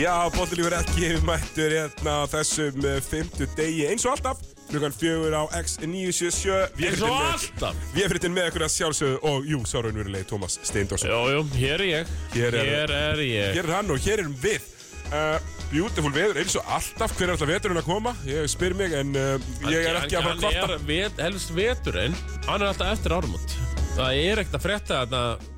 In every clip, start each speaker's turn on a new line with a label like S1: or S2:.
S1: Já, Bóttilífur ekki mættur hérna á þessum eh, fimmtu degi eins og alltaf klukkan fjögur á X977 Við
S2: Eins
S1: erum
S2: og
S1: með-
S2: alltaf.
S1: Við erum hérna með ykkur að sjálfsögðu og jú, sárunverulegi Tómas Steindórsson
S2: Jú, jú, hér er ég
S1: Hér er-
S2: er ég
S1: Hér er hann og hér erum við uh, Beautiful veður eins og alltaf, hver er alltaf veturinn að koma? Ég spyr mig en uh, ég er ekki að fara að kvarta
S2: Hann er vet, helst veturinn Hann er alltaf eftir árumót Það er ekkert að frétta þarna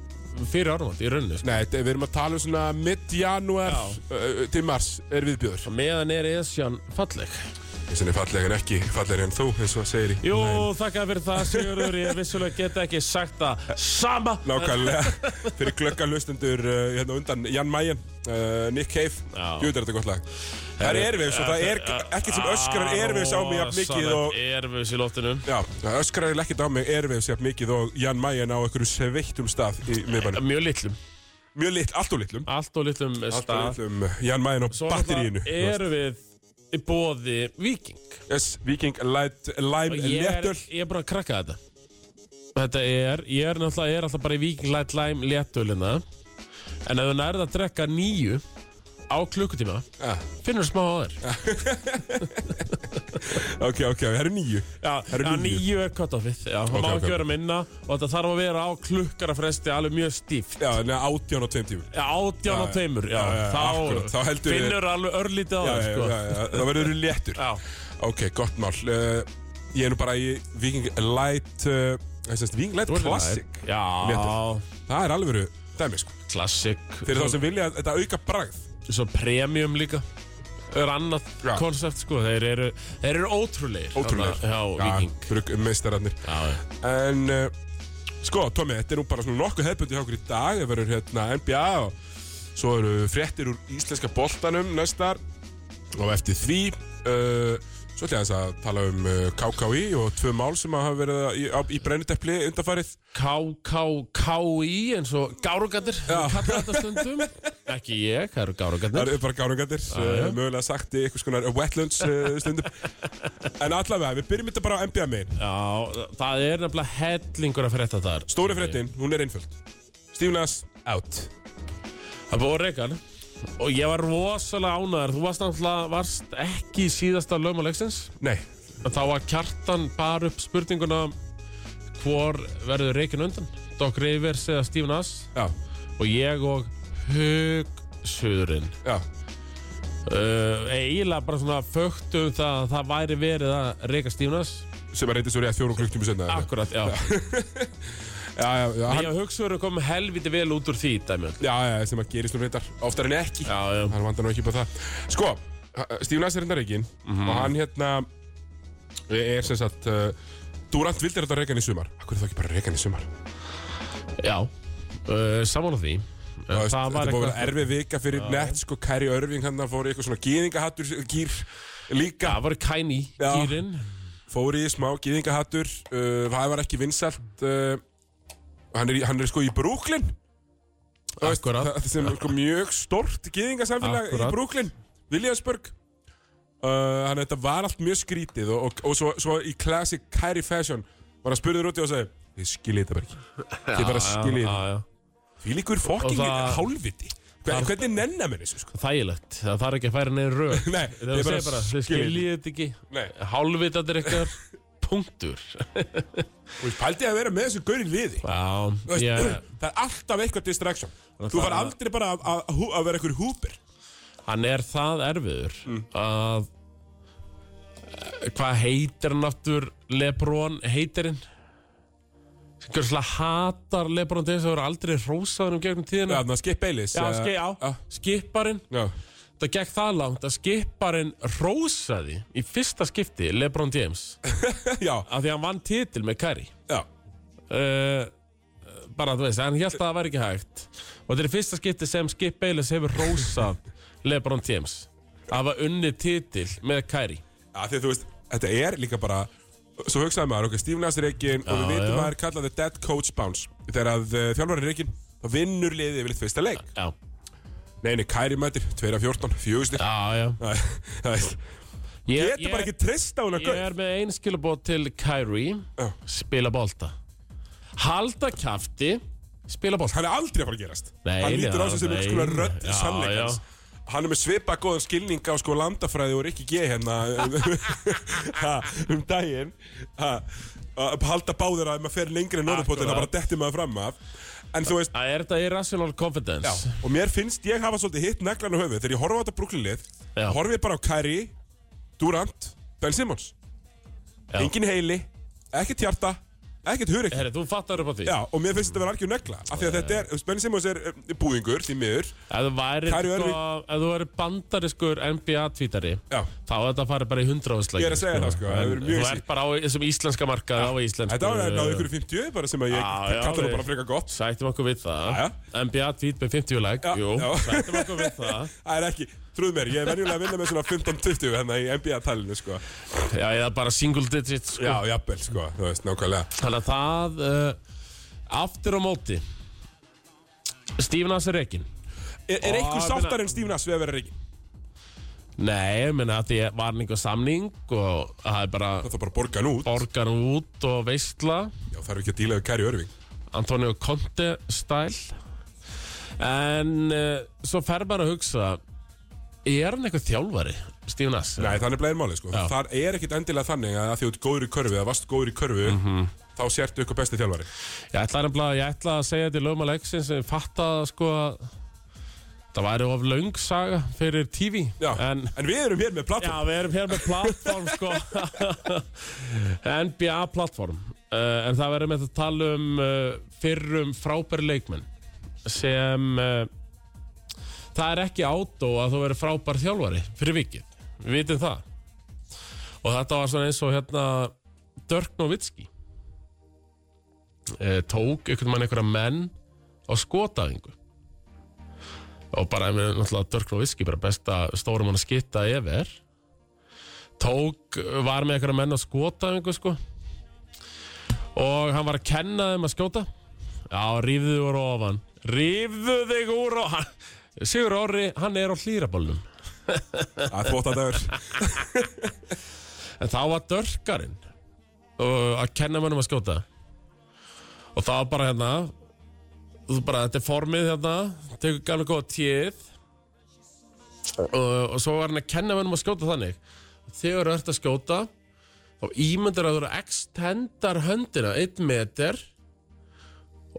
S2: fyrir árumót í rauninu sko.
S1: Nei, þetta- við erum að tala um svona mitt-janúar
S2: Já.
S1: uh, til mars er viðbjöður
S2: Og meðan er Esjan falleg
S1: Þessan er fallega en ekki, fallega en þú, eins og það segir í
S2: Jú, þakka fyrir það Sigurður Ég vissulega get ekki sagt það sama
S1: Nákvæmlega, fyrir glöggalustundur uh, hérna undan, Jan Mayen, uh, Nick Cave,
S2: Já.
S1: djúður þetta gott lag. Það er erfiðs og það er ekkert sem öskrar erfiðs á mig jafn mikið og...
S2: Erfiðs í loftinu
S1: Já, það öskrar ekkert á mig erfiðs jafn mikið og Jan Mayen á einhverju sveittum stað í miðbænum.
S2: Mjög litlum
S1: Mjög litl, allt og litlum.
S2: Allt og litlum
S1: Allt og
S2: stað
S1: litlum uh, Jan Mayen á
S2: Svo
S1: batteríinu.
S2: náttúrulega erum við í bóði Viking
S1: S, Viking, Light, Lime,
S2: ég er,
S1: Léttöl.
S2: ég er bara að krakka þetta Þetta er, ég er náttúrulega, ég er alltaf bara í Viking Light Lime léttölina En ef þú nærið að drekka nýju á klukkutíma
S1: Ah,
S2: Finnur smá á þér
S1: ok, ok, það eru nýju.
S2: Já,
S1: það eru
S2: já,
S1: níu.
S2: níu er cutoffið Já,
S1: Ok,
S2: það má
S1: ok.
S2: ekki vera minna Og þetta þarf að vera á klukkara fresti alveg mjög stíft
S1: Já, neða átján á tveim tímum.
S2: Já, átján
S1: Já,
S2: og tveimur Já,
S1: já, já, akkurat,
S2: þá,
S1: þá heldur við-
S2: finnur alveg örlítið á
S1: Já,
S2: þér
S1: já,
S2: sko.
S1: já, já, það verður léttur.
S2: Já,
S1: Ok, gott mál. Uh, ég er nú bara í Viking Light, uh, þessast Viking Light
S2: þú ert í lagi.
S1: Classic. Léttöl.
S2: Já,
S1: Það er alveg verið dæmi, sko.
S2: klassik
S1: Fyrir þá sem vilja að þetta auka bragð.
S2: svo premium líka er annað
S1: Já.
S2: koncept sko þeir eru, þeir eru ótrúleir
S1: Ótrúlega.
S2: Þarna hjá Viking
S1: um meistararnir.
S2: já,
S1: En, uh, sko, Tómi, þetta er nú bara svona nokkuð hefbundi hjá okkur í dag. Það verður hérna NBA og svo eru fréttir úr íslenska boltanum næstar. Og eftir því, uh, svo ætla ég aðeins að tala um uh, KKI og tvö mál sem að hafa verið í, á- í brenniteppli undanfarið.
S2: KKKI eins og gárugatir kallar þetta stundum ekki ég, það eru
S1: Það
S2: gárugatir
S1: eru bara gárungatir,
S2: já.
S1: uh, mögulega sagt í einhvers konar wetlands uh, stundum. en allavega, við byrjum þetta bara á NBA megin.
S2: já, það er nefnilega hellingur að frétta þar
S1: Stóri fréttin, hún er einföld. Steve Nash, out.
S2: það búið reygan og ég var rosalega ánæður þú varst náttúrulega varst ekki í síðasta lögmáleiksins
S1: Nei,
S2: en þá var kjartan bar upp spurninguna hvor verður reykin undan Doc Rivers eða Steve Nass
S1: já,
S2: og ég og hugsuðurinn
S1: já,
S2: uh, eiginlega bara svona fögtum það að það væri verið að reyka Stífnas
S1: sem að reyndi svo rétt fjórum klukktími senna.
S2: akkurat, já,
S1: Já, já, já,
S2: ég
S1: hann,
S2: og hugsuðurinn kom helviti vel út úr því dæmi já,
S1: já, já, sem að gerist nú reyndar oftar en ekki.
S2: já,
S1: Það vandar nú ekki bara það. Sko, ha- Steve Nash er reyndar reygin
S2: Mhm.
S1: og hann hérna er sem sagt... Uh, Durant vildi þetta reygan í sumar. Akkur er það ekki bara reygan í sumar?
S2: já. Uh, saman á því
S1: Já,
S2: En
S1: veist,
S2: það
S1: Þetta búið að
S2: var eitthvað
S1: vera erfið vika fyrir nett sko Kæri Örving hann fór í eitthvað svona gýðingahattur gýr líka
S2: það var kæni
S1: Já.
S2: kýrin
S1: fór í smá gýðingahattur uh, það var ekki vinsalt uh, hann, er, í- hann er sko í Brooklyn Þú veist,
S2: Akkurat.
S1: það- það sem er sko mjög stort gýðingasamfélag í
S2: Akkurat.
S1: Brooklyn Williamsburg uh, hann þetta var allt mjög skrítið og, og, og svo, svo í classic Kyrie fashion var hann spurður út í og sagði ég skilji þetta bara ekki ég bara skilji þetta því líkur fokking
S2: það-
S1: hálfviti Hver- hvernig nennar mér þessu sko
S2: þægilegt, það þarf ekki að færa neður röð
S1: Nei,
S2: það
S1: ég
S2: segir
S1: bara
S2: bara, þið
S1: skil-
S2: skiljið þetta ekki
S1: Nei.
S2: hálfvitaðir eitthvað punktur
S1: Þú veist, pældi að vera með þessu gaurinn liði Þú
S2: já,
S1: veist,
S2: ég,
S1: Það er alltaf eitthvað distraction Þú
S2: það-
S1: far aldrei bara að, að, hú- að vera einhver húper
S2: hann er það erfiður að hvað heitir hann aftur Lebron heitirinn Gjörslega hatar Lebron til þess að vera aldrei hrósaður um gegnum tíðina
S1: Þannig að skip Eilis
S2: Já, ski, já. skiparinn
S1: já.
S2: Það gekk það langt að skiparinn hrósaði í fyrsta skipti Lebron James
S1: já,
S2: af því að hann vann titil með Kari
S1: já,
S2: uh, bara þú veist, hann held að það væri ekki hægt og þetta er fyrsta skipti sem Skip Bayless hefur rósað Lebron James að hafa unnið titil með Kyrie
S1: já því að þú veist, þetta er líka bara Svo hugsaði maður, ok, Steve Nash er reikin Og við
S2: Já,
S1: vitum
S2: já.
S1: að það er kallað the dead coach bounce Þegar að uh, þjálfari er reikin Þá vinnur liðið yfir litt fyrsta leik
S2: Já,
S1: Nei, nei, Kæri mætir, 2 af 14, fjögustir
S2: já, já
S1: Það er- það er-
S2: Ég,
S1: Getur bara ekki treyst á hana
S2: Ég
S1: gauð
S2: er með einskilabót til Kyrie
S1: Já.
S2: Spila bolta Halda kæfti Spila bolta
S1: Hann er aldrei að fara að gerast
S2: Nei,
S1: Hann lítur á
S2: já,
S1: sig sem einhvers
S2: nei.
S1: konar rödd
S2: Já,
S1: sannleikans Hann er með svipa góðan skilning á sko landafræði og Rikki G hérna ha, um daginn ha, að halda báðir að ef maður fer lengri en norðupótinn að
S2: Akkurat.
S1: bara detti maður fram af en þú veist,
S2: Það er þetta irrational confidence
S1: já, og mér finnst ég hafa svolítið hitt neglan á höfuð þegar ég horfa á þetta brúklinlið
S2: Já.
S1: horfi ég bara á Kæri, Durant Ben Simmons,
S2: Já.
S1: engin heili ekkert hjarta, ekkert hurikki
S2: Herri, þú fattar upp á því
S1: Já, og mér finnst þetta að vera algjör negla Af því að þetta er, Ben Simmons er eh, búðingur, því miður
S2: Ef þú væri,
S1: Kyrie
S2: sko,
S1: Irving-
S2: ef þú væri bandariskur NBA-tvítari
S1: Já.
S2: þá er þetta farið bara í hundrafaslæg
S1: Ég er að segja það, sko, það hefur verið mjög
S2: Þú
S1: sí-
S2: ert bara á þessum íslenska markað á íslensku
S1: Þetta var náðu ykkur í 50, bara sem að ég
S2: Eh. Já, já,
S1: kallar
S2: við-
S1: nú bara frekar gott
S2: Sættum okkur við það
S1: Já,
S2: NBA-tvít með 50 lag
S1: Já,
S2: Jú,
S1: já.
S2: sættum okkur við það
S1: Það er ekki, trúð mér, ég er venjulega að vinna með svona 15-20 hérna í NBA-talinu, sko
S2: Já, eða bara single digit sko.
S1: Já, jafnvel, sko, þú veist, nákvæmlega
S2: Þannig að það uh, Aftur á móti Stífin Asa Rekin
S1: Er, er einhver
S2: Ó,
S1: sáttar
S2: meina-
S1: en Steve Nash við að vera reygin?
S2: Nei, ég meina að því var hann einhver samning og það er bara
S1: Það þarf bara að borga hann út
S2: organ út og veistla
S1: Já, þarf ekki að díla við Kæri Örving
S2: Antonio Conte stæl En uh, svo fer bara að hugsa Er hann eitthvað þjálfari, Stephen Ass?
S1: Nei, þannig blæðir málið, sko
S2: Já.
S1: Það er ekkit endilega þannig að af því að þú ert góður í körfu eða varst góður í körfu
S2: Mhm.
S1: þá sértu ykkur besti þjálfari
S2: Ég ætla, nefnilega, ég ætla að segja þetta í lögum að leiksins en ég fatta sko að það væri of löng saga fyrir TV
S1: Já, en,
S2: en
S1: við erum hér með
S2: Já,
S1: platum
S2: við erum hér með plattform sko NBA plattform uh, En það verður með að tala um uh, fyrrum frábæri leikmenn sem uh, það er ekki átó að þú verður frábær þjálfari fyrir vikið, við vitum það og þetta var svona eins og hérna Dirk Nowitzki uh, tók einhvern mann einhverja menn á skotaðingu og bara ef við náttúrulega Dirk Nowitzki bara besta stórum hann að skita yfir tók, eh, var með einhverja menn að skota einhver sko og hann var að kenna þeim að skjóta já, rífðu þig úr ofan rífðu þig úr ofan Sigur Orri, hann er á hlýrabólnum
S1: Það er þvóttadagur
S2: en þá var dörkarinn og að kenna mönnum að skjóta og það var bara hérna þú bara, þetta er formið hérna tekur gæmlega góða tíð Uh, og, og svo var hann að kenna mönnum að skjóta þannig þegar þú ert að skjóta þá ímyndir að þú eru að extendar höndina einn meter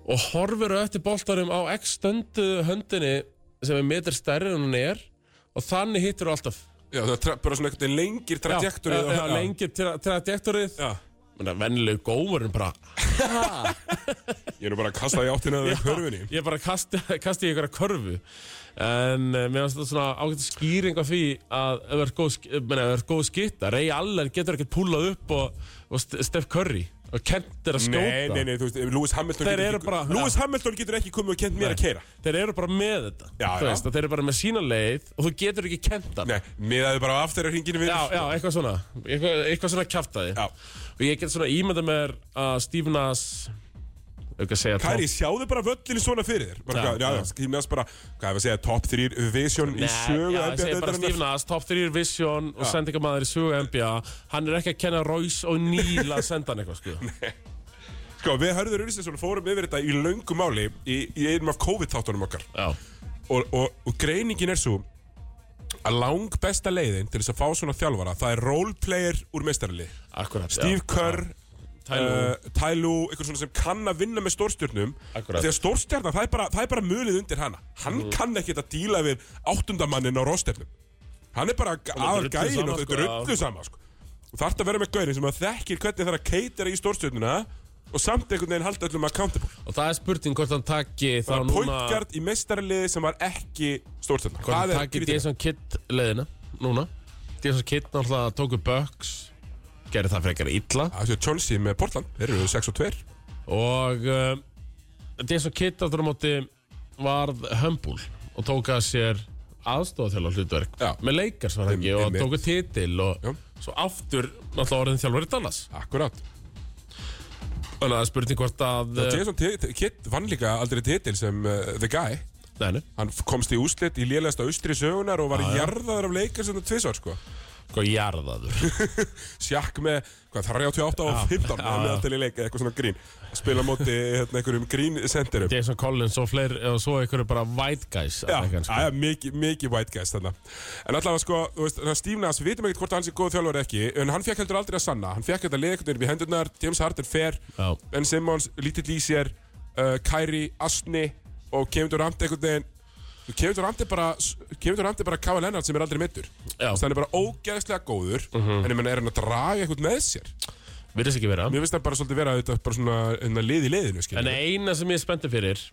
S2: og horfir eftir boltarum á extendu höndinni sem er meter stærri en hún er og þannig hittir þú alltaf
S1: Já, það er tra- bara svona einhvern veginn lengir trajektorið
S2: já, já, já, lengi tra- trajektorið
S1: Já,
S2: Menna, vennilegu góðurinn bara
S1: ég er nú bara að kasta því áttina þegar hörfunni
S2: Ég bara kasti, kasti í einhverja körfu En uh, mér finnst þetta svona ágætt skýring af því að ef það er góð, sk- meina, ef það er góð skitta Rey Allen getur ekkert púlað upp og, og Ste- Steph Curry og kentir að skjóta
S1: Nei, nei, nei, þú veist, Lewis Hamilton
S2: Þeir
S1: getur
S2: eru
S1: ekki
S2: bara-
S1: Lewis Hamilton getur ekki komið og kent mér að keira
S2: Þeir eru bara með þetta
S1: Já,
S2: Þú
S1: já.
S2: veist, að Þeir eru bara með sína leið og þú getur ekki kentan
S1: Nei, miðaðu bara aftur að hringinu við
S2: Já, já, eitthvað svona Eitthvað, eitthvað svona kjaftaði
S1: Já.
S2: Og ég get svona ímynda mér að Stephen Ass Eitthvað segja top-
S1: Kæri, sjáðu bara völlinu svona fyrir þér bara,
S2: Já,
S1: Já, já,
S2: já.
S1: ég meðast bara, hvað er að segja, top 3 vision í sögu
S2: já, ég segi bara
S1: NBA-deildarinnar.
S2: Stephen Ass, top 3 Vision og sendingamæður í sögu NBA hann er ekki að kenna Royce og Neil að senda hann eitthvað sko.
S1: Sko, við hörður Ullisson fórum yfir þetta í löngu máli í, í einum af COVID-þáttunum okkar
S2: já,
S1: og, og, og greiningin er svo að lang besta leiðin til þess að fá svona þjálfara það er roleplayer úr meistarli
S2: akkurat
S1: Steve
S2: já.
S1: Kerr
S2: Tyloo.
S1: uh, Tyloo, eitthvað svona sem kann að vinna með stórstjörnum
S2: Akkurat. Mhm.
S1: Þegar stórstjörna, það er bara, það er bara mulið undir hana Hann kann ekkert að díla við áttundamannin á róstjörnum Hann er bara aðal
S2: rullu
S1: gæin
S2: sama,
S1: og þetta
S2: sko,
S1: er
S2: já.
S1: öllu sama sko. Og þarf að vera með gæin sem að þekkir hvernig það er að keitera í stórstjörnuna og samt einhvern veginn halda öllum accountable
S2: og það er spurning hvort hann taki þá
S1: Bara
S2: núna
S1: pointgard í mestarliði sem var ekki stórstjörna
S2: hvort hann taki Jason Kidd leðina núna Jason Kidd náttúrulega tóku Bucks gerði það frekar illa
S1: Það séu Chelsea með Portland, þeir eru 6 og 2
S2: og uh, Jason Kidd aftur á móti varð hömbúl og tók að sér aðstofa hlutverk
S1: Já.
S2: með leikars var það ekki
S1: Em-
S2: og
S1: einmitt.
S2: tóku titil og
S1: Já.
S2: svo aftur náttúrulega orðin þjálfur í Dallas
S1: Akkurát
S2: Þannig að það er spurning hvort að eh,
S1: Jason T- T- Kidd vann líka aldrei titil sem uh, The Guy
S2: Nei, nei.
S1: Hann f- komst í úslit í lélegasta austri sögunar og var jarðaður af leikar sem það tvisvar sko
S2: sko jarðaður
S1: sjakk með hvað, 38 og
S2: Já.
S1: 15
S2: Já, já.
S1: með alltaf í leik, eitthvað svona grín að spila á móti hérna, einhverjum grínsenderum
S2: Jason Collins og fleiri eh, og svo einhverju bara white guys
S1: Já,
S2: að leika, sko.
S1: aðja, mikið miki white guys þarna En allavega sko, þú veist, það stífnaðs Við vitum ekkert hvort hann sé góð þjálfur eða ekki En hann fekk heldur aldrei að sanna Hann fekk þetta leik upp í hendurnar James Harden fer
S2: Já.
S1: Ben Simmons, lítill í sér uh, Kyrie, Asni Og Kevin Durant einhvern veginn Kevin Durant er bara Kevin Durant er bara Kava Lennart sem er aldrei mittur
S2: Já. Mhm.
S1: Þannig er bara ógeðslega góður En ég menna er hann að draga eitthvað með sér
S2: virðist ekki vera
S1: Mér finnst það bara svolítið vera þetta bara svona hérna, lið í liðinu
S2: En
S1: skilur.
S2: eina sem ég er spenntið fyrir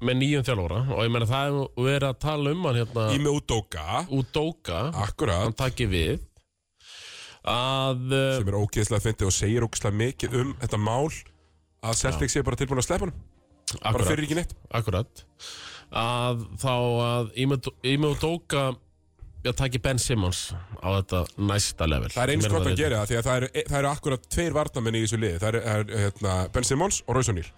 S2: með nýjum þjálfóra og ég meina það er verið að tala um hann hérna
S1: Í með Udoka
S2: Udoka,
S1: Akkurat
S2: hann takki við að uh,
S1: sem er ógeðslega fyndið og segir ógeðslega mikið um þetta mál að Celtic sé bara tilbúin að sleppa hann bara
S2: akkurat,
S1: fyrir ekki neitt
S2: akkurat að þá að Ími Udoka já, takki Ben Simmons á þetta næsta level
S1: það er eins
S2: Ég meina
S1: gott að
S2: veit.
S1: gera það því að það eru, e, það eru akkurat tveir varnamenn í þessu liði það eru er, hérna, Ben Simmons og Rauðssonýr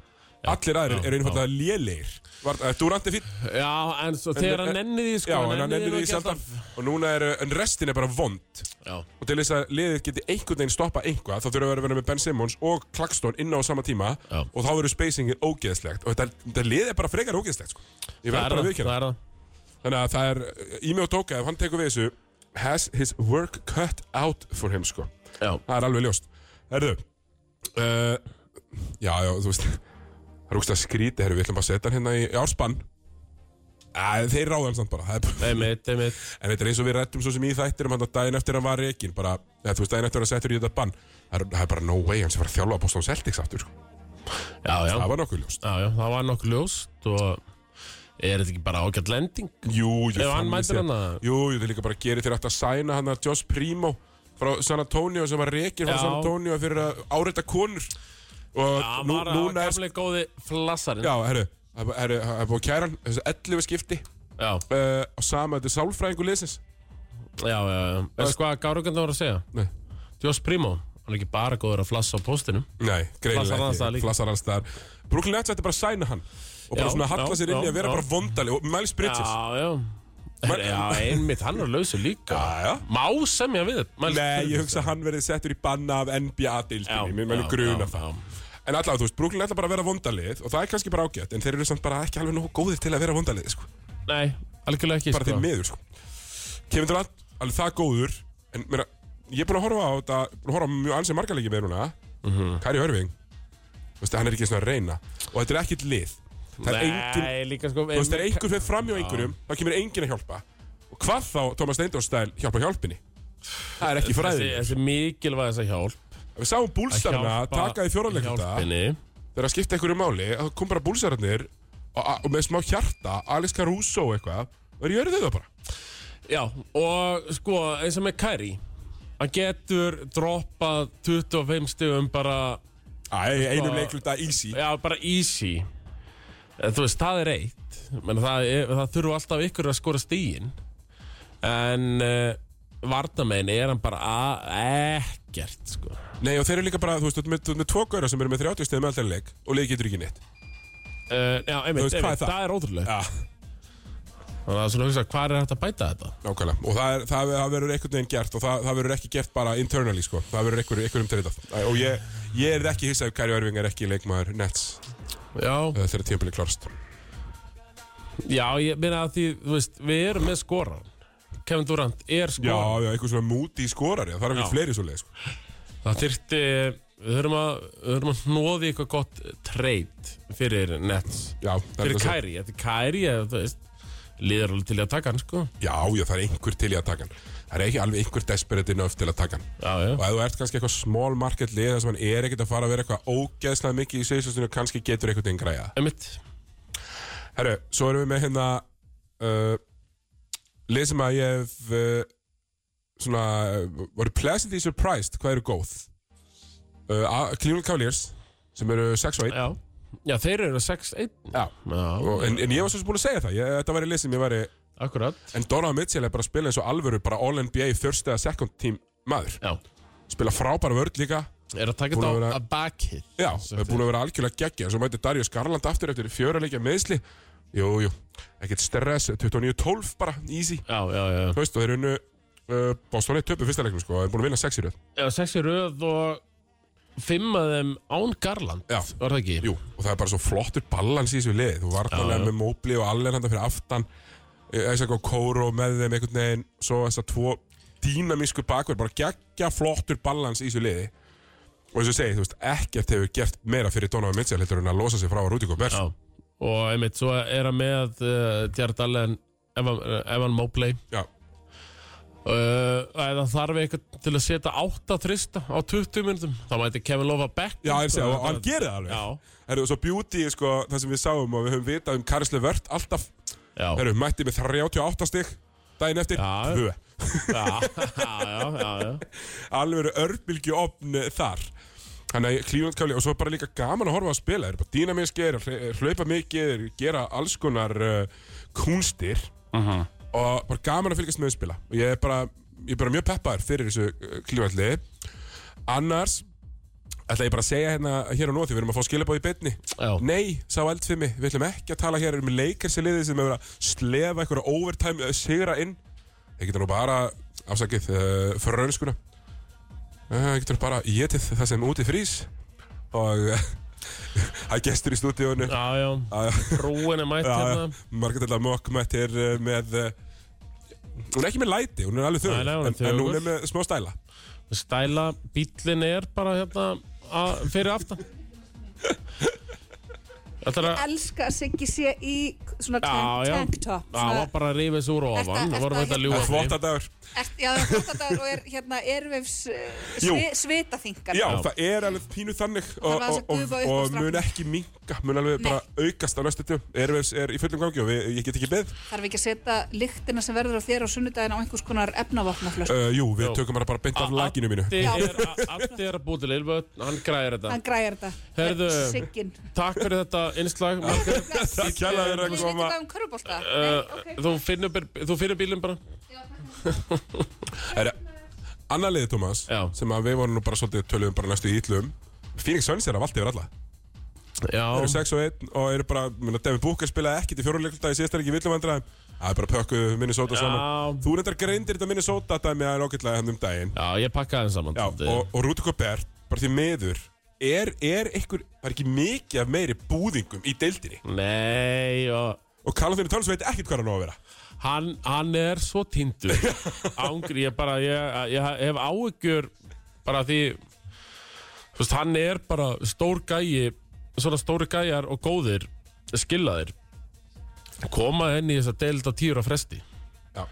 S1: allir aðrir
S2: já,
S1: eru einfallega lélegir Vart- eh, Durant er fín,
S2: Já, en svo þegar hann nenni því sko,
S1: já, en hann ennir
S2: nennir
S1: því
S2: ekki
S1: sjaldan og núna er, en restin er bara vond
S2: Já,
S1: og til þess að liðið geti einhvern veginn stoppa einhvað þá þurfum við að vera með Ben Simmons og Klagston inn á sama tíma
S2: Já.
S1: og þá verður spacingin ógeðslegt og þetta, þetta lið er bara frekar ógeðslegt sko. ég verð
S2: það er
S1: bara að
S2: það,
S1: viðkjöna
S2: það er það
S1: Þannig að það er eh, Ími og Tóka, ef hann tekur við þessu Has his work cut out for him sko.
S2: Já,
S1: Það er alveg ljóst Herðu uh, Já, já, þú veist Það er úkst að skríti, herru, við ætlum bara að setja hann hérna í, í árspann Æ, þeir ráða hann samt bara það er bara-
S2: einmitt, einmitt
S1: En þetta er eins og við rættum svo sem í þættir um hann að daginn eftir hann var reikin bara, eða, þú veist, daginn eftir hann settur í þetta bann Það er, það er bara no way, hann sem var að þjálfa að bósta á Celtics aftur, sko.
S2: Já, já,
S1: það var nokkuð ljóst
S2: já, já, það var nokkuð ljóst og er þetta ekki bara ágætt lending?
S1: Jú, jú,
S2: Ef hann
S1: þannig
S2: mætir
S1: séð.
S2: hann að-
S1: Jú, jú, þeir líka bara gerir þeir aftur að sæna hann að Josh Primo frá San Antonio sem var reikir frá
S2: Já.
S1: San Antonio fyrir að áreita konur og
S2: Já,
S1: nú,
S2: bara
S1: núna er
S2: gamlega góði flassarinn
S1: Já, herru, það er- herru, það er búið að kæra hann þessu 11 skipti
S2: já,
S1: uh, og sama þetta er sálfræðingu liðsins
S2: já, já, já. Veistu hvað Gárugandar var að segja?
S1: Nei,
S2: Joss Primo, hann er ekki bara góður að flassa á póstinum
S1: Nei
S2: Flassar
S1: greinilega
S2: hans þar líka.
S1: Flassar hans þar Brooklyn Nets ætti bara að sæna hann og bara
S2: Já,
S1: svona halla
S2: já,
S1: sér inn í
S2: já,
S1: að vera
S2: já.
S1: bara vondali og Miles Bridges
S2: Já, já
S1: Man-
S2: Já, einmitt, hann er lausu líka
S1: Já, já.
S2: Má semja við Miles
S1: Nei, ég
S2: Bridges.
S1: hugsa að hann verið settur í banna af NBA-dildinni, mér mennum
S2: já,
S1: gruna
S2: já,
S1: það
S2: já.
S1: En allavega, þú veist, Brooklyn ætla bara að vera vondalið og það er kannski bara ágætt, en þeir eru samt bara ekki alveg nógu góðir til að vera vondalið, sko.
S2: Nei, algjörlega ekki
S1: Bara þeir miður, sko. Kevin Durant, alveg það góður, en meira, ég er búin að horfa á þetta, búin að horfa á mjög ansið margarleiki með núna, mm
S2: Mhm.
S1: -hmm. Kari Örving, þú veist, hann er ekki svona að reyna, og þetta er ekkit lið. Það er
S2: Nei,
S1: engin,
S2: líka sko
S1: þú veist, þegar einhver fyrir fram hjá einhverjum, þá kemur engin að hjálpa. Og hvað þá, Thomas Steindorstæl, hjálpa hjálpinni? Það er ekki
S2: Þessi,
S1: fræðið.
S2: þessi mikilvæg þessa hjálp
S1: Við sáum búlstarna taka í fjóranleikunda.
S2: Hjálpinni
S1: þegar að skipta einhverju máli þá kom bara búlsararnir og, og með smá hjarta Alex Caruso og eitthvað og er í öruðu það bara
S2: Já, og sko, eins og með Kæri Hann getur droppað 25 stigum bara,
S1: Æ, einum leikluta easy
S2: já, bara easy En Þú veist, það er eitt Men það, er, það þurfa alltaf ykkur að skora stíin En uh, Vardamein er hann bara a- ekkert sko.
S1: Nei og þeir eru líka bara, þú veist, þú ert með, þú ert með tvo gauðra sem eru með 30 stegum alltaf leik og leik getur ekki neitt
S2: Uh, já, einmitt,
S1: veist, hvað er
S2: einmitt,
S1: það?
S2: það er ótrúlega
S1: Já,
S2: Þannig að svona hugsa, hvað er hægt að bæta þetta?
S1: nákvæmlega og það, er, það, það verður einhvern veginn gert og það, það verður ekki gert bara internally sko það verður einhverjum, einhverjum treytað Æ, og ég, ég er ekki hissað ef Kari Örving er ekki leikmaður Nets
S2: Já,
S1: uh, þegar tímpilið klarst
S2: já ég meina að því, þú veist, við erum með skoran Kevin Durant er
S1: Já,
S2: skoran
S1: já, einhver svona múti í skorari það er ekki
S2: Já.
S1: fleiri svo leik sko.
S2: Það þyrfti, við þurfum að, við þurfum að hnóði eitthvað gott trade fyrir Nets.
S1: Já, það er
S2: Fyrir
S1: það sem-
S2: Kæri, þetta er Kæri, eða þú veist, liður alveg til í að taka hann, sko.
S1: Já, já, það er einhver til í að taka hann Það er ekki alveg einhver desperate enough til að taka hann
S2: Já, já.
S1: Og ef þú ert kannski eitthvað small market lið þar sem hann er ekkert að fara að vera eitthvað ógeðslega mikið í segjustunum kannski getur einhvern veginn græða
S2: Emitt,
S1: Herru, svo erum við með hérna uh, Lið sem að ég hef uh, Svona uh, Voru pleasantly surprised hvað eru góð uh, A- Cleveland Cavaliers Sem eru 6 og 1
S2: já. Já, þeir eru 6-1.
S1: Já.
S2: Já,
S1: og, en, en ég var svo sem búin að segja það ég, Þetta væri lið sem ég væri
S2: akkurat.
S1: En Donovan Mitchell er bara að spila eins og alvöru Bara All-NBA first eða second team maður
S2: Já,
S1: Spila frábæra vörð líka
S2: er að taka
S1: Búin
S2: þetta
S1: að
S2: á
S1: vera-
S2: að backhit.
S1: Já, það er búin að vera algjörlega geggja Svo mæti Darius Garland aftur eftir fjöralegja meðsli Jú, jú, ekkert stress 29-12 bara, easy
S2: Já, já, já.
S1: Þú veist, og þeir unnu uh, Boston er töpu fyrsta leiknum sko, er búin að vinna sex í röð
S2: eða sex í röð og fimm að þeim án Garland
S1: Já.
S2: var það ekki?
S1: Jú, og það er bara svo flottur ballans í þessu lið Þú vartanlega með Móbli og Allen handa fyrir aftan Æsak og Kóro með þeim einhvern veginn Svo þessar tvo dýnamísku bakverð Bara geggja flottur ballans í þessu liði Og eins og ég segi, þú veist, ekkert hefur gert meira fyrir Donovan Mitchell heldur en að losa sig frá að Rúdíko Bers
S2: Já. og einmitt svo er hann með uh, Jared Allen, Evan, eh, Evan Mobley
S1: Já,
S2: uh, eða þarf eitthvað til að setja 8 þrista á 20 minnum þá mæti Kevin Lova back
S1: já ég segi, og hann gerir það alveg
S2: Já,
S1: Herru, og svo beauty, sko, það sem við sáum og við höfum vitað um Karisle Vört alltaf
S2: já,
S1: Herru, mætti með 38 stig daginn eftir,
S2: Já.
S1: tvö
S2: já, já, já, já.
S1: alveg eru örbylgi opn þar Þannig að klífand kafli og svo er bara líka gaman að horfa að spila Þeir eru bara dýnamiskir, þeir hlaupa mikið, þeir gera alls konar uh, kúnstir og bara gaman að fylgjast með að spila og ég er bara, ég er bara mjög peppaður fyrir þessu klífandli Annars ætla ég bara að segja hérna hér og nú því við erum að fá skilabóð í beinni
S2: Já.
S1: Nei, sá eldfimi, við ætlum ekki að tala hér um leikar sem liðið sem hefur verið að slefa einhverja overtime eh, sigra inn Ég getur nú bara afsakið Eh, uh, fyrir raunskuna Það getur bara getið það sem úti frýs og eh, það er gestur í stúdíónu.
S2: já, já. Rúin er mætt hérna
S1: Margatella Mokk mættir eh, með, eh, hún er ekki með læti, hún er alveg þögul,
S2: Nei, nei, hún er
S1: en, en hún
S2: þögul.
S1: er með smá stæla.
S2: Stæla, bíllinn er bara hérna að, fyrir aftan Þetta er að
S3: elska að Siggi sé í svona
S2: Já,
S3: tank,
S2: já.
S3: tank top
S2: Það var bara að rífa þessu úr ofan
S3: Ertu- hérna-
S2: Það voru
S3: ertu-
S2: þetta að
S1: Það
S2: ljúga
S1: er
S2: því.
S1: þvottadagur.
S3: er, já, það er flottadagur og er hérna ervefs
S1: Jú.
S3: svi, svitaþingar
S1: Já,
S2: Já.
S1: það er alveg pínu þannig og,
S3: Þarf aðeins
S1: og,
S3: að
S1: og,
S3: gufa upp á
S1: og
S3: stráknum.
S1: mun ekki minka, mun alveg bara aukast á næstu tjum. Erfis er í fullum gangi og við, ég get ekki beð.
S3: Þarf ekki að setja lyktina sem verður á þér á sunnudaginn á einhvers konar efnavopnaflösku.
S1: Uh, jú, við
S2: Jú.
S1: tökum hana bara beint af
S2: Addi
S1: laginu mínu.
S2: er- a- Addi er að búið til Ilvöld Hann græðir þetta
S3: Hann græjar þetta.
S2: Heyrðu.
S3: Siggin.
S2: Takk fyrir þetta innslag Margrét.
S1: Takk kærlega fyrir að
S3: Þú veit
S1: koma.
S3: hvað um körubólta?
S2: Uh, Þú finnur bir- þú finnur bílinn bara
S1: Er, annar liðið, Tómas,
S2: Já.
S1: sem að við vorum nú bara svolítið töluðum bara næstu í ítlum. Phoenix Suns er að valdi yfir alla. Þeir eru
S2: Já,
S1: 6 og 1 og eru bara, menna, Devin Booker spilaði ekkit í fjóruleikluta í síðasta leik í villumvandræðum. Það er bara pökkuð Minnesota saman.
S2: Já.
S1: Þú reyndar greindir þetta Minnesota dæmi að ágætlega hann um daginn.
S2: já ég pakkaði hann saman
S1: Já, og, og Rúti Gobert, bara því meður, er, er einhver, það er ekki mikið af meiri búðingum í deildinni.
S2: Nei, og
S1: Og Karl Anthony Towns veit ekkert hvað hann á að vera.
S2: Hann, hann er svo tindur Ángri, ég bara ég, ég hef áhyggjur bara því þú veist, hann er bara stór gæi svona stóri gæjar og góðir skiljaðir koma henni í þess að delta tíur á fresti
S1: Já.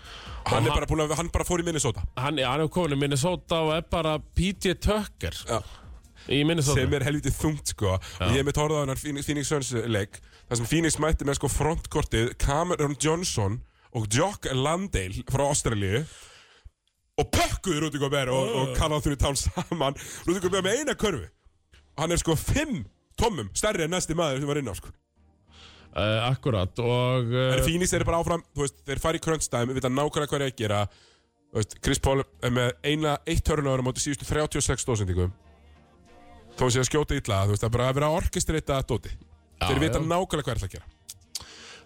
S1: Hann, er bara búin að, hann bara fór í Minnesota,
S2: hann, hann er komin í Minnesota og er bara PJ Tucker
S1: Já.
S2: í Minnesota
S1: sem er helviti þungt sko. Og ég er með tórða á hennar Phoenix, Phoenix Suns leik, þar sem Phoenix mætti með sko frontkortið Cameron Johnson og Jock Landale frá Ástralíu og pökkuðu Rúti Gobert og, og Karl Anthony Towns saman. Rúti Gobert með eina körfu. Og hann er sko fimm tommum stærri en næsti maður sem var inn á sko.
S2: uh, akkurat og
S1: En
S2: uh,
S1: Phoenix eru bara áfram, þú veist, þeir fara í crunch time, við vita nákvæmlega hvað er að gera Þú veist, Chris Paul er með eina eitt törnöður á móti síðustu 36 stóðsendingum Þó sé að skjóta illa, þú veist, það er bara að vera að orkestrita dóti Þeir vita
S2: já.
S1: nákvæmlega hvað er að gera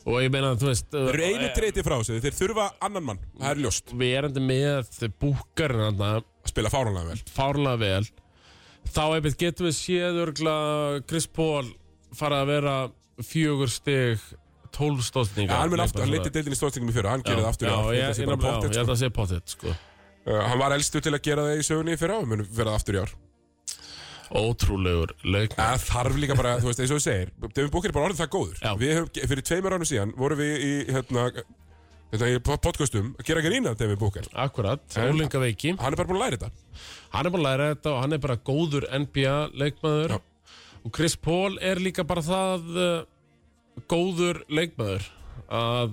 S2: og ég meina þú veist eh,
S1: Þeir eru einu treyti frá þessu, þeir þurfa annan mann, það er ljóst
S2: við erum með búkarinn hann
S1: Að spila fáránlega vel
S2: fárlega vel þá einmitt getum við séð örgla Chris Paul fara að vera fjögur stig tólstóðninga
S1: ja, Hann mun aftur, hann leiti deildin í stóðsendingum í fyrra, hann gerði það aftur í
S2: já,
S1: ár.
S2: ég,
S1: Þetta sé
S2: ég,
S1: bara
S2: nefnilega-
S1: pottþétt,
S2: já, ég
S1: sko.
S2: held að sé pottet sko.
S1: Uh, Hann var elstu til að gera það í sögunni í fyrra og mun verða aftur í ár
S2: ótrúlegur leik
S1: Það þarf líka bara, þú veist, eins og þú segir Devin Booker er bara orðið það góður
S2: Já.
S1: Við höfum, fyrir tveimur ánum síðan vorum við í, hérna, hérna í podcastum að gera grína Devin Booker
S2: akkurat, ólingaveiki
S1: Hann er bara búin að læra þetta
S2: hann er bara að læra þetta og hann er bara góður NBA leikmaður
S1: Já.
S2: og Chris Paul er líka bara það uh, góður leikmaður að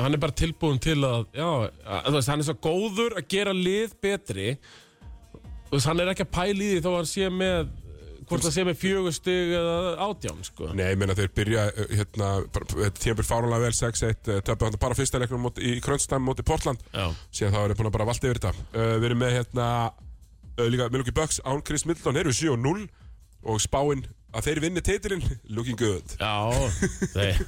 S2: hann er bara tilbúin til að já, að, þú veist, hann er svo góður að gera lið betri þú veist, hann er ekki að pæla í því þó að hann sé með eh, hvort það sé með fjögur stig eða átján sko.
S1: Nei, ég meina þeir byrja, uh, hérna, bara- þetta tíma byrja fáránlega vel 6-1 uh, Töpu hann bara fyrsta leiknum móti- í Krönstam móti Portland
S2: já,
S1: Síðan þá erum við búin að bara valda yfir þetta uh, Við erum með, hérna, uh, líka Milwaukee Bucks án Chris Middleton Þeir eru 7-0 og spáinn að þeir vinni titilinn Looking good
S2: já þeir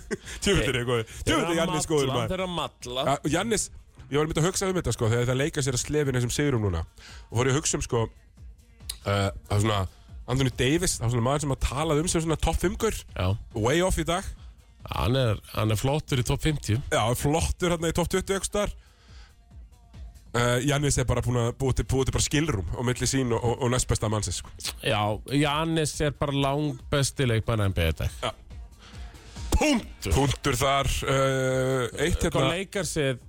S1: Tjöfnir er góður, tjöfnir
S2: þeir
S1: er
S2: eru að
S1: Jannis góður
S2: matla,
S1: maður
S2: þeir eru að matla
S1: Ja, og Jannis, ég var myndið að hugsa um þetta sko þegar það leika sér að slefin þessum sigurum núna og fór ég að hugsa um sko uh, það er svona Anthony Davis, það er svona maður sem að talað um sem svona topp 5-gur,
S2: Já,
S1: way off í dag
S2: hann er, hann er flottur í top 50
S1: Já, flottur hérna í topp 20 aukstar uh, Jannis er bara búin að búið til, búið til bara skilrum og milli sín og, og, og næst besta mannsins sko.
S2: Já, Jannis er bara langbesti leikmann NBA í dag
S1: Punkt Punktur þar uh, Eitt
S2: Hvað
S1: hérna,
S2: leikar sér,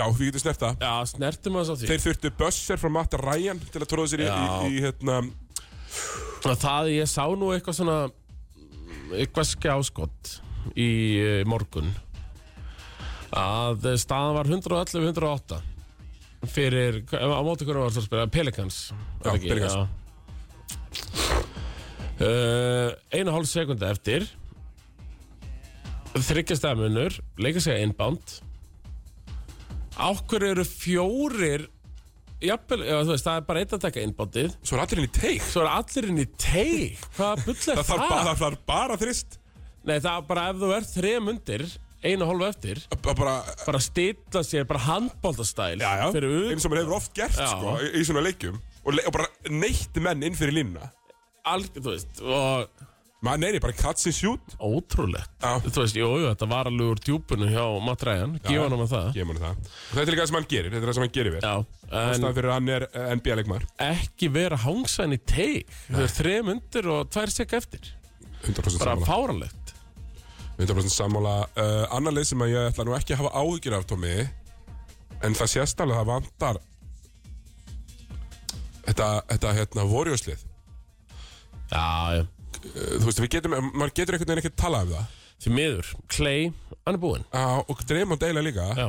S1: já, við getum snerta
S2: Sko, já, snertum að því
S1: Þeir þurftu bösser frá Matt Ryan til að tróða sér í,
S2: Já.
S1: í, í hérna
S2: Og Það ég sá nú eitthvað svona eitthvað skjáskott í eh, morgun að eh, staðan var 111-108 fyrir, hva- á móti hvernig var það að spila Pelicans er
S1: Já,
S2: það ekki?
S1: Pelicans.
S2: Já. Eh, einu og hálf sekundi eftir þryggja stafmunur leika sig að inbound ákveður eru fjórir jafnvel, já, þú veist, það er bara eitt að taka inboundið
S1: Svo er allir inn í teik
S2: Svo er allir inn í teik Hvaða bull er
S1: Það
S2: það?
S1: þarf bara, það þarf bara þrist
S2: Nei, það er bara ef þú ert þrem undir Einu hálfu eftir
S1: Bara, bara
S2: Bara stilla sér, bara handbóltastæl
S1: já, já,
S2: Fyrir
S1: eins
S2: utan,
S1: og maður hefur oft gert
S2: Já.
S1: sko, í, í svona leikjum og, le og bara neitt menn inn fyrir línuna
S2: alg, þú veist Og
S1: maður neyri bara cuts and shoot
S2: ótrúlegt
S1: Já.
S2: Þú veist, jú, jú, þetta var alveg úr djúpunu hjá Matt Ryan Gífa hann um að það
S1: ég muni það og þetta er líka það sem hann gerir þetta er það sem hann gerir vel
S2: Já, en
S1: ástæðan fyrir að hann er eh, NBA leikmar
S2: ekki vera hangsan í teik Þú er þrem undir og tvær sekk eftir
S1: 100%
S2: Bara
S1: sammála,
S2: fáralegt
S1: 100% sammála. Uh, annar leið sem að ég ætla nú ekki að hafa áhyggjur af Tómi en það sést alveg að það vantar þetta, þetta hérna vorjóslið
S2: Já, já
S1: Eh, þú veist við getum maður getur einhvern veginn ekki að tala um það
S2: Því miður, Clay, hann er búinn
S1: uh, og Dreymond eiginlega líka
S2: Já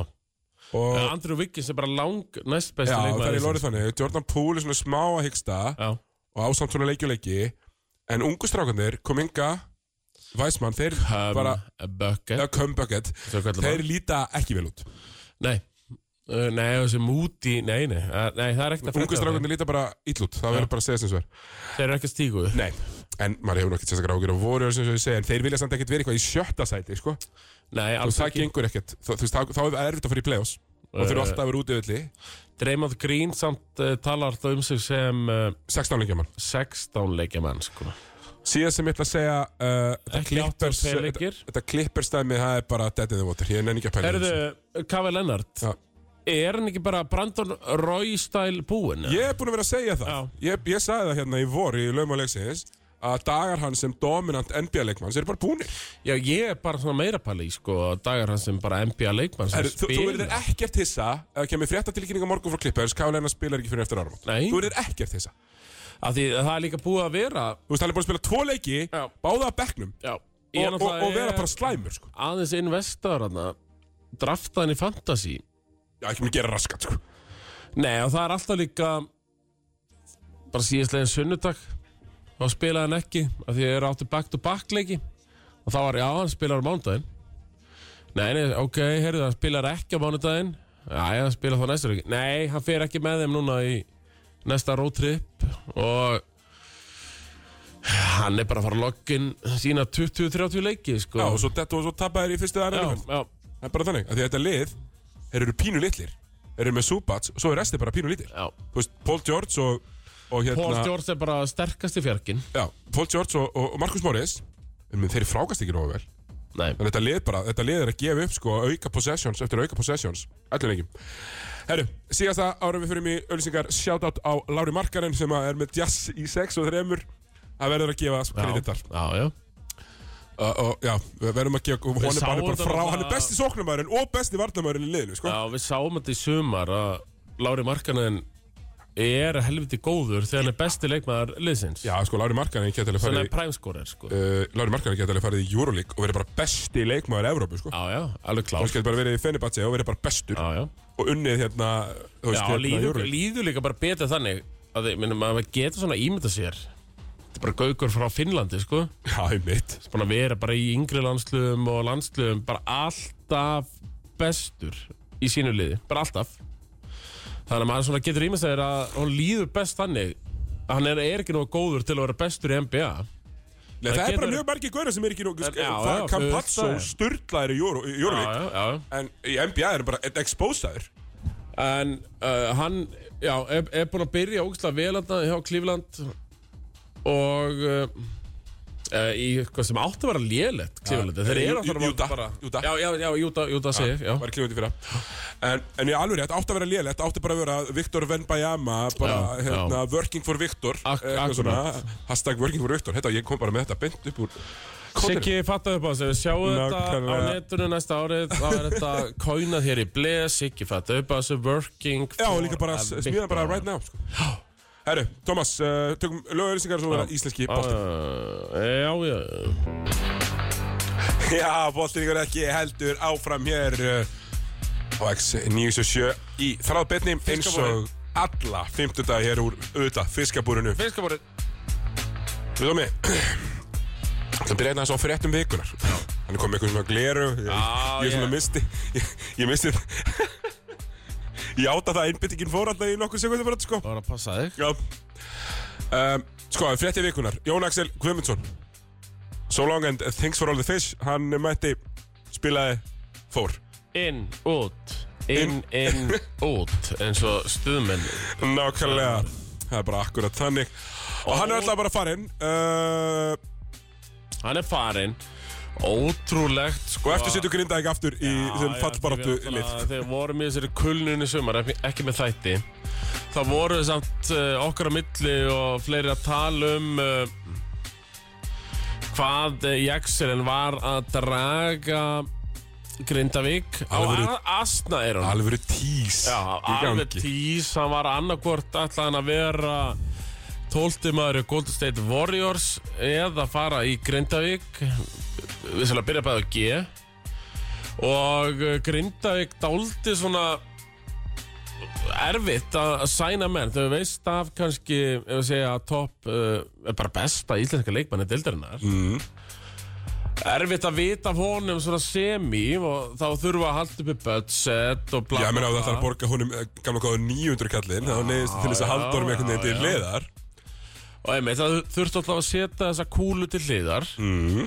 S1: og
S2: Andrew Wiggins er bara lang næst besti
S1: Já, það er
S2: leikmaður
S1: í
S2: liðsins.
S1: lórið þannig. Jordan Poole er svona smá að hyggsta
S2: Já,
S1: og ásamt svona leikjuleiki en ungu strákanir, Kominga Weissmann, þeir
S2: um, bara
S1: bara
S2: Bucket
S1: eða Kumbucket,
S2: Svo kallar
S1: þeir líta ekki vel út.
S2: Nei, uh, nei, þessi Moody Nei, nei, uh, nei það er ekkert að
S1: Ungu
S2: frétta af þeim.
S1: strákanir líta bara ill út, það verður bara að segja sem svo er.
S2: Þeir eru ekki að stígu
S1: Nei, en maður hefur nokkið sérstakar ágjur og voru sem svo ég segja, en þeir vilja samt ekkert vera eitthvað í sjötta sæti, sko.
S2: Nei,
S1: Og
S2: alls
S1: það
S2: ekki
S1: gengur ekkert. Þú þú veist, þá- þá er erfitt að fara í play-offs og
S2: Eh.
S1: þurfa alltaf að vera út í öllu.
S2: Dreymond Green samt uh, talar það um sig sem uh,
S1: 16 leikja mann.
S2: 16 leikja mann sko.
S1: Síðan sem ég ætla að segja, uh, þetta
S2: Ekki átta
S1: Clippers-
S2: leikir.
S1: þetta- þetta Clippers dæmi, það er bara dead in the water. Ég nenni ekki að pæla í
S2: Herðu,
S1: þessu.
S2: Kavi Lennart
S1: Já.
S2: Er hann ekki bara Brandon Roy-style búinn?
S1: Ég hef búin að vera að segja það Ég, ég sagði það hérna í vor í laumáleiksins að dagar hans sem dominant NBA-leikmanns eru bara búinir
S2: Já, ég er bara svona meira pæli sko, dagar hans sem bara NBA leikmann sem
S1: Heru, þú, þú
S2: spilar.
S1: verður ekkert hissa ef kemur fréttatilkynning á morgun frá Clippers Kyle Lennart spilar ekki fyrir eftir árum
S2: Nei.
S1: Þú verður ekkert hissa Þú
S2: Af því að það er líka búið að vera
S1: veist, hann er búin að spila tvo leiki
S2: Já.
S1: báða að bekknum
S2: Já, ég er
S1: og, og,
S2: náttúrulega-
S1: og vera bara slæmur sko.
S2: aðeins investaður hann drafta hann í fantasy
S1: Já, ekki mér gera raskat sko.
S2: Nei og það er alltaf líka bara síðastlegin sunnudag þá spilaði hann ekki af því að ég er áttu back to back leiki og þá var já hann spilaði á mánudaginn Nei, nei, ok, heyrðu, hann spilar ekki á mánudaginn Já, hann spilar þá næstur ekki Nei, hann fer ekki með þeim núna í næsta roadtrip og hann er bara að fara að loggin sína 20-30 leiki sko.
S1: Já, og svo, dett- og svo tappaðir í fyrstu
S2: já,
S1: aðra
S2: já,
S1: Það er bara þannig, af því að þetta lið þeir eru pínu litlir Þeir eru með súbats og svo er restið bara pínu litir
S2: já.
S1: Þú veist, Paul George og, og hérna
S2: Paul George er bara sterkast í fjarkinn
S1: Já, Paul George og, og, og Marcus Morris um, þeir frákast ekki nógu vel en
S2: Nei,
S1: þetta lið bara, þetta lið er að gefa upp sko, auka possessions eftir auka possessions allir ekki Herru, síðasta ára við fyrir mig öllisingar shoutout á Lári Markaren sem að er með jazz í 6 og 3 það verður að gefa kreditar
S2: já, já
S1: uh, og já, við verðum að gefa hann er bara, hann er bara
S2: sáum
S1: frá,
S2: þetta
S1: hann er
S2: bara-
S1: besti sóknumæðurinn og besti varnamæðurinn í liðinu sko.
S2: Já, við sáum þetta í sumar að Lári Markanen er helviti góður þegar hann er besti leikmaður liðsins
S1: já, sko, Lári Markaren getur alveg
S2: Þannig
S1: farið
S2: að
S1: í-
S2: præmskórar sko
S1: uh, Lári Markaren getur alveg farið í Euroleague og verið bara besti leikmaður Evrópu sko.
S2: Já, já, alveg
S1: hann
S2: klár
S1: getur bara verið í Fenerbahce og verið bara bestur
S2: Já, já,
S1: og unnið hérna þú
S2: já
S1: veist, hérna,
S2: líður,
S1: Euroleague.
S2: líður líka bara betur þannig að þið, minnum, maður getur svona ímynda sér Þetta er bara gaukur frá Finnlandi sko
S1: Já, einmitt
S2: Búin að vera bara í yngri landslöfum og landslöfum bara alltaf bestur í sínu liði, bara alltaf þannig að maður svona getur ímest að hún líður best þannig að hann er, er ekki nógu góður til að vera bestur í NBA
S1: Nei, það, er
S2: getur-
S1: bara mjög margir gaurar sem er ekki nú
S2: En- já,
S1: Það
S2: já,
S1: er Campazzo
S2: auðvitað.
S1: sturdlaðir í Euro- í
S2: Já,
S1: Euroleague
S2: já, já,
S1: En í NBA er bara exposaður
S2: En uh, hann, já, er, er búin að byrja ógustlega velanda hjá Klífland og uh, uh, í hvað sem átti að vera lélegt Klífland, þeir
S1: Ah, Jú-
S2: eru að fara
S1: Jú- Júta,
S2: bara,
S1: Júta.
S2: Já, já, já, Júta, Júta segir, já
S1: var klífandi fyrir en, en ég alveg rétt, átti að vera lélegt átti bara að vera Viktor Venbayama bara,
S2: Já,
S1: hérna, working for Viktor
S2: Ak- akkurat.
S1: hashtag working for Viktor hérna, ég kom bara með þetta beint upp úr kóðinum.
S2: Siggi fattaði upp á þessu, við sjáum þetta á
S1: Nákvæmlega.
S2: netinu næsta árið, þá er þetta kóinað hér í bleð, Siggi fattaði upp á þessu, working
S1: Já,
S2: for
S1: líka bara,
S2: a
S1: smíða bara
S2: victor.
S1: right now sko. Herru, Thomas, uh, tökum lögauðlýsingar og svo vera íslenski bolti
S2: Uh, já, já,
S1: Já, boltin ykkur ekki heldur áfram hér uh, á X977 í þráðbetni eins og alla fimmtudag hér úr auðvitað fiskabúrinu
S2: fiskabórið
S1: Við Tómi Það byrja hérna þess á fréttum vikunar Hann er komið eitthvað svona gleru Ég,
S2: Já,
S1: ég svona
S2: ég-
S1: misti Ég, ég misti Ég átta það að einbyttingin fór alltaf í nokkur sekundum bara sko
S2: Bara passa þig
S1: Já um, Sko, fréttir vikunar Jón Axel Guðmundsson So long and thanks for all the fish Hann mætti spilaði fór
S2: Inn, út, inn, inn, út eins og stuðmenn
S1: Nákvæmlega Það er bara akkurat þannig Og hann er alltaf bara farinn uh,
S2: Hann er farinn Ótrúlegt sko
S1: Og eftir sittu grindaði aftur í þeim fallbaráttu lið
S2: Þegar vorum í þessari kulnunni sumar ekki- ekki með þætti Það voru samt uh, okkar á milli og fleiri að tala um uh, hvað Jaxelin var að draga Grindavík á
S1: Alvöru-
S2: asna er hún
S1: Alvöru tís
S2: Já,
S1: í
S2: alveg
S1: gangi.
S2: tís, hann var annarkvort ætlaði hann að vera 12. maður í Golden State Warriors eða fara í Grindavík við svolítið að byrja bæði á G og eh, Grindavík dáldi svona erfitt að að sæna menn þau veist af kannski ef við segja topp, uh, bara besta íslenska leikmanni dildarinnar mm. erfitt að vita af honum svona semi og þá þurfa að halda uppi budget og bla
S1: Já, ég meina
S2: bla,
S1: að það ætlar
S2: bla.
S1: að borga honum eh, gamla góða 900 kallinn þá neyðist til þess að
S2: já,
S1: halda honum einhvern veginn
S2: já,
S1: til hliðar
S2: Og einmitt, það þurfti alltaf að setja þessa kúlu til hliðar mm.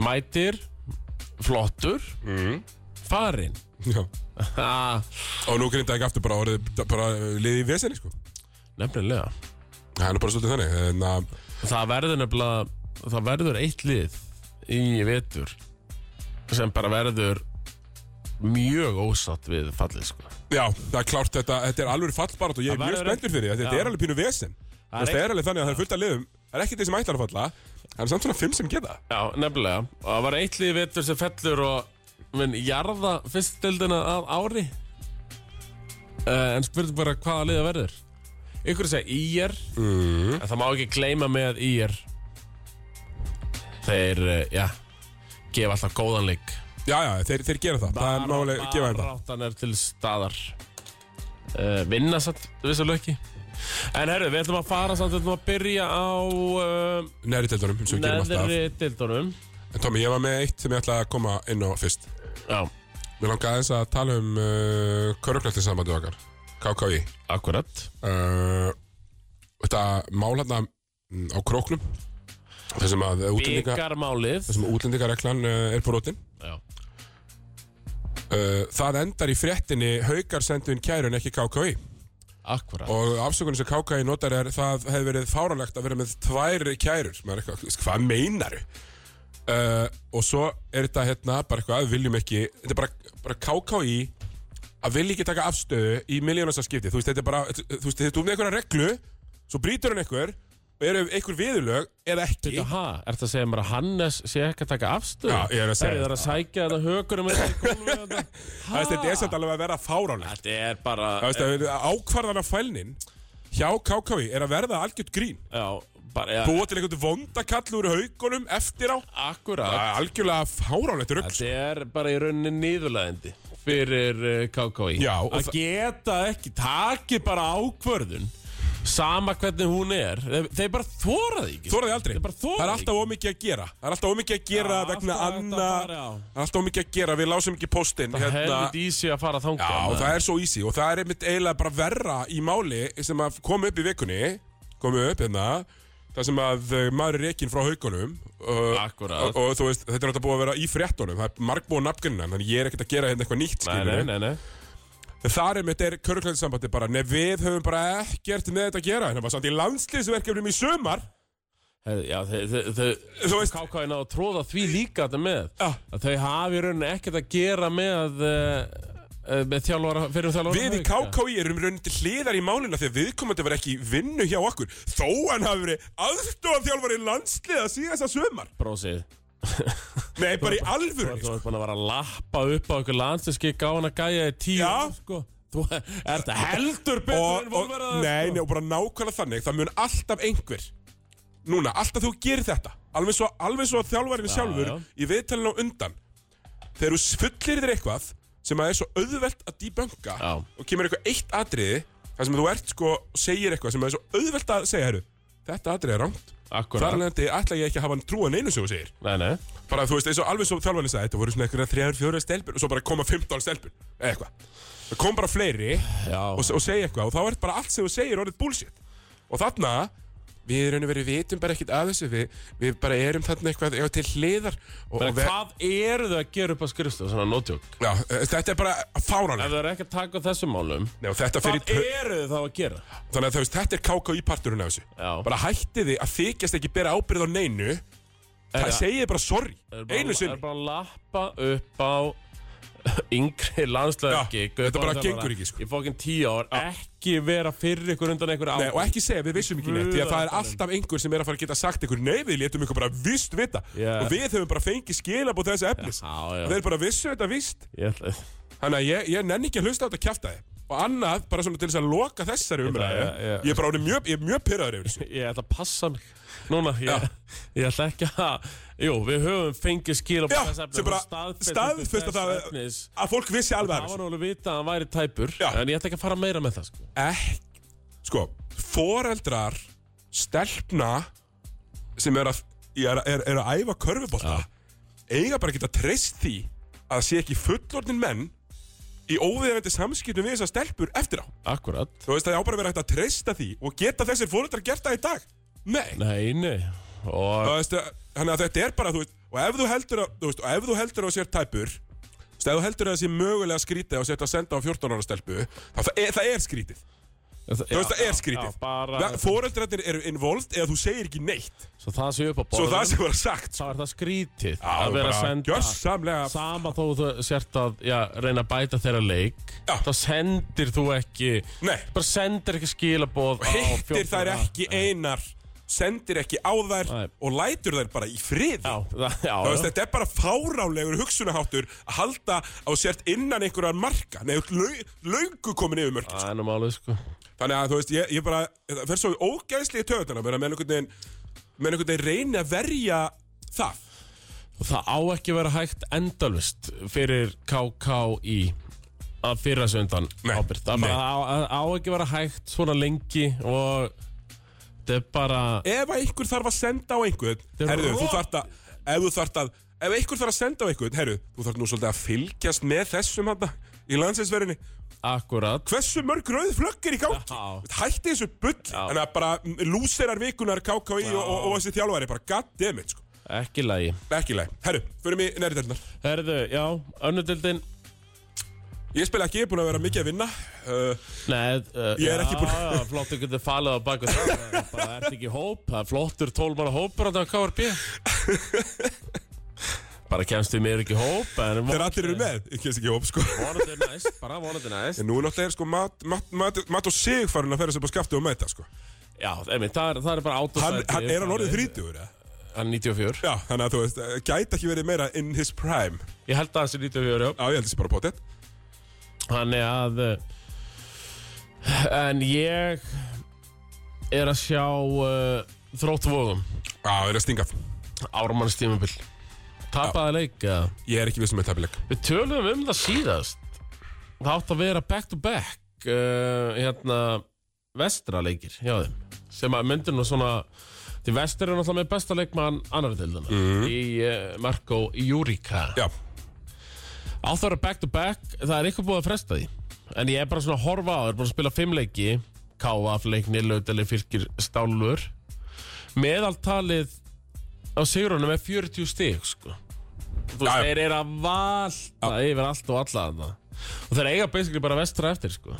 S2: Mætir Flottur mm. Farinn
S1: Já.
S2: Ha,
S1: Og nú grindaði ekki aftur bara orðið bara liðið í vesenni sko
S2: Nefnilega
S1: Það er nú bara svolítið þannig en uh, að
S2: Það verður nefnilega Það verður eitt lið í vetur sem bara verður mjög ósatt við fallið sko.
S1: Já, það er klárt þetta, þetta er alveg fallbarat og ég er
S2: Það
S1: mjög
S2: verður-
S1: spenntur fyrir því, Þetta
S2: Já.
S1: er alveg pínu vesen
S2: Það er
S1: Það er alveg þannig að það er fullt af liðum Það er ekki þeir sem ætlar að falla Það er samt svona fimm sem geta
S2: Já, nefnilega og það var eitt lið í vetur sem fellur og menn jarða fyrstöldina að ári uh, en spurði bara hvaða liða verður ykkur að segja IR
S1: Mhm.
S2: en það má ekki gleyma með IR þeir, uh, já gefa alltaf góðan leik
S1: Já, já, þeir, þeir gera það Það er málega að gefa þetta
S2: Baráttan er til staðar uh, vinna samt, vissulega ekki en herru, við ætlum að fara samt við ætlum að byrja á uh,
S1: Neðri tildunum, sem við gerum alltaf
S2: neðri dildunum
S1: En Tommy, ég var með eitt sem ég ætlaði að koma inn á fyrst
S2: já,
S1: Mér langaði aðeins að tala um uh, Körnöknaltinsambandu okkar KKI
S2: akkurat
S1: uh, Þetta málarna á króknum þar sem að útlendinga,
S2: Byggarmálið
S1: þar sem að útlendingareglan uh, er brotin uh, Það endar í fréttinni Haukar sendu inn kæru en ekki KKI
S2: Akkurat
S1: og afsökunum sem KKI notar er það hefði verið fáránlegt að vera með tvær kærur Maður er eitthvað, þú veist, hvað meinar uh, og svo er þetta hérna bara eitthvað við viljum ekki þetta er bara, bara KKI að vilja ekki taka afstöðu í miljónastarskipti þú veist þetta er bara þú veist þetta er með einhverja reglu svo brýtur hann einhver og eru einhver viðurlög eða ekki
S2: Býttu, ha, ertu að segja mér að Hannes sé ekki að taka afstöðu?
S1: Já, ég er að segja
S2: það. Það er að sækja þetta hökur um þetta í gólfið þetta.
S1: Það veist, þetta er samt alveg að vera fáránlegt
S2: Þetta er bara,
S1: Það veist, að ákvarðan af fælnin hjá KKI er að verða algjört grín
S2: já, bara, já,
S1: búa til einhvern vondakall úr haugunum eftir á
S2: akkurat.
S1: Það er algjörlega fáránlegt rugg
S2: Þetta er bara í rauninni nýðulegandi fyrir uh, KKI.
S1: Já, og
S2: Að
S1: það-
S2: geta ekki, taki bara ákvörðun, sama hvernig hún er. Þeir, þeir bara þóraði ekki.
S1: Þóraði aldrei
S2: Þeir bara
S1: Það er
S2: þóraði
S1: alltaf ómikið að gera Það er alltaf ómikið að gera
S2: Já,
S1: vegna
S2: alltaf þetta
S1: anna
S2: bara, já.
S1: Það er alltaf ómikið að gera Við lásum ekki póstinn
S2: Það
S1: hérna.
S2: helvit í Hérna. sig að fara
S1: Já,
S2: þangað.
S1: og það er svo easy Og það er einmitt eiginlega bara verra í máli sem að kom upp í vikunni kom upp hérna Það sem að uh, maður er rekin frá haugunum uh,
S2: Akkúrat.
S1: og, og þú veist, þetta er náttúrulega búið að vera í fréttunum Það er margbúið nafngrunna Þannig ég er ekkert að gera hérna eitthvað nýtt
S2: Nei,
S1: skilurðu.
S2: nei, nei, nei.
S1: En þar er mitt er köruklæðisambandi bara Nei, við höfum bara ekkert með þetta að gera En það var samt í landslýsverkefnum í sumar
S2: Herðu, já, þau, þau, þau,
S1: Þú
S2: þau
S1: veist-
S2: KK er náðu að tróða því líka þetta með
S1: Já.
S2: að þau hafi í rauninni ekkert að gera með uh, með þjálfara, fyrir þjálfara
S1: Við í
S2: Hauka.
S1: KKI erum raunin til hliðar í málina Þegar viðkomandi var ekki í vinnu hjá okkur Þó hann hafi verið aðstofan þjálfari landsliða síðasta sumar
S2: Brósið,
S1: Nei, bara í
S2: þú
S1: alvöru
S2: ert þú ert búin að vera að lappa upp á okkur landsinskik á hana gæja í tíu
S1: Já.
S2: ár, sko. Þú ert heldur betur
S1: og,
S2: en sko.
S1: og,
S2: volverðar
S1: nei, nei, og bara nákvæmlega þannig Það mun alltaf einhver Núna, alltaf þú gerir þetta Alveg svo, alveg svo að þjálfarinn sjálfur
S2: já.
S1: Í viðtalinu á undan Þegar þú fullir þér eitthvað Sem að er svo auðvelt að debunka
S2: Já.
S1: Og kemur eitthvað eitt atriði Þar sem þú ert sko, segir eitthvað sem er svo auðvelt að segja heru, Þetta atriði er rangt Þar
S2: Akkurat,
S1: leðandi ætla ég ekki að hafa hann trúan einu sem þú segir
S2: nei, nei
S1: Bara þú veist, eins og alveg svo þjálfarinn sagði Þetta voru svona eitthvað þrjár, fjórar stelpur Og svo bara koma 15 stelpur Eða eitthvað Það kom bara fleiri
S2: Já,
S1: og, og segja eitthvað og þá er bara allt sem þú segir orðið bullshit og þarna við raun og verið vitum bara ekkert að þessu við, við bara erum þarna eitthvað eitthvað til hliðar og,
S2: Bara,
S1: og við,
S2: hvað eru þau að gera upp á skrifstofu, svona nótjók?
S1: já, eh, þetta er bara
S2: Ef
S1: fáránlegt
S2: þau eru ekki að taka á þessum málum,
S1: Nei, og þetta
S2: hvað
S1: fyrir, tau-
S2: eru þau þá að gera?
S1: þannig að þú veist, þetta er KKÍ parturinn af þessu
S2: Já.
S1: bara hættið þið að þykjast ekki bera ábyrð á neinu það
S2: ja.
S1: segið bara sorry
S2: Er bara-
S1: einu
S2: Er
S1: sinni
S2: bara að lappa upp á yngri landslæðarki
S1: Já, þetta bara gengur ekki, sko.
S2: Í fókin tíu ár, ekki vera fyrir ykkur undan einhverja
S1: Nei, og ekki segja við vissum ekki neitt því að það er alltaf einhver sem er að fara að geta sagt ykkur nei við létum ykkur bara vist vita
S2: Já.
S1: og við höfum bara fengið skilabóð þessi efnis
S2: Já, já.
S1: og þeir bara vissu þetta vist
S2: Ég ætla ég-
S1: Þannig að ég, ég nenni ekki að hlusta á þetta kjaftaði Og annað, bara svona til þess að loka þessari umræðu
S2: já, já.
S1: Ég er bara orðin mjög, ég er mjög pyrraður yfir þessu
S2: ég ætla að passa mig Núna, ég, ég ætla ekki að Jú, við höfum fengið skil á
S1: Já,
S2: þess efnis
S1: sem bara
S2: og staðfestingu
S1: staðfest að
S2: þess
S1: það
S2: efnis.
S1: Að fólk vissi alveg
S2: Það
S1: að
S2: var nú alveg vita að hann væri tæpur
S1: Já.
S2: En ég ætla ekki að fara meira með það sko.
S1: Ekki, sko, foreldrar Stelpna Sem er að, er, er, er að æfa körfubolta Eiga bara að geta treyst því Að það sé ekki fullorðin menn Í óviðeigandi samskiptum við þessar stelpur eftir á
S2: Akkurat
S1: Þú veist að það á bara að vera hægt að treysta því Og geta þessir foreldrar gert það í dag Nei
S2: Nei, nei Og
S1: Þú veist, Þannig að þetta er bara, þú veist, og ef þú heldur að, þú veist, og ef þú heldur að sér tæpur, þú veist, ef þú heldur að það sé mögulega skrítið og setja að senda á 14 ára stelpu, þá það er, það er skrítið. Þú veist, það er skrítið.
S2: já, bara-
S1: Fóreldrarnir eru involved eða þú segir ekki neitt.
S2: Svo það sé upp á
S1: Svo
S2: borðum
S1: það sem var sagt. sko.
S2: Þá er það skrítið
S1: Já,
S2: að vera að
S1: bara
S2: senda
S1: Gjörsamlega.
S2: Sama þó þú sért að já, reyna að bæta þeirra leik
S1: Já.
S2: Þá sendir þú ekki
S1: Nei.
S2: Bara sendir ekki skilaboð á
S1: Hittir
S2: fjórtán
S1: þær
S2: ára.
S1: ekki einar, sendir ekki á þær
S2: Nei.
S1: og lætur þær bara í frið.
S2: Já, það, já,
S1: Þú veist,
S2: já.
S1: þetta er bara fárálegur hugsunaháttur að halda á sért innan einhverjar marka. Nei, þú ert lau- löngu komin yfir mörg.
S2: það er nú málið sko
S1: Þannig að þú veist, ég, ég bara, það fer svo ógæðslega í töðunar að vera með einhvern veginn, með einhvern veginn reyni að verja það.
S2: Og það á ekki að vera hægt endalust fyrir KKI að fyrra sig undan
S1: Nei,
S2: ábyrgð. Það bara á, á- á ekki að vera hægt svona lengi og þetta er bara
S1: Ef að einhver þarf að senda á einhvern,
S2: er
S1: herru, þú
S2: rot-
S1: þarft að, ef þú þarft að, ef einhver þarf að senda á einhvern, herru, þú þarft nú svolítið að fylgjast með þessum hann í landsinsverðinni.
S2: akkurat
S1: Hversu mörg rauð flögg er í gangi?
S2: Já.
S1: Hætti þessu bull, en að bara mm, lúserar vikunar KKI og, og, og þessi þjálfæri, bara goddammit, sko.
S2: ekki lægi.
S1: Ekki leið. Herru, förum í næri dælnar.
S2: Herðu, já, önnudildin
S1: Ég spila ekki, ég er búin að vera mikið að vinna. Uh,
S2: Nei, uh,
S1: Ég er ekki búinn-
S2: Já, já, flott að geta falið á baku það Það er bara ert ekki í hóp, það er flottur tólmara hópur á þetta KRP Bara kemst við mér ekki í hóp en
S1: Þeir allir eru með, ég kemst ekki í hóp sko
S2: Vonandi er næst, bara vonandi er næst
S1: En nú náttúrulega er sko mat, mat, mat, mat og sig farin að ferja sér bara skafti og mæta sko
S2: Já, emi, það er, það er bara
S1: Hann,
S2: átastæti
S1: hann er hann orðið 30 eða?
S2: Hann er 94
S1: Já, þannig að þú veist, eh, gæti ekki verið meira in his prime Já,
S2: Ég held að hans er 94, já
S1: ég held þessi bara potið
S2: Þannig að uh, En ég Er að sjá uh, Þróttvóðum
S1: Já, það er að stinga
S2: Ármanns tímabil Tapaði leik eða?
S1: Ég er ekki um vissum með tapileg
S2: Við töluðum um það síðast Það átt að vera back to back uh, Hérna Vestra leikir hjá þeim Sem að myndir nú svona Því vestur er náttúrulega með besta leikmann annar deildana Í uh, Marko Júrika
S1: Já,
S2: Átt að vera back to back Það er eitthvað búið að fresta því En ég er bara svona að horfa á það Er búin að spila fimm leiki Káaf leikni, lautali, fylgir, stálur Meðaltalið Á sigurunum er 40 stig sko. Þú veist,
S1: Já, já.
S2: þeir eru að valta Yfir allt og alla þarna og þeir eiga basically bara vestra eftir sko.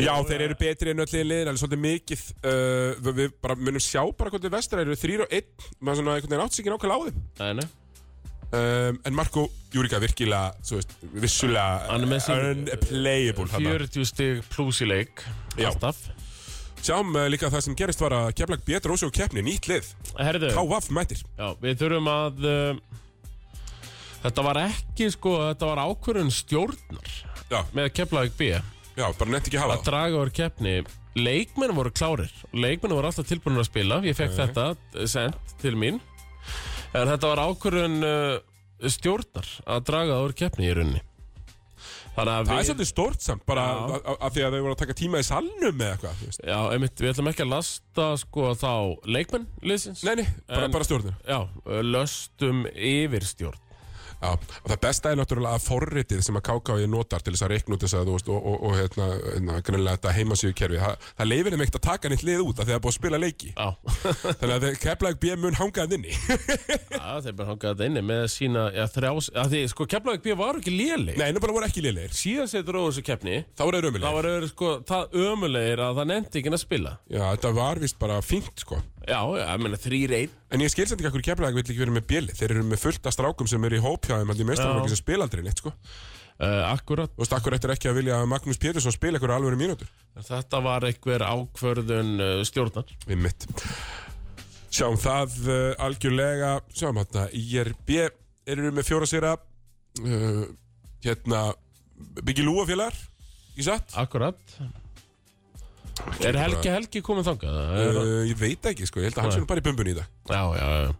S1: Já, þeir eru betri en öll í liðin, alveg svolítið mikið uh, við- Við bara munum sjá bara hvort þið vestra eru þrýr og einn, maður svona einhvern veginn átt sig ekki nákvæmlega á þeim
S2: Nei, nei.
S1: um, En Marko Júrika virkilega, þú veist, vissulega
S2: Hann er með sín-
S1: unplayable þarna.
S2: 40 stig pluss í leik
S1: Já.
S2: alltaf
S1: Sjáum uh, líka það sem gerist var að Keflag betur ósjó keppni, nýtt lið
S2: Herðu,
S1: KF mætir
S2: já, við þurfum að uh, þetta var ekki sko, þetta var ákvörðun stjórnar
S1: Já,
S2: með Keflavík B
S1: já bara nefnt ekki hafa
S2: að
S1: það
S2: draga úr keppni leikmenn voru klárir leikmenn voru alltaf tilbúinur að spila ég fekk þetta sendt til mín en þetta var ákvörðun uh, stjórnar að draga úr keppni í runni þannig að
S1: Það er
S2: við
S1: svolítið stórt samt, bara
S2: Já.
S1: a- a- af því að þau voru að taka tíma í salnum eða eitthvað þú veist.
S2: já, einmitt, við ætlum ekki að lasta sko þá leikmenn liðsins
S1: Nei, nei, bara,
S2: En-
S1: bara stjórnir
S2: já, uh, löstum yfir stjórn
S1: Já, og það besta er náttúrulega að forritið sem að KKV notar til þess að reikna út þess að þú veist og, og, og hérna, hérna, grunlega þetta heimasíukerfi það, það leifir þeim ekkert að taka neitt lið út af því að það er búið að spila leiki
S2: já,
S1: þannig að Keflag B mun hangaðið inni
S2: Já, þeir bara hangaði þetta inni með sína já, þrjás, að því sko Keflavík B var ekki léleg
S1: Nei, nú bara voru ekki liðleir,
S2: síðan sem þeir dróðu þessu keppni
S1: þá voru þeir
S2: Það
S1: ömulegir
S2: var öðru sko, það ömulegir að það nefndi ekki að spila
S1: Já, þetta var vist bara fínt sko
S2: Já, ég meina þrýr einn
S1: En ég skilst ekki hverju Keflag vill ekki verið með bjeli þeir eru með fullt af strákum sem eru í hópjáðum allir mestarfólki
S2: Já.
S1: sem spila aldrei neitt sko Þú
S2: uh, Akkurat,
S1: veist, akkur eftir ekki að vilja að Magnús Pétursson spila einhverju alvöru mínútur
S2: þetta var einhver ákvörðun uh, stjórnar
S1: Við mitt Sjáum það uh, algjörlega Sjáum hérna, IRB Eru með fjóra sýra uh, Hérna Byggi Lúafélagar, ekki satt?
S2: Akkurat Er Helgi Helgi komið þangað? Er,
S1: Uh, ég veit ekki sko, ég held að hann
S2: Nei.
S1: sé nú bara í bumbun í dag
S2: já, já, já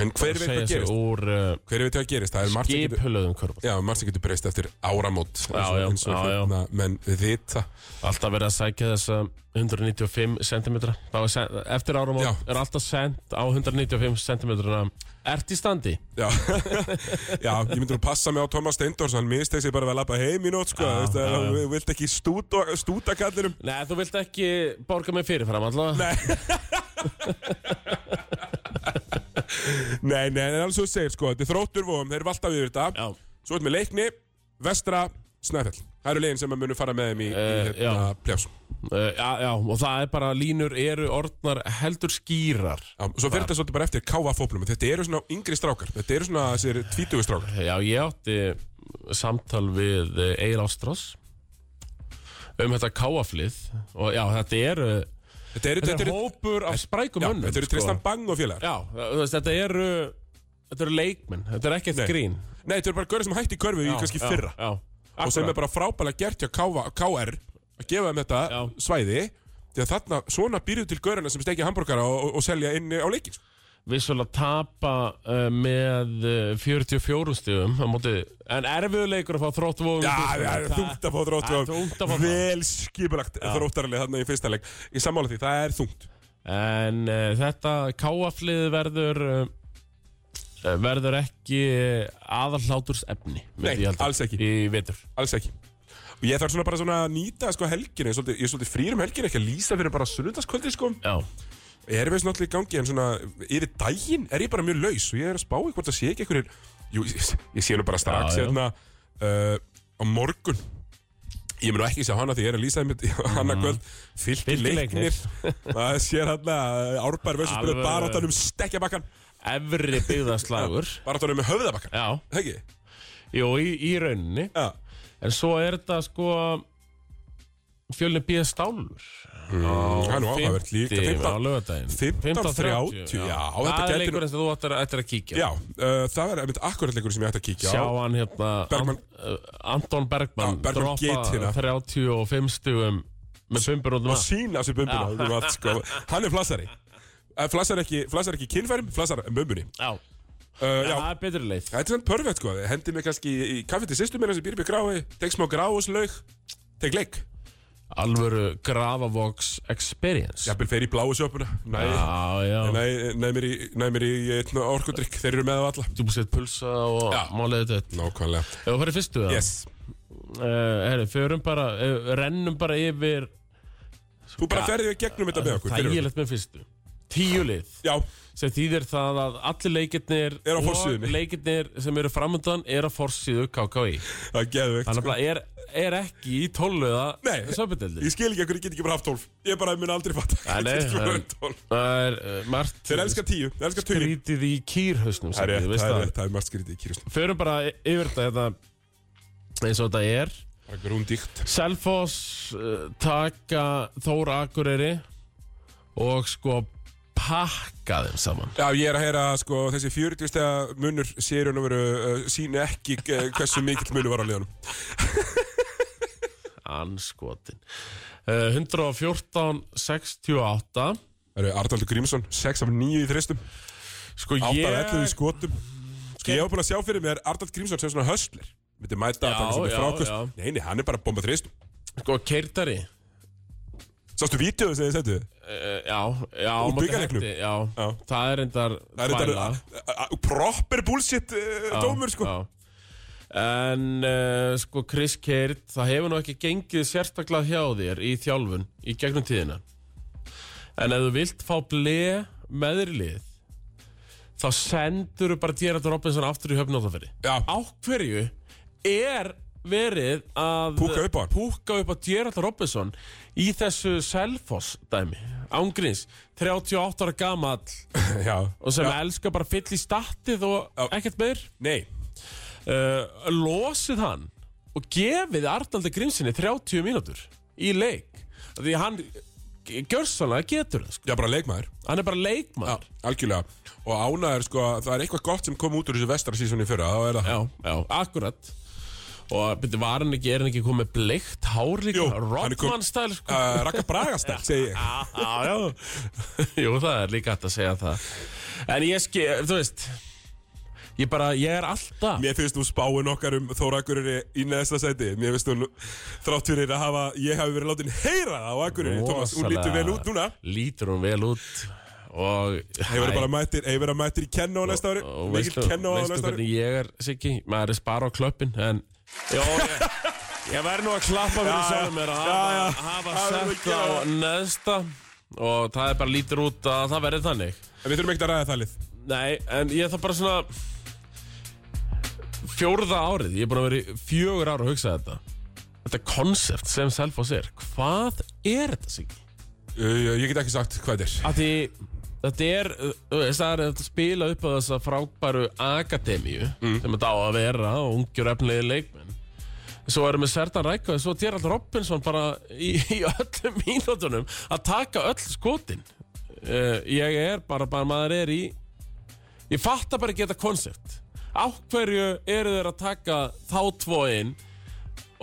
S1: En hver veit
S2: Segja
S1: hvað
S2: sig
S1: gerist?
S2: úr uh,
S1: Hver veit hvað gerist? Það er margt sem getur,
S2: skipulöðum körfa
S1: já, margt sem getur breyst eftir áramót
S2: Já, já,
S1: eins og
S2: já, já.
S1: hérna, menn vita
S2: Alltaf verið að sækja þessa 195 cm Eftir árum
S1: Já.
S2: er alltaf sent á 195 cm Ert í standi?
S1: Já, já ég myndi nú passa mig á Thomas Steindors hann misteik sig bara við að lappa heim í nót sko,
S2: Já,
S1: þú veist,
S2: já, já.
S1: þú vilt ekki stúta, stúta kallinum
S2: Nei, þú vilt ekki borga mig fyrirfram allavega
S1: Nei Nei, nei, en alveg svo þú segir sko Þetta er þróttur vóum, þeir valda við þetta
S2: Já,
S1: Svo erum við leikni, vestra, snæfell Það eru legin sem að munu fara með þeim í,
S2: Eh,
S1: í hérna, pljás
S2: Uh, já, já, og það er bara línur eru orðnar heldur skýrar
S1: Já, Svo fyrir þetta svolítið bara eftir káfa fóplum Þetta eru svona yngri strákar, þetta eru svona þessir tvítugu strákar
S2: Já, ég átti samtal við eh, Egil Ástrós um þetta káaflið og já, þetta eru
S1: Þetta eru,
S2: þetta er
S1: þetta eru,
S2: hópur af sprækum
S1: já,
S2: mönnum sko.
S1: þetta eru Tristan Bang og félagar
S2: Já, þú veist, þetta eru þetta eru leikmenn, þetta er ekkert
S1: Nei.
S2: grín
S1: Nei, þetta eru bara görið sem hætti í körfu í
S2: Já,
S1: kannski
S2: já,
S1: fyrra
S2: Já,
S1: Og sem er bara frábælega gert hjá KV KR Að gefa þeim þetta
S2: Já.
S1: svæði Því að þarna, svona býrðu til görina sem stekja hambúrgara og, og, og selja inn á leikin sko.
S2: vissulega tapa uh, með uh, 44 stíðum móti, en erfiðuleikur að fá þrótt vofum
S1: Já, það er þungt að fá þrótt
S2: Það er þungt að fá þrótt.
S1: Vel skipulagt þróttaralið þarna í fyrsta leik Í sammála því, það er þungt
S2: En uh, þetta káaflið verður uh, uh, verður ekki aðalhlátturs efni
S1: Nei, alls ekki.
S2: Í vetur
S1: Alls ekki Og ég þarf svona bara svona að nýta sko helginu Ég er svolítið, ég er svolítið frýr um helginu, ekki að lýsa fyrir bara sunnundaskvöldi sko
S2: Já,
S1: Ég er veist náttúrulega í gangi en svona Yfir daginn er ég bara mjög laus Og ég er að spá í hvort það sé ekki einhverjir Jú, ég, ég sé nú bara strax
S2: Já, já.
S1: hérna uh, Á morgun Ég mun nú ekki sjá hana því ég er að lýsa einmitt Hanna
S2: Mhm.
S1: kvöld, fylgdi
S2: Fylkir
S1: leiknir Það sér hérna, hann að Árbær Vessusbyrðu
S2: Alveg-
S1: baráttanum stekkjabakkan
S2: efri byggðaslagur
S1: Baráttanum með höfðabakkan
S2: Já,
S1: Heggi?
S2: jú, í, í rauninni
S1: Já
S2: En svo er þetta sko fjölni býða stálur
S1: Mm. Það er nú áhugavert líka
S2: á
S1: 15
S2: laugardaginn
S1: 15.30, já, þetta
S2: Það
S1: gæti
S2: er
S1: nú-
S2: leikurinn sem þú ættir að, ættir að kíkja á.
S1: Já, uh, það er einmitt akkuratleikur sem ég ætti að kíkja
S2: Sjá
S1: á
S2: hann hérna
S1: Bergmann.
S2: An, uh, Anton Bergman,
S1: Já, Bergmann geitina.
S2: droppa 35 stugum með bumbur út um
S1: og sína sér bumbuna út um allt, sko. hann er flassari Eh, flassar ekki, flassar ekki kynfærum, flassar bumbunni
S2: Já,
S1: uh, já,
S2: það er betri leið
S1: þetta er svona perfekt sko. hendi mig kannski í, í kaffi til sýstu mér sem býr með grái, tek smá gráuslaug tek leik,
S2: Alvöru Gravavox Experience
S1: jafnvel fer í bláu sjöpuna næ,
S2: Já, já,
S1: næ, næ mér í, næ mér í einn orkudrykk, þeir eru með á alla
S2: þú búið sett pulsa og
S1: Já.
S2: málið þetta
S1: nákvæmlega,
S2: Ef við fyrir fyrstu það
S1: yes
S2: uh, herri, Förum bara, uh, rennum bara yfir
S1: þú bara ferðið í gegnum þetta með okkur fyrir okkur.
S2: Þægilegt með fyrstu tíu lið
S1: Já,
S2: sem þýðir það að allir leikirnir
S1: Er á
S2: og
S1: forsíðunni.
S2: leikirnir sem eru framöndan er á forsíðu KKI
S1: það er geðveikt
S2: þannig
S1: sko.
S2: að er, er ekki í tóluða
S1: Nei.
S2: söpudeldi
S1: Ég skil ekki að hverju ég get ekki bara haft 12 Ég bara mun aldrei fatta
S2: Nei,
S1: að
S2: nei,
S1: ég get ekki
S2: það
S1: bara
S2: er-
S1: haft 12
S2: það er uh, margt
S1: Þeir elska 10, þeir elska 20
S2: skrítið í kýrhausnum
S1: Það er rétt,
S2: við
S1: það
S2: veist
S1: er
S2: það
S1: rétt, það er margt skrítið í kýrjusnum
S2: förum bara yfir þetta hérna, eins og þetta er
S1: Það er grúndíkt
S2: Selfoss uh, taka Þóra Akureyri og sko pakka þeim saman
S1: Já, ég er að heyra sko þessi 40 stega munur sérun og veru uh, síni ekki uh, hversu mikill munur var á liðanum
S2: anskotin uh, 114 68
S1: Það eru Arnaldur Grímsson, 6 af 9 í þristum 8
S2: sko
S1: af
S2: ég
S1: 11 í skotum Sko ég var búin að sjá fyrir mér Arnaldur Grímsson sem svona höstler Myndi mæta að
S2: Já,
S1: taka svona
S2: já, já.
S1: frákust Nei, nei, hann er bara að bomba þristum
S2: sko keirtari
S1: Sástu vídeoðu sem þið settu?
S2: uh, já, já,
S1: Úr
S2: á móti
S1: bikarleiknum?
S2: Hetti, já,
S1: Já.
S2: það er endar
S1: Það er þetta proper bullshit uh, dómur sko
S2: En uh, sko Chris Keirt, það hefur nú ekki gengið sérstaklega hjá þér í þjálfun í gegnum tíðina. En ef þú vilt fá ble meðrlið, þá sendur þú bara Gerard Robinson aftur í höfnóttafæri.
S1: Já,
S2: Á hverju er verið að
S1: Púkka upp á hann.
S2: púkka upp á Gerard Robinson í þessu Selfoss dæmi, ángríns, 38 ára gamall
S1: já
S2: og sem
S1: já,
S2: elskar bara fyll í statið og
S1: Já.
S2: ekkert meir
S1: Nei,
S2: uh, losið hann og gefið Arnaldur Grímsinni 30 mínútur í leik Af því hann gjörsanlega getur það sko.
S1: já bara leikmaður
S2: hann er bara leikmann já.
S1: Algjörlega Og ánæður sko, það er eitthvað gott sem kom út úr þessu vestra sísoni fyrra Þá er það
S2: Já, akkurat og byrju, var hann ekki, er hann ekki komið með bleikt hár líka,
S1: Jú, hann er kom-
S2: Rodman stæl sko.
S1: uh, Raka Bragastæl, segi ég
S2: já, já. Jú, það er líka hægt að segja það en ég skil, þú veist ég bara, ég er alltaf
S1: Mér finnst nú spáin okkar um Þóra Akureyri í neðsta sæti Mér finnst hún þrátt fyrir að hafa Ég hafi verið látin heyra það á Akureyri Thomas, hún lítur vel út núna
S2: lítur hún vel út og
S1: Hefur bara mættir, hefur að mættir í kenna á næsta ári
S2: og veistu,
S1: Mikil kenna á
S2: veistu
S1: næsta ári
S2: hvernig ég er Siggi, maður er spara á klöppin en Jó, ég, ég verð nú að klappa fyrir
S1: Já,
S2: sjálfum mér að
S1: já, já.
S2: hafa, hafa
S1: Það verður að
S2: sett á
S1: gera það.
S2: neðsta og það er bara lítur út að það verði þannig
S1: En Við þurfum ekkert að ræða það lið
S2: Nei, en ég þarf bara svona fjórða árið ég er búin að vera í fjögur ára að hugsa þetta þetta konsept sem Selfoss er hvað er þetta Siggi?
S1: Uh, Ég get ekki sagt hvað þetta er
S2: að því þetta er, þú veist, það er að spila upp á þessa frábæru akademíu sem þetta á að vera og ungjur efnilegir leikmenn svo erum við Sertan Rækka og svo Gerald Robinson bara í, í öllum mínútunum að taka öll skotin uh, ég er bara, bara maður er í ég fatta bara ekki þetta konsept á hverju eru þeir að taka þá tvoin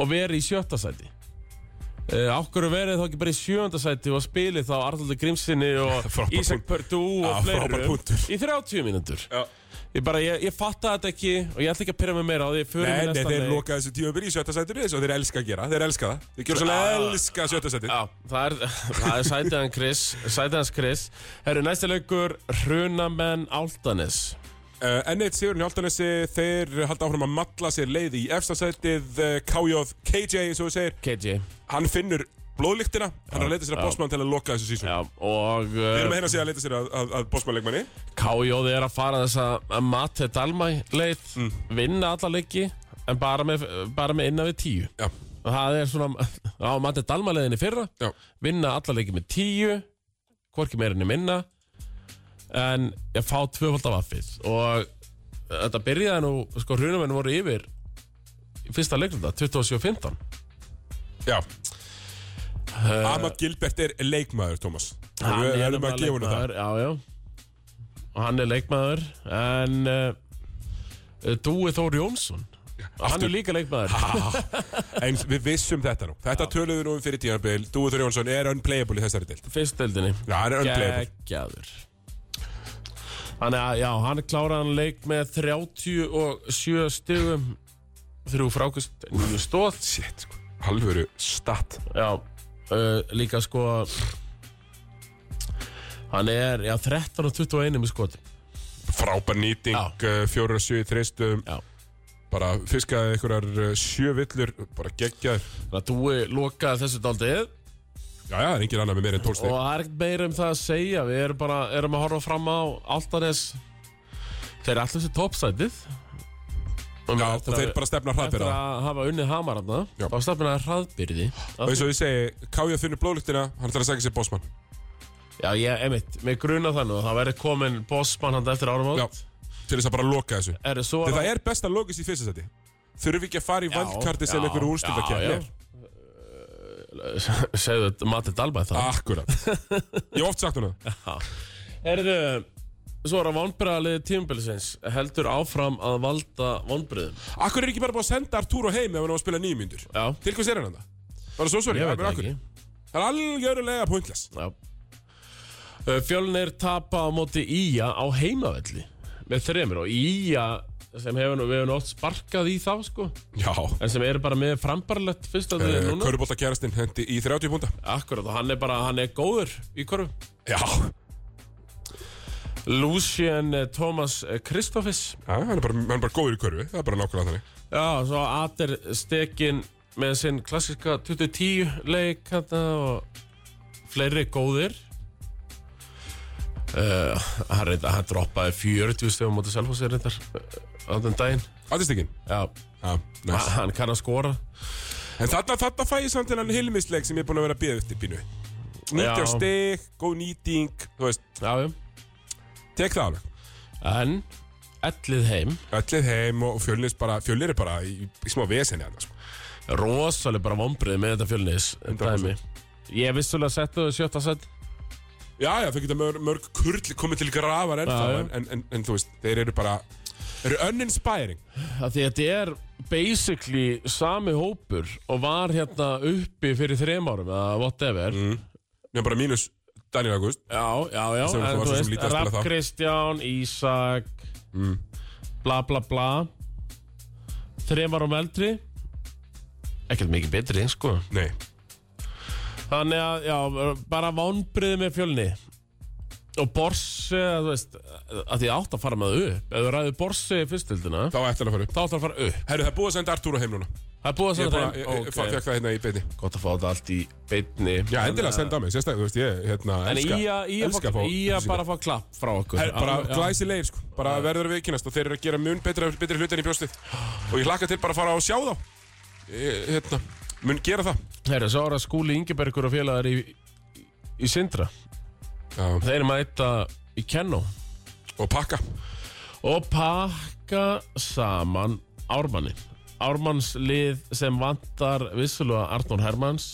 S2: og veri í sjötta sæti Uh, Ákveður verið þá ekki bara í sjöönda sæti og spilið þá Arnaldur Grímsinni og
S1: Frábær
S2: Ísak Pördú
S1: Já,
S2: og
S1: frábær
S2: fleirum
S1: punktur.
S2: í 30 mínútur
S1: Já.
S2: Ég bara, ég, ég fatta þetta ekki og ég ætla ekki að pyrra mig meira á því fyrir
S1: Nei, nei, þeir loka þessu tíma byrja í sjötta sætinu og þeir elska að gera, þeir elska það Þeir gjör svona
S2: Já.
S1: elska sjötta sætinu
S2: Já, það er, það er sætið hans Chris, sætið hans Chris Herru, næsta leikur, Hrunamenn Áltanes
S1: Uh, enn eitt sigurinn í Altanesi, þeir halda áfram að matla sér leið í efstasætið uh, KJ, KJ eins og þú segir,
S2: KJ
S1: hann finnur blóðlíktina, hann er að leita sér
S2: já.
S1: að bossmann til að loka þessu sísón.
S2: Já, og
S1: Við erum að
S2: uh,
S1: hérna sér að leita sér að, að, að bossmannleikmanni.
S2: KJ er að fara eh, þess að Matti Dalmæ leið vinna alla leiki en bara með, bara með innan við tíu
S1: Já,
S2: og það er svona á Matti Dalmæ leiðinni fyrra
S1: já,
S2: vinna alla leiki með tíu hvorki meira enn minna en ég fá tvöfald af affið og eh, þetta byrjaði nú sko hrunamenn voru yfir í fyrsta leiklunda, 27-15
S1: já. Uh, Ahmad Gilbert er leikmaður, Tómas.
S2: Eh. Hann
S1: Við
S2: er
S1: erum
S2: nefnilega
S1: að gefa hennu það.
S2: leikmaður, Já, já Og hann er leikmaður En uh, Dúi Þór Jónsson Hann er líka leikmaður
S1: En við vissum þetta nú. Þetta töluðu nú um fyrir tímanbíl. Dúi Þór Jónsson er unplayable í þessari dild.
S2: Fyrst deildinni
S1: Já, hann er unplayable.
S2: Gekkjaður Þannig að já, hann kláraði hann leik með 37 stugum Þrjú frákust, nýju stóð
S1: Shit, sko. Halvöru statt.
S2: Já, uh, líka sko Hann er, já, 13 og 21 með skoti
S1: Frábær
S2: Já.
S1: nýting, fjóra, sjö, þreistum.
S2: Já
S1: bara fiskaði eh, einhverjar uh, sjö villur bara geggjaður
S2: Þannig að Dúi lokaði þessu daldið
S1: Já, já, það er engin annað með mér en
S2: og
S1: tólstík
S2: það er ekkert meira um það að segja við erum bara, erum að horfa fram á Altanes þeir er alltaf sér topsætið
S1: Já, og þeir bara stefna
S2: eftir
S1: hraðbyrða
S2: að hafa unnið hamararna
S1: Já.
S2: á stefnina hraðbyrði
S1: Og eins og ég segi, Kája finnur blóðlugtina Hann ætlar að segja sér bósmann
S2: já, ég, emitt, með gruna þannig og það verður komin bossmann hann eftir árum
S1: Já,
S2: átt
S1: til þess að bara loka þessu
S2: er svo
S1: Þegar það er best að loka þessu í fyrsta seti Þurfum við ekki að fara í
S2: Já,
S1: valdkarti
S2: já,
S1: sem einhver úrstildakefni
S2: já,
S1: er
S2: já. segðu þetta Matti Dalbæð það
S1: Akkurat Ég hef oft sagt hún það
S2: Herðu, svo er að vonbreðalið tímubilsins heldur áfram að valda vonbreðum
S1: Akkur er ekki bara búin að senda Arturo heim ef hann á að spila nýjum myndur
S2: Já,
S1: Til hvers er hann það? Bara svo sori,
S2: ég veit
S1: það er
S2: það
S1: akkur
S2: ekki
S1: Það er algjörulega pointless
S2: Já. Uh, Fjölnir tapa á móti Ía á heimavelli með þremur og Ía sem hefur nú, við hefur nú oft sparkað í þá sko
S1: Já
S2: en sem eru bara með frambarlegt fyrst að þau núna
S1: Körubóltakjærastinn hendi Eh, í 30 púnta
S2: Akkurat og hann er bara, hann er góður í korfu
S1: Já
S2: Lucien eh, Thomas eh, Kristoffis
S1: Hann er bara, hann er bara góður í körfu Það er bara nákvæmlega þannig
S2: Já, svo Ader Stekin með sinn klassiska 2010 leik þetta og fleiri góðir Uh, hann, reynda, hann droppaði 40 stegum mútið selfhúsir reyndar uh, á þann daginn
S1: Aðistekinn
S2: Já,
S1: Já, næs
S2: hann kann að skora
S1: En þarna, þarna fæ ég samt þennan hilmisleik sem ég er búin að vera að bíða eftir pínu 90
S2: Já.
S1: stig, góð nýting Þú veist,
S2: Já, já
S1: tek það alveg
S2: En, ellið heim
S1: Öllið heim og fjölnir bara, fjölnir er bara í, í smá vesenni annars sko.
S2: Rosalega bara vombrið með þetta fjölnis
S1: 100%.
S2: dæmi. Ég vissulega settu þau sjötta sett
S1: Já, já, þau geta mörg, mörg kurl komið til grafar ennþá
S2: Já, já.
S1: en, en, en, en þú veist, þeir eru bara eru uninspiring
S2: af Því að þetta er basically sami hópur og var hérna uppi fyrir þrem árum eða whatever
S1: Mm. Nefn bara mínus Daniel August
S2: Já, já, já
S1: Sem þú
S2: En
S1: varst
S2: þú
S1: svo sem
S2: veist,
S1: lítið að spila
S2: Rapp
S1: þá. Mm.
S2: Kristján, Ísak Bla, bla, bla Þrem árum eldri Ekkert mikið betri, sko
S1: Nei
S2: Þannig að, já, bara vonbriði með fjölni Og Borse, þú veist að því átt að fara með upp Ef þú ræður Borse í fyrstildina
S1: Þá ætti hann að fara upp
S2: Þá átt að fara upp
S1: Herru, það er búið að senda Artúra heim núna
S2: Það er búið að
S1: Ég er
S2: senda
S1: bara, ég,
S2: þeim
S1: ég, ég fekk það hérna í beinni
S2: Gott að fá þetta allt í beinni
S1: Já, endilega senda á mig, sérstaklega, þú veist, ég, hérna,
S2: En
S1: elska
S2: Ía, Ía,
S1: elska að
S2: fá-
S1: fá
S2: Ía
S1: upplýsingar.
S2: bara að fá klapp frá okkur
S1: Her, bara
S2: Alveg, já.
S1: glæsilegir sko, bara verður að viðkynast og þeir eru að gera mun betra, betri hlutin í brjóstið og ég hlakka til bara að fara og sjá þá ég, hérna, mun gera það
S2: Herra, svo ára skúli Ingebergur og félagar í, í Sindra
S1: Já.
S2: Þeir mæta í Kenno
S1: og pakka
S2: og pakka saman Ármanni Ármanns lið sem vantar vissulega Arnór Hermanns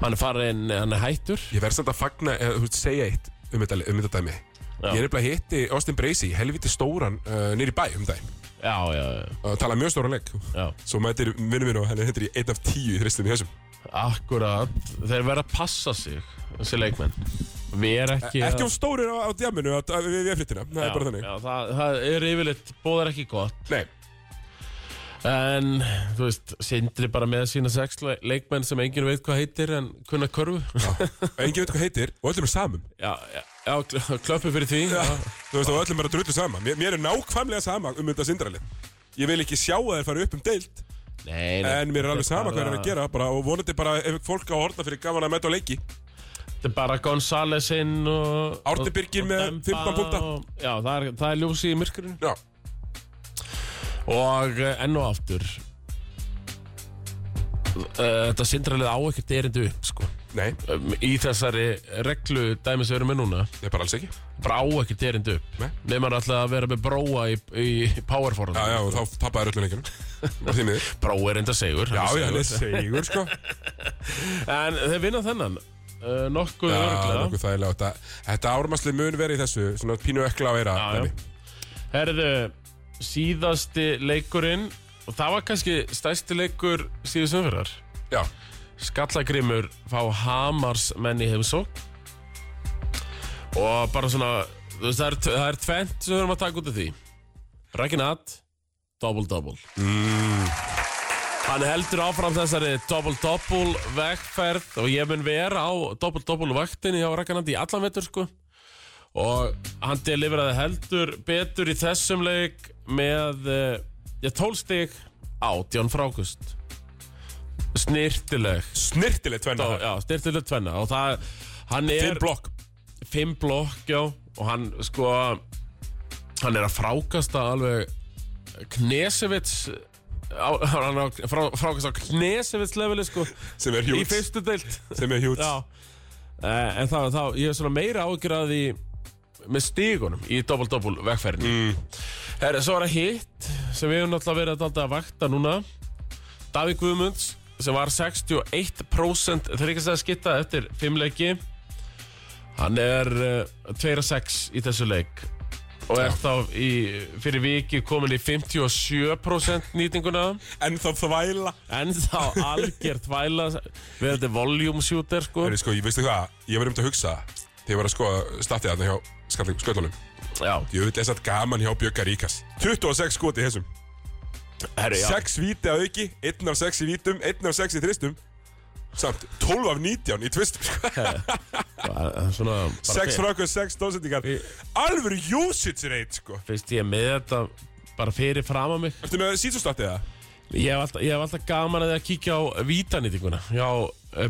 S2: hann er farin hann er hættur
S1: ég verð samt að fagna, eða þú veist, segja eitt um þetta, um þetta dæmi
S2: Já.
S1: ég er nefnilega hitti Austin Bracey, helviti stóran uh, nýri bæ um daginn,
S2: já, já, já,
S1: uh, tala mjög stóran leik
S2: já.
S1: svo mætir vinnum minn og hann er hendur í 1 af 10 í þristin í þessum,
S2: akkurat þeir verða að passa sig þessi leikmenn við erum ekki
S1: ekki á stóru á, á djaminu á- á- við, við frittina, það er bara þannig
S2: já, það, það er yfirleitt bóðar ekki gott
S1: Nei,
S2: en þú veist sindri bara með sína sex le- leikmenn sem enginn veit hvað heitir en kunna körfu
S1: já. engin veit hvað heitir og öllum er samum
S2: já, já, já kl- klöppu fyrir því já.
S1: Þú veist, og öllum er að drullu sama. Mér, mér er nákvæmlega sama um þetta sindralið. Ég vil ekki sjá að þeir fara upp um deilt,
S2: Nei, nei,
S1: en mér er alveg
S2: þetta
S1: sama hvað þeir eru að gera, bara, og vonandi bara ef fólk á að horna fyrir gaman að mæta á leiki.
S2: Þetta er bara Gonzalesinn og...
S1: Árni
S2: og-
S1: Birgir
S2: og
S1: með
S2: Demba
S1: 15 punkta.
S2: og- Já, það er, það er ljósi í myrkurinu.
S1: Já,
S2: Og eh, enn og aftur. eh, Þetta sindralið á ekkert erindu upp, sko.
S1: nei,
S2: Um, Í þessari reglu dæmi sem við erum með núna.
S1: ég er bara alls ekki.
S2: Bara á ekkert erindu upp.
S1: Nei.
S2: Nei, maður alltaf að vera með bróa í, í powerforðan.
S1: Já, já, og þá tappaði öllum leikinu. Bara því miður.
S2: Bróa er enda segur.
S1: Já,
S2: hann er
S1: já, hann
S2: sigur.
S1: er segur, sko.
S2: En þeir vinna þennan. Uh, nokkuð
S1: Já,
S2: örglega.
S1: nokkuð þægilega. Þetta, þetta ármaslið mun verið í þessu, svona pínu ökla á eira.
S2: Já, já.
S1: dæmi.
S2: Herðu, síðasti leikurinn og það var kannski stærsti leikur síðust umfyrrar.
S1: já.
S2: Skallagrimur fá Hamars menn í heimsók og bara svona, þú veist, það er, það er tvent sem við höfum að taka út af því. Ragnat, double-double. Mm. Hann heldur áfram þessari double-double vegferð og ég mun vera á double-double vaktinni hjá Ragnat í allan vetur sko og hann deliveraði heldur betur í þessum leik með eh, ég tólstig átján frákust snirtileg
S1: Snirtileg tvenna
S2: Þá-
S1: þar.
S2: já, snirtileg tvenna og það, hann er
S1: Fimm blokk
S2: fimm blokk, já og hann sko hann er að frákasta alveg Knesevits á, hann er að frá, frákasta á Knesevits leveli sko
S1: sem er
S2: í
S1: hjúts
S2: fyrstu deilt
S1: sem er hjúts
S2: Já uh, En þá, þá, ég hef svona meira ágjur að því með stígunum í dobbul-dobbul vegferðinni mm. Herra, svo er það hitt sem við höfum náttúrulega verið að, að vakta núna Davík Guðmunds sem var 61% þryggastæða skitta eftir fimmleiki Hann er uh, 2-6 í þessu leik og er þá í, fyrir viki komin í 57% nýtinguna
S1: En þá þvæla
S2: en þá algjört væla við þetta volume shooter sko
S1: Heri, sko, ég veistu hvað, ég var um til að hugsa þegar ég var að sko statið þarna hjá skallingum sköllunum
S2: Já,
S1: Ég veit þess að gaman hjá Bjöggar Ríkas 26 skoti í þessum
S2: herri, já
S1: 6 víti að auki, 1 af 6 í vítum 1 af 6 í þristum samt 12 af 19 í tvistum sko.
S2: bara, svona, bara
S1: 6
S2: fyr-
S1: frökkur, 6 stóðsendingar Alvöru usage rate sko
S2: Fyrst ég er með þetta bara fyrir fram að mig
S1: Ertu með sítsustattið það?
S2: Ég hef alltaf, ég hef alltaf gaman að því að kíkja á vítanýtinguna Já,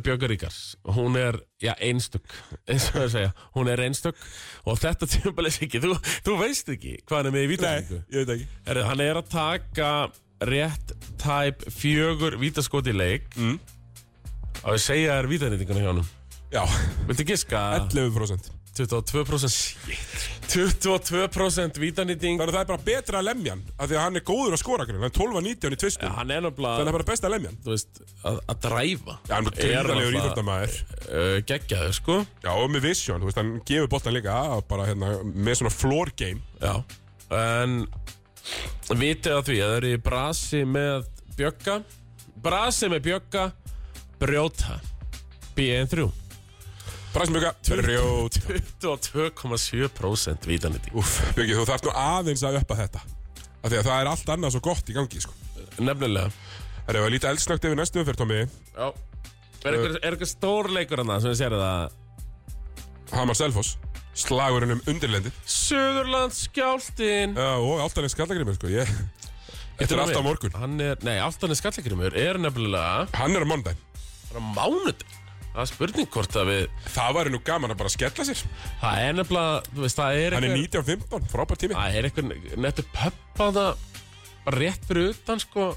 S2: Björgur Ríkars Hún er, já, einstök eins og það segja, hún er einstök og þetta tjömbalis ekki, þú, þú veist ekki hvað hann er með í vítanýtingu
S1: ég veit ekki
S2: Herri, hann er að taka rétt tæp fjögur vítaskoti í leik mm. og ég segja þér vítanýtinguna hjá hann
S1: Já,
S2: Viltu giska?
S1: 11%
S2: 22% 22% vítanýting
S1: Þannig að það er bara betra að lemja hann af því að hann er góður að skora grinn, hann er 12 að 19 í tvistum
S2: hann
S1: Þannig
S2: er
S1: að
S2: náttúrulega
S1: það er bara best að lemja hann
S2: þú veist, að, að dræfa
S1: Já, hann er gríðarlegur íþjóttamæður
S2: uh, geggjaður sko
S1: Já, og með vision, þú veist, hann gefur boltan líka og bara hérna, með svona floor game
S2: já. en vitið að því að það eru í brasi með bjögga brasi með bjögga brjóta B1-3
S1: Bræsum Bjögga, rjót
S2: 22,7% vítanýting
S1: Úff, Bjöggi, þú þarft nú aðeins að uppa þetta af því að það er allt annað svo gott í gangi, sko
S2: nefnilega
S1: Það er að líta eldsnögt yfir næstu umferð, Tommi
S2: já. er eitthvað, er eitthvað stór leikur hann sem ég sér það
S1: Hamar Selfoss, slagurinn um undirlendi
S2: Suðurlands skjáltin
S1: uh, og altanins skallagrimur, sko ég, Þetta er allt á morgun
S2: Hann er, nei, Altan er skallakrimur er nefnilega
S1: Hann er á mondag
S2: bara mánudag Það er spurning hvort að við
S1: Það væri nú gaman að bara skella sér
S2: Það er nefnilega, þú veist, það er
S1: Hann er
S2: einhver-
S1: 19.15, frábær tími
S2: Það er eitthvað nettur pöppa það bara rétt fyrir utan, sko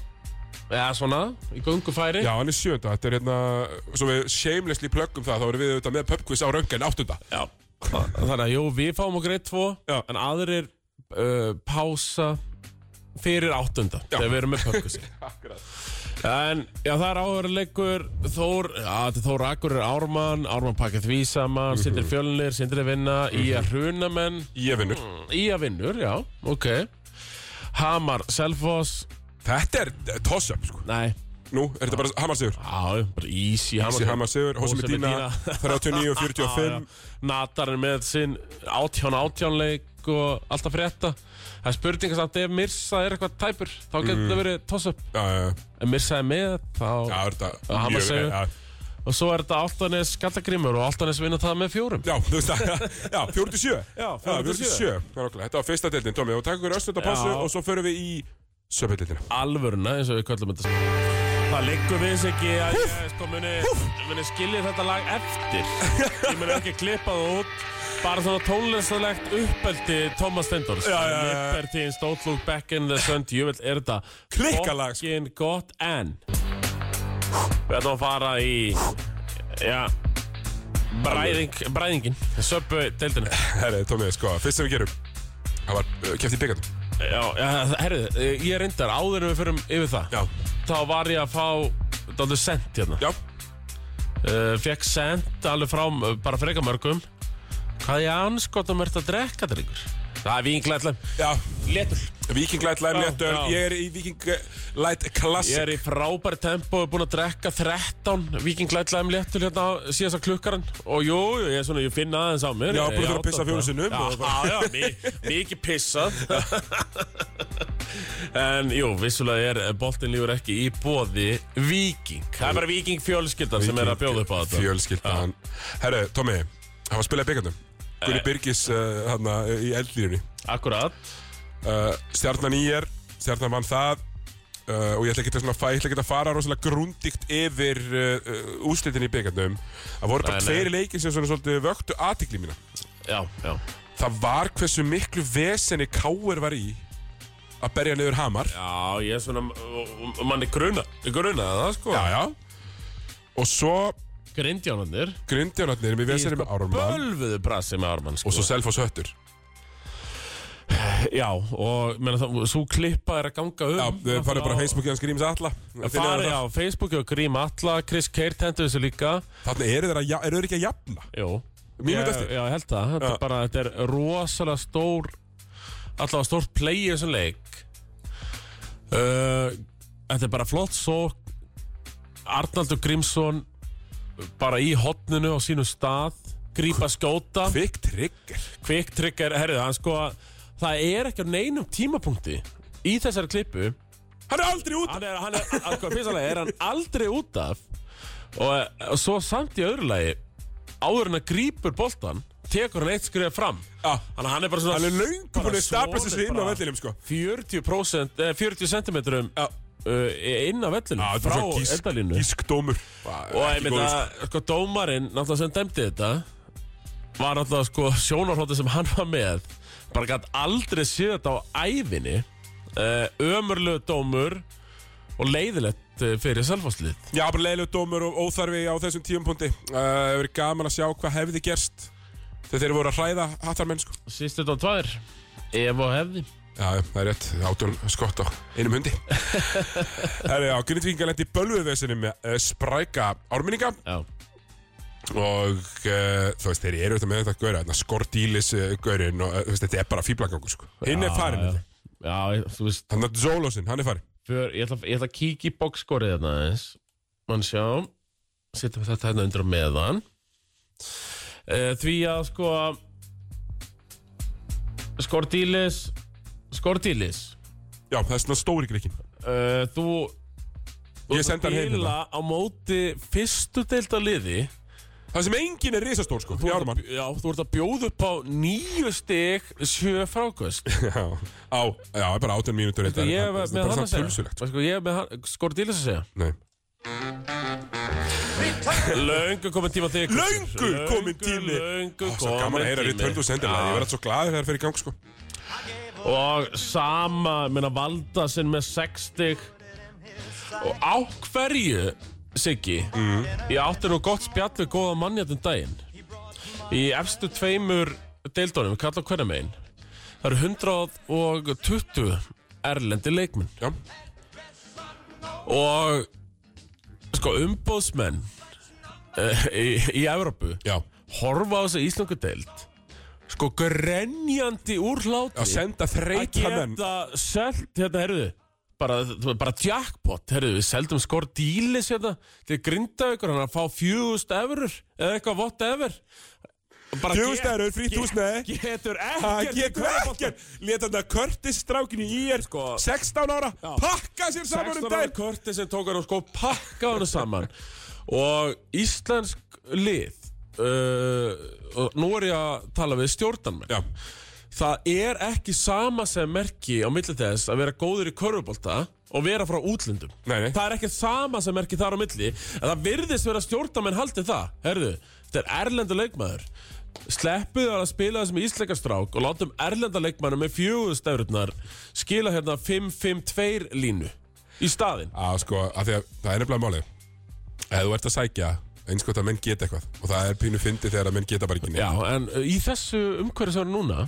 S2: eða svona, í göngufæri
S1: Já, hann er sjönda, þetta er hérna Svo við shamelessly plöggum það, þá erum við auðvitað með pubquiz á röngan áttunda
S2: Já. Þannig að, jú, við fáum okkur eitt, tvo
S1: Já.
S2: en aðrir uh, pása fyrir áttunda
S1: Já.
S2: þegar við erum með pökkusi En, já, það er áhverjuleikur Þór, já, þetta er Þór Akur er Ármann Ármann pakkar því
S1: Mhm.
S2: saman, sindir fjölnir sindir að vinna, í að hruna menn
S1: Ég vinnur
S2: Í að Mm, vinnur, já, ok Hamar, Selfoss
S1: Þetta er eh, toss-up, sko
S2: Nei,
S1: Nú, er þetta bara Hamar Sigur
S2: já, bara easy Hamar
S1: Þessi Hamar Sigur, Hósi
S2: Jose
S1: Medina
S2: Medina.
S1: 39 og
S2: Já, já.
S1: 45
S2: Natar er með sinn 18-18 leik og allt að frétta Það er spurninga samt ef Mirsa er eitthvað tæpur þá getur það verið toss-up
S1: Já, já, já.
S2: Ef Mirsa er með þá
S1: Mm. Já, er þetta
S2: Já, Hamar
S1: mjög-
S2: Sigur.
S1: já,
S2: og svo er þetta Altanes skallagrimur og Altanes vinna það með fjórum
S1: Já, þú veist það Já, 47
S2: Já,
S1: 47 Það er okkur Þetta var fyrsta deildin, Tómi Og takk okkur östund á pásu
S2: Já.
S1: Og svo förum við í Söpildildina
S2: Alvöruna eins og við köllum þetta Það liggur við þess ekki að ég sko muni, muni skilja þetta lag eftir Ég muni ekki klippa það út Bara svona tónlistalegt uppeldi Thomas Stendors
S1: Já, já, já.
S2: Libertines, Don't Look Back in the Sun Jöfell er þetta
S1: Klikkalag, sko.
S2: Fokkin gott en Við ætlum að fara í Já Bræðing, bræðingin Söpbu deildinu
S1: Herri, Tómi, sko Fyrst sem við gerum Það var uh, keft í byggandum
S2: Já, já herrið, ég reyndar áður en við förum yfir það
S1: Já
S2: Þá var ég að fá Dálðu sent hérna
S1: Já
S2: uh, fekk sent alveg frá uh, bara freka mörgum hvað ég anskotum ert að drekka þér ykkur það er vinglætlan
S1: Já
S2: letur
S1: Viking Light Lime
S2: Já,
S1: Léttöl
S2: já.
S1: Ég er í Viking eh, Light
S2: ég
S1: Classic
S2: er í frábæri tempó og er búin að drekka 13 vinglætlan letur hérna á- síðast á klukkaran og jú, jú, ég, er svona, ég finn aðeins á mér
S1: Já, búin að
S2: Ég
S1: þurfa að
S2: játa
S1: pissa
S2: það.
S1: fjórum sinnum
S2: já,
S1: og bara-
S2: já, já, mi- mikið pissað en jú, vissulega er boltin lífur ekki í bóði viking það er bara viking fjölskyldan sem er að bjóða upp á þetta
S1: Fjölskyldan Herri, Tómi Það var spilað í byggandum
S2: Eh.
S1: Gunni Birgis uh, hana, í Eh, eldlýrunni
S2: akkurat
S1: uh, Stjarnan í er Stjarnan vann það uh, og ég ætla ekki að, svona, fa- ég ætla ekki að fara rosalega grúndíkt yfir uh, uh, úslitin í byggarnum það voru bara
S2: Nei, nei.
S1: tveiri leikir sem svona svolítið vöktu aðtikli mína
S2: Já, já,
S1: það var hversu miklu vesenni Káur var í að berja niður Hamar
S2: já, ég er svona og- og manni gruna, gruna það sko
S1: já, já. og svo
S2: Grindjánarnir
S1: grindjánarnir með vesenni
S2: sko
S1: með Ármann
S2: Bölvuðu brasi með Ármann sko
S1: og svo Selfoss Höttur
S2: Já, og menna, það, svo klippa er að ganga um
S1: já, þau farið bara á Facebookið hans Gríms Alla
S2: Farið á Facebooki og grím alla Chris Keir tendu þessu líka
S1: þannig eru þeir að ja- eru þeir ekki að jafna
S2: Jú
S1: mínútu
S2: Ég-
S1: eftir
S2: Já, ég held það Þetta
S1: Já.
S2: er bara, þetta er rosalega stór Allavega stórt play í þessum leik uh, Þetta er bara flott svo Arnaldur Grímsson Bara í hotninu á sínum stað Grípa skjóta
S1: Quick Trigger
S2: Quick trigger, herrið, hann sko Það er ekki á neinum tímapunkti Í þessari klippu
S1: hann er aldrei út
S2: hann er, hann er, að, hvað, fyrstalega, er hann aldrei út af og, og svo samt í öðru lagi áður en að grípur boltan tekur hann eitt skrifa fram
S1: Já.
S2: þannig að hann er bara svona
S1: hann er löngu búin að stapla sér sig inn á
S2: bara
S1: vellinum sko
S2: 40%, eh, 40 cm uh,
S1: Já.
S2: inn á vellinum
S1: Já, þetta
S2: frá
S1: var svo gísk-
S2: eldalínu
S1: Gískdómur
S2: og
S1: Ekki
S2: ég meina,
S1: góður,
S2: sko, dómarinn náttúrulega sem dæmdi þetta var náttúrulega sko sjónarhóttir sem hann var með bara gætt aldrei séð þetta á ævinni uh, ömurlu dómur og leiðilegt eh, fyrir selfáslið
S1: Já, bara leiðilegu dómur og óþarfi á þessum tíumpundi Það uh, hefur verið gaman að sjá hvað hefði gerst Þegar þeir voru að hræða hattarmenn sko
S2: sístu þetta á tvær ef og hefði
S1: Já, já, það er rétt, átjón skott á einum hundi Það er já, grindvíkingar lendi í bölvuðvesinni með uh, spræka árminninga
S2: já,
S1: og uh, þú veist, þeir eru þetta með þetta gauri, þarna skordílis uh, gaurin og uh, þú veist, þetta er bara fýblagangur sko Hinn er farin
S2: já,
S1: þetta,
S2: já, ég- þú veist
S1: hann er Zolosinn, hann er farin
S2: för, ég, ætla, ég ætla að kíkja í bókskorið þarna aðeins mann sjá setjum við þetta hérna undir á meðan uh, því að sko Skordílis Skordílis
S1: Já, það er svona stóri grikkin
S2: uh, þú þú
S1: Ég
S2: ert
S1: sendi
S2: að
S1: hann heim
S2: spila
S1: hérna.
S2: á móti fyrstu deilda liði
S1: Það sem enginn er risastór sko,
S2: þú,
S1: í
S2: ert að,
S1: ármann
S2: já, þú ert að bjóða upp á nýju stig sjö frákvöst
S1: Já, á, já, bara átjón mínútur
S2: Sko, ég er
S1: Það
S2: með
S1: bara
S2: hann að
S1: svona
S2: segja
S1: pulsulegt, sko.
S2: sko, ég er með hann- Skordílis að segja
S1: Nei.
S2: Löngu komin tíma þig
S1: Löngu kominn tími.
S2: Löngu
S1: Svo gaman að heyra
S2: kominn
S1: Ritt Höldu sendilega, ég verð svo glaður þegar það fer í gang sko
S2: Og sama, minna valda sinn með 60 Og á hverju, Siggi
S1: Mm.
S2: Ég átti nú gott spjall við góða mann hérna um daginn Í efstu tveimur deildónum, kalla hverja megin Það eru 120 erlendi leikmenn
S1: Já,
S2: Og sko umbóðsmenn uh, í, í Evrópu
S1: já
S2: horfa á þessa íslensku deild sko grenjandi úr hláti
S1: Að senda þreita
S2: að
S1: menn
S2: geta selt hérna, herruðu bara, þú- bara jackpot, herruðu, við seldum skor dílis hérna til grindavíkur hann er að fá fjúðust efurur eða eitthvað whatever Bara
S1: Fjögust
S2: get-
S1: erur, frí túsnaði
S2: getur
S1: Það
S2: ekkert
S1: getur ekkert Leta hann að Curtis strákin í ír
S2: Sko.
S1: 16 ára Pakka sér saman um
S2: 16 ára
S1: daginn
S2: korti sem tók hann og sko pakka hann saman og íslensk lið uh, og nú er ég að tala við stjórnarmenn
S1: Já,
S2: það er ekki sama sem merki á milli þess að vera góður í körfubólta og vera frá útlöndum.
S1: Nei, nei.
S2: Það er ekki sama sem merki þar á milli, en það virðist vera stjórnamenn haldið það. Herðu, þetta er erlendu leikmaður. Sleppuðu hann að spila þessum íslengastrák og látum erlenda leikmannum með fjögustafurnar skila hérna 5-5-2 línu í staðinn.
S1: að sko, að því að það er nefnilega málið Ef þú ert að sækja eins gott að menn geta eitthvað Og það er pínu fyndi þegar að menn geta bara ekki neitt
S2: Já, en uh, í þessu umhverju sem er núna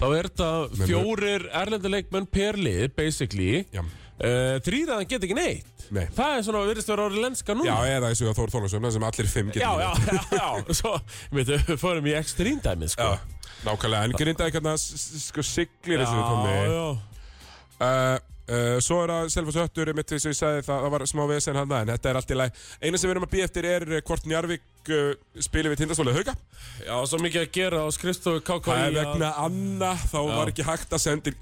S2: þá er þetta
S1: Menn-
S2: fjórir erlendileikmenn per lið, basically
S1: Já.
S2: uh, þrýraðan get ekki neitt
S1: Nei.
S2: það er svona, virðist vera orðið lenska
S1: Já,
S2: núna
S1: eða þessu að Þór Þorlásson sem allir fimm
S2: já,
S1: geta
S2: já,
S1: neitt.
S2: já, já. svo, við þau fórum í ekstrím dæmið sko.
S1: Já, Nákvæmlega, en grindaði hvernig að sko siglir þessu tómi
S2: já, já.
S1: uh, uh, Svo er að Selfoss Höttur mitt eins og ég sagði það, það var smá vesen hann en þetta er allt í læg Eina sem við erum að býja eftir er eh, hvort Njarvík uh, spilir við tindastólið hauka
S2: já, svo mikið að gera á skrifstofu KKI
S1: Það er
S2: að-
S1: vegna Anna þá var ekki hægt að senda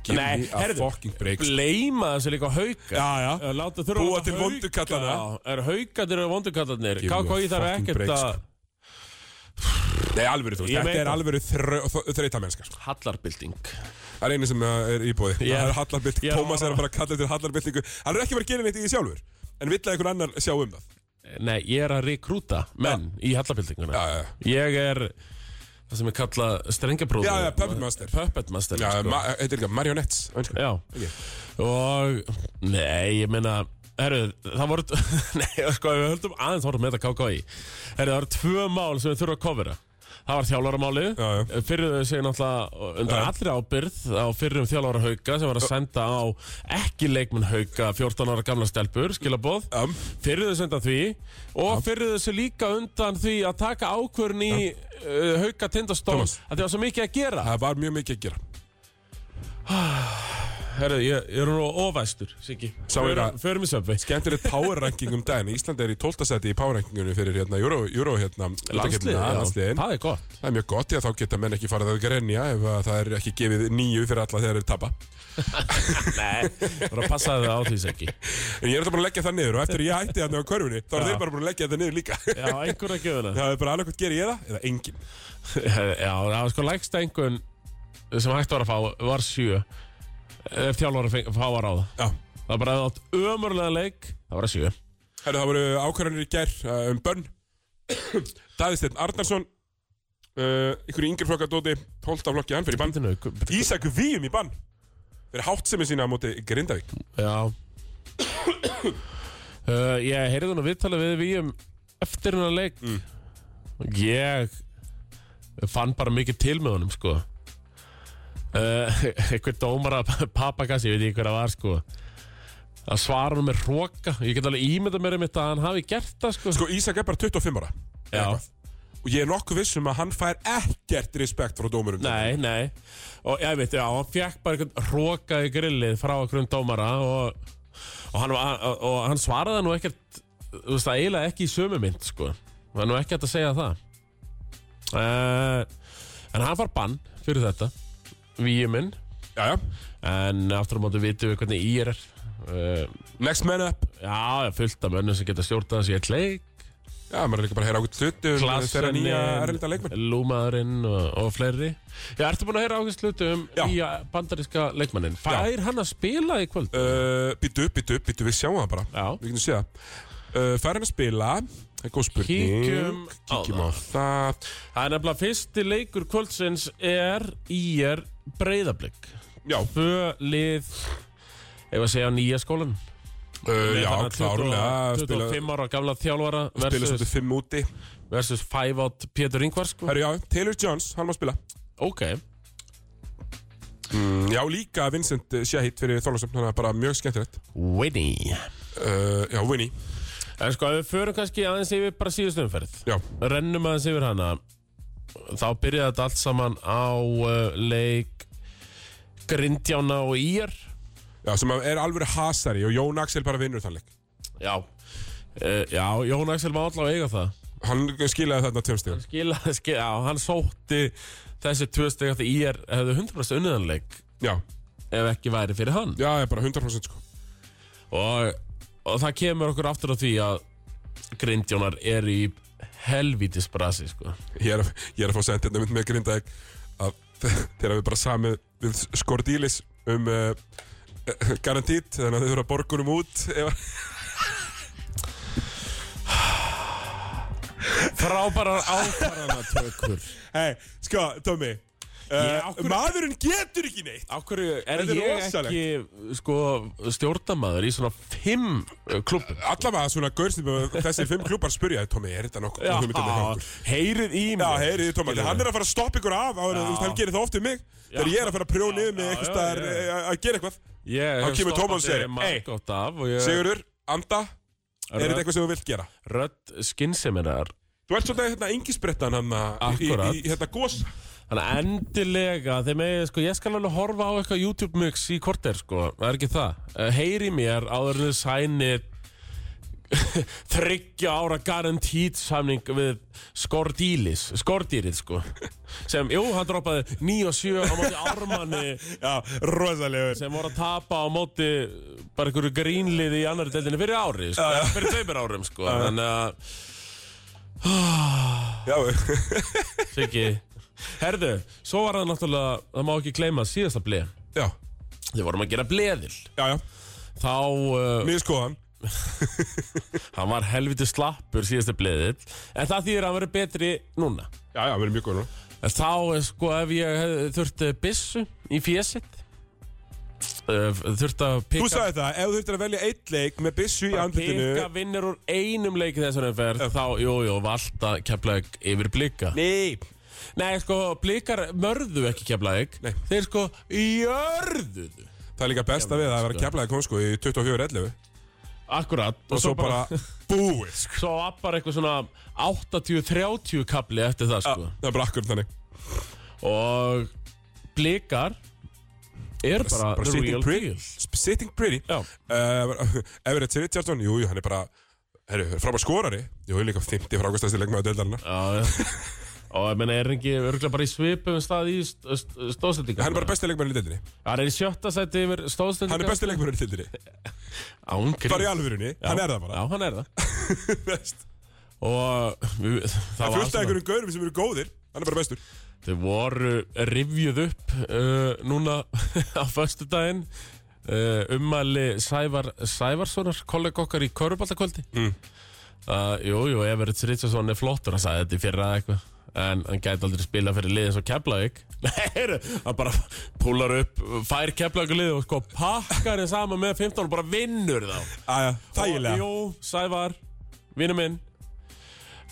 S1: Give
S2: Nei,
S1: me a
S2: heyrðu.
S1: fucking break sko.
S2: bleima þessu líka á hauka
S1: Já, já.
S2: Eh, láta þurfa
S1: Búa
S2: að
S1: til
S2: hauka.
S1: vondukallana.
S2: Já, er haukandir og vondukallarnir
S1: Give me a
S2: KKI þarf
S1: fucking
S2: ekkert
S1: break, sko.
S2: að
S1: Nei, alvöru, þú veist,
S2: Ég
S1: þetta
S2: veit
S1: er
S2: það.
S1: alvöru þreyta mennskar
S2: hallarbilding
S1: Það er einu sem uh, er íbúði
S2: Já.
S1: Það er hallarbylting,
S2: Já.
S1: Tómas er að fara að kalla eftir hallarbyltingu Hann er ekki bara að gera neitt í því sjálfur En vill að einhver annar sjá um það
S2: Nei, ég er að rekrúta menn í hallabildinguna
S1: Já, já, já.
S2: Ég er það sem er kallað strengabróður
S1: Já, já, puppet master.
S2: Puppet master,
S1: Já,
S2: sko.
S1: ma- Þetta er líka marionettes á ensku.
S2: já. Og, nei, ég meina Herru, það voru, nei, sko, við höldum aðeins vorum með þetta KKI Herru, það voru tvö mál sem við þurfum að covera Það var þjálfaramálið,
S1: Já,
S2: fyrir þau segir náttúrulega undan
S1: Já.
S2: allri ábyrð á fyrir um þjálfara hauka sem var að senda á ekki leikmenn hauka 14 ára gamla stelpur, skilabóð
S1: Um,
S2: fyrir þessu undan því og fyrir þessu líka undan því að taka ákvörn í uh, hauka tindastól
S1: Thomas.
S2: að því var svo mikið að gera
S1: Það var mjög mikið að gera
S2: Herru, ég, ég er nú ofæstur, Siggi
S1: Sá er að-
S2: Förum í söpvi
S1: Skemmtilegt power ranking um daginn Ísland er í 12. seti í power rankingunum fyrir hérna Euro, Euro hérna
S2: Landslið,
S1: undankeppnina,
S2: já,
S1: landsliðin.
S2: það er gott
S1: Það er mjög gott, já, þá geta menn ekki farið að grenja ef að það er ekki gefið nýju fyrir alla þegar þeir tapa
S2: Nei, það er að passa það á því, Siggi
S1: En ég er þetta bara að leggja það niður og eftir að ég hætti þarna á körfunni þá er
S2: Já.
S1: þeir bara búin að leggja þetta niður líka
S2: Já, einhverja gjöfuna Já,
S1: Það er bara alveg hvort gerir ég það eða enginn
S2: það var sko lægsta einhvern sem hægt var að fá var sjö ef þjálfara feng- fá að ráða
S1: Já,
S2: Það var bara að átt ömurlega leik það var að sjö
S1: Herru, það voru ákvarðanir í gær uh, um bönn Davisteinn Arnarsson uh, Ykkur í yngri flokka dóti Hóltaflokki hann fyrir bann
S2: Bandinu,
S1: Ísak Víum í bann Fyrir háttsemi sína á móti Grindavík
S2: Já uh, Ég heyrði nú viðtalið við við um eftir hennar leik Ég fann bara mikið til með honum sko uh, Einhver dómara papagassi, ég veit ekki hver að var sko að svara hann með hróka ég get alveg ímyndað mér um þetta að hann hafi gert það sko,
S1: Sko Ísak er bara 25 ára
S2: já,
S1: Og ég er nokkuð viss um að hann fær ekkert respekt frá dómurum
S2: nei, nei og ég veit, já, hann fekk bara einhvern hróka í grillið frá einhverjum dómara og, og, hann, var- og, og hann svaraði nú ekkert þú veist, það eiginlega ekki í sömu mynd sko, það er nú ekki hægt að segja það uh, en hann far bann fyrir þetta víu minn,
S1: Já, já
S2: en aftur á móti vitum við hvernig ír er uh,
S1: Next man up
S2: já, já, fullt af mönnum sem geta stjórnað þessi eitt leik
S1: Já, maður er líka bara að heyra ákveð hluti um þeirra
S2: Klassenin,
S1: nýja erlenda leikmenn
S2: eh, Lúmaðurinn og, og fleiri Já, ertu búin að heyra ákveðst hluti um
S1: Já.
S2: nýja bandaríska leikmannin Fær hann að spila í kvöld?
S1: uh, Býtu upp, býtu upp, býtu við sjáum það bara
S2: Já.
S1: Við getum séð það uh, Fær hann að spila Það er góð spurning
S2: Kíkjum á
S1: Kíkjum á það
S2: Það er nefnilega fyrsti leikur kvöldsins er í er breyðablík
S1: Já, uh,
S2: Fölið Ef að segja á nýja skólan
S1: uh, já
S2: Þannig að
S1: klárlega
S2: 20
S1: Spila,
S2: 25 ára gamla þjálfara
S1: spila
S2: versus,
S1: svolítið fimm úti
S2: versus 5 out Pétur Ingvar sko.
S1: Herru, já, Taylor Jones, hann má spila
S2: Ok,
S1: mm, Já, líka Vincent eh, Shahid fyrir Þorlásson Þannig að bara mjög skemmtilegt
S2: Winnie
S1: uh, Já, Winnie
S2: En sko, ef við förum kannski aðeins yfir bara síðustu umferð
S1: Já,
S2: rennum aðeins yfir hana þá byrjaði þetta allt saman á uh, leik Grindjána og Ír
S1: já sem að er alveg hasari Og Jón Axel bara vinnur þann leik
S2: já uh, já, Jón Axel má allavega eiga það
S1: Hann skilaði þarna tveim stíðum
S2: skila, skila, já, hann sótti þessi tvö steg að Ír hefði 100% unniðanleik
S1: Já,
S2: ef ekki væri fyrir hann
S1: já, ég er bara 100% sko
S2: og, og það kemur okkur aftur á því að Grindjónar er í helvítis brasi sko.
S1: Ég er, að- ég er að fá sendið þetta mynd með Grindavík að þegar við bara samið við skordílis um uh, garantít þannig að þau þurfa að borga honum út ef,
S2: frábærar ákvarðanatökur
S1: Hei, sko, Tommy
S2: Ég,
S1: uh,
S2: af hverju-
S1: Maðurinn getur ekki neitt
S2: Akkur er
S1: Þetta er
S2: ég ekki sko, stjórnamaður í svona fimm eh, klubbum?
S1: Allavega svona gaurstum þessir fimm klúpar spurja Tommy, er þetta nokkuð? þú myndir þetta nokkuð?
S2: heyrið í mig
S1: Já, heyriði Tommy, hann er að fara að stoppa ykkur af áður,
S2: Já.
S1: þú veist, hann gerir það oft við mig þegar
S2: Já.
S1: ég er að fara að prjóna yfir mig
S2: Já,
S1: eitthvað
S2: já,
S1: staðar
S2: já.
S1: eh, að að gera eitthvað
S2: Ég
S1: Þá kemur Tómas og segir, "Ey,
S2: Ey,
S1: Sigurður, anda, er þetta eitthvað sem þú vilt gera?
S2: Rödd skynseminar
S1: Þú ert svolítið hérna engisbrettan hann í, í,
S2: Akkúrat.
S1: í hérna gósa
S2: Þannig að endilega, þeim eigi, sko, ég skal alveg horfa á eitthvað YouTube mix í korter, sko, það er ekki það. Eh, Heyri mér áður en þið sænir þryggja ára garantít samning við Skordílis, Skordýrið, sko, sem, jú, hann droppaði 9 og 7 á móti Ármanni
S1: Já, rosalegur
S2: sem voru að tapa á móti bara einhverju grínliði í annari deildinni fyrir ári, sko, fyrir tveimur árum, sko, þannig að,
S1: Já,
S2: Siggi, Herðu, svo var það náttúrulega, það má ekki gleyma síðasta bleið.
S1: Já,
S2: Við vorum að gera bleðil.
S1: já, já,
S2: Þá, uh,
S1: mér skoðan
S2: hann var helviti slappur síðasta bleðil, en það þýðir að hann verið betri núna.
S1: Já, já, við erum mjög góð núna
S2: En þá, eh, sko, ef ég hefði þurft eh, byssu í fjesit, uh, þurft að
S1: Þú
S2: pikka,
S1: sagði það, ef þú þurftir að velja eitt leik með byssu í andlutinu
S2: pikka vinnur úr einum leik í þessari ferð, þá, jú, jú, valda keflaðið yfir blika.
S1: Nei
S2: Nei, sko, blikar mörðu ekki keflaðið,
S1: Nei.
S2: þeir sko jörðuðu.
S1: Það er líka besta við að það vera að keflaði kom sko í 24.11
S2: Akkurat,
S1: Og svo bara búið sko.
S2: Svo appar eitthvað svona 80-30 kapli eftir það sko
S1: Það er bara akkur þannig
S2: Og blikar Er bara,
S1: Bara
S2: the
S1: sitting
S2: real
S1: pretty
S2: deal
S1: Sitting pretty
S2: Já,
S1: uh, Everett Richardson, jú, jú, hann er bara Herru, frábær skorari Jú, líka 50 frákastæsti leikmaður deildarinnar
S2: já, já Og ég meina, er hann ekki örgulega bara í svipum stað í st st stóðstendingar?
S1: Hann er bara besti leikmaður í deildinni
S2: Hann er í sjötta sæti yfir stóðstendingar
S1: Hann er besti leikmaður í deildinni
S2: Ángri
S1: Bara í alvörunni, hann er það bara
S2: Já, hann er það
S1: Veist.
S2: Og við, það
S1: Það er
S2: var
S1: fullt af
S2: svona-
S1: einhverjum gaurum sem eru góðir Hann er bara bestur
S2: Þau voru rifjuð upp uh, núna á föstudaginn uh, ummæli Sævar Sævarssonar, kollega okkar í Körubaltakvöldi mm. uh, Jú, jú, Everett Richardson er flottur að sagði þetta í fyrra eitthvað en hann gæti aldrei spila fyrir liðin svo Keflavík Nei, heyrðu, hann bara púlar upp, fær Keflavík liðið og sko pakkar þeim saman með 15 og bara vinnur þá
S1: Æja,
S2: Og
S1: þægilega
S2: Jú, Sævar, vinnu minn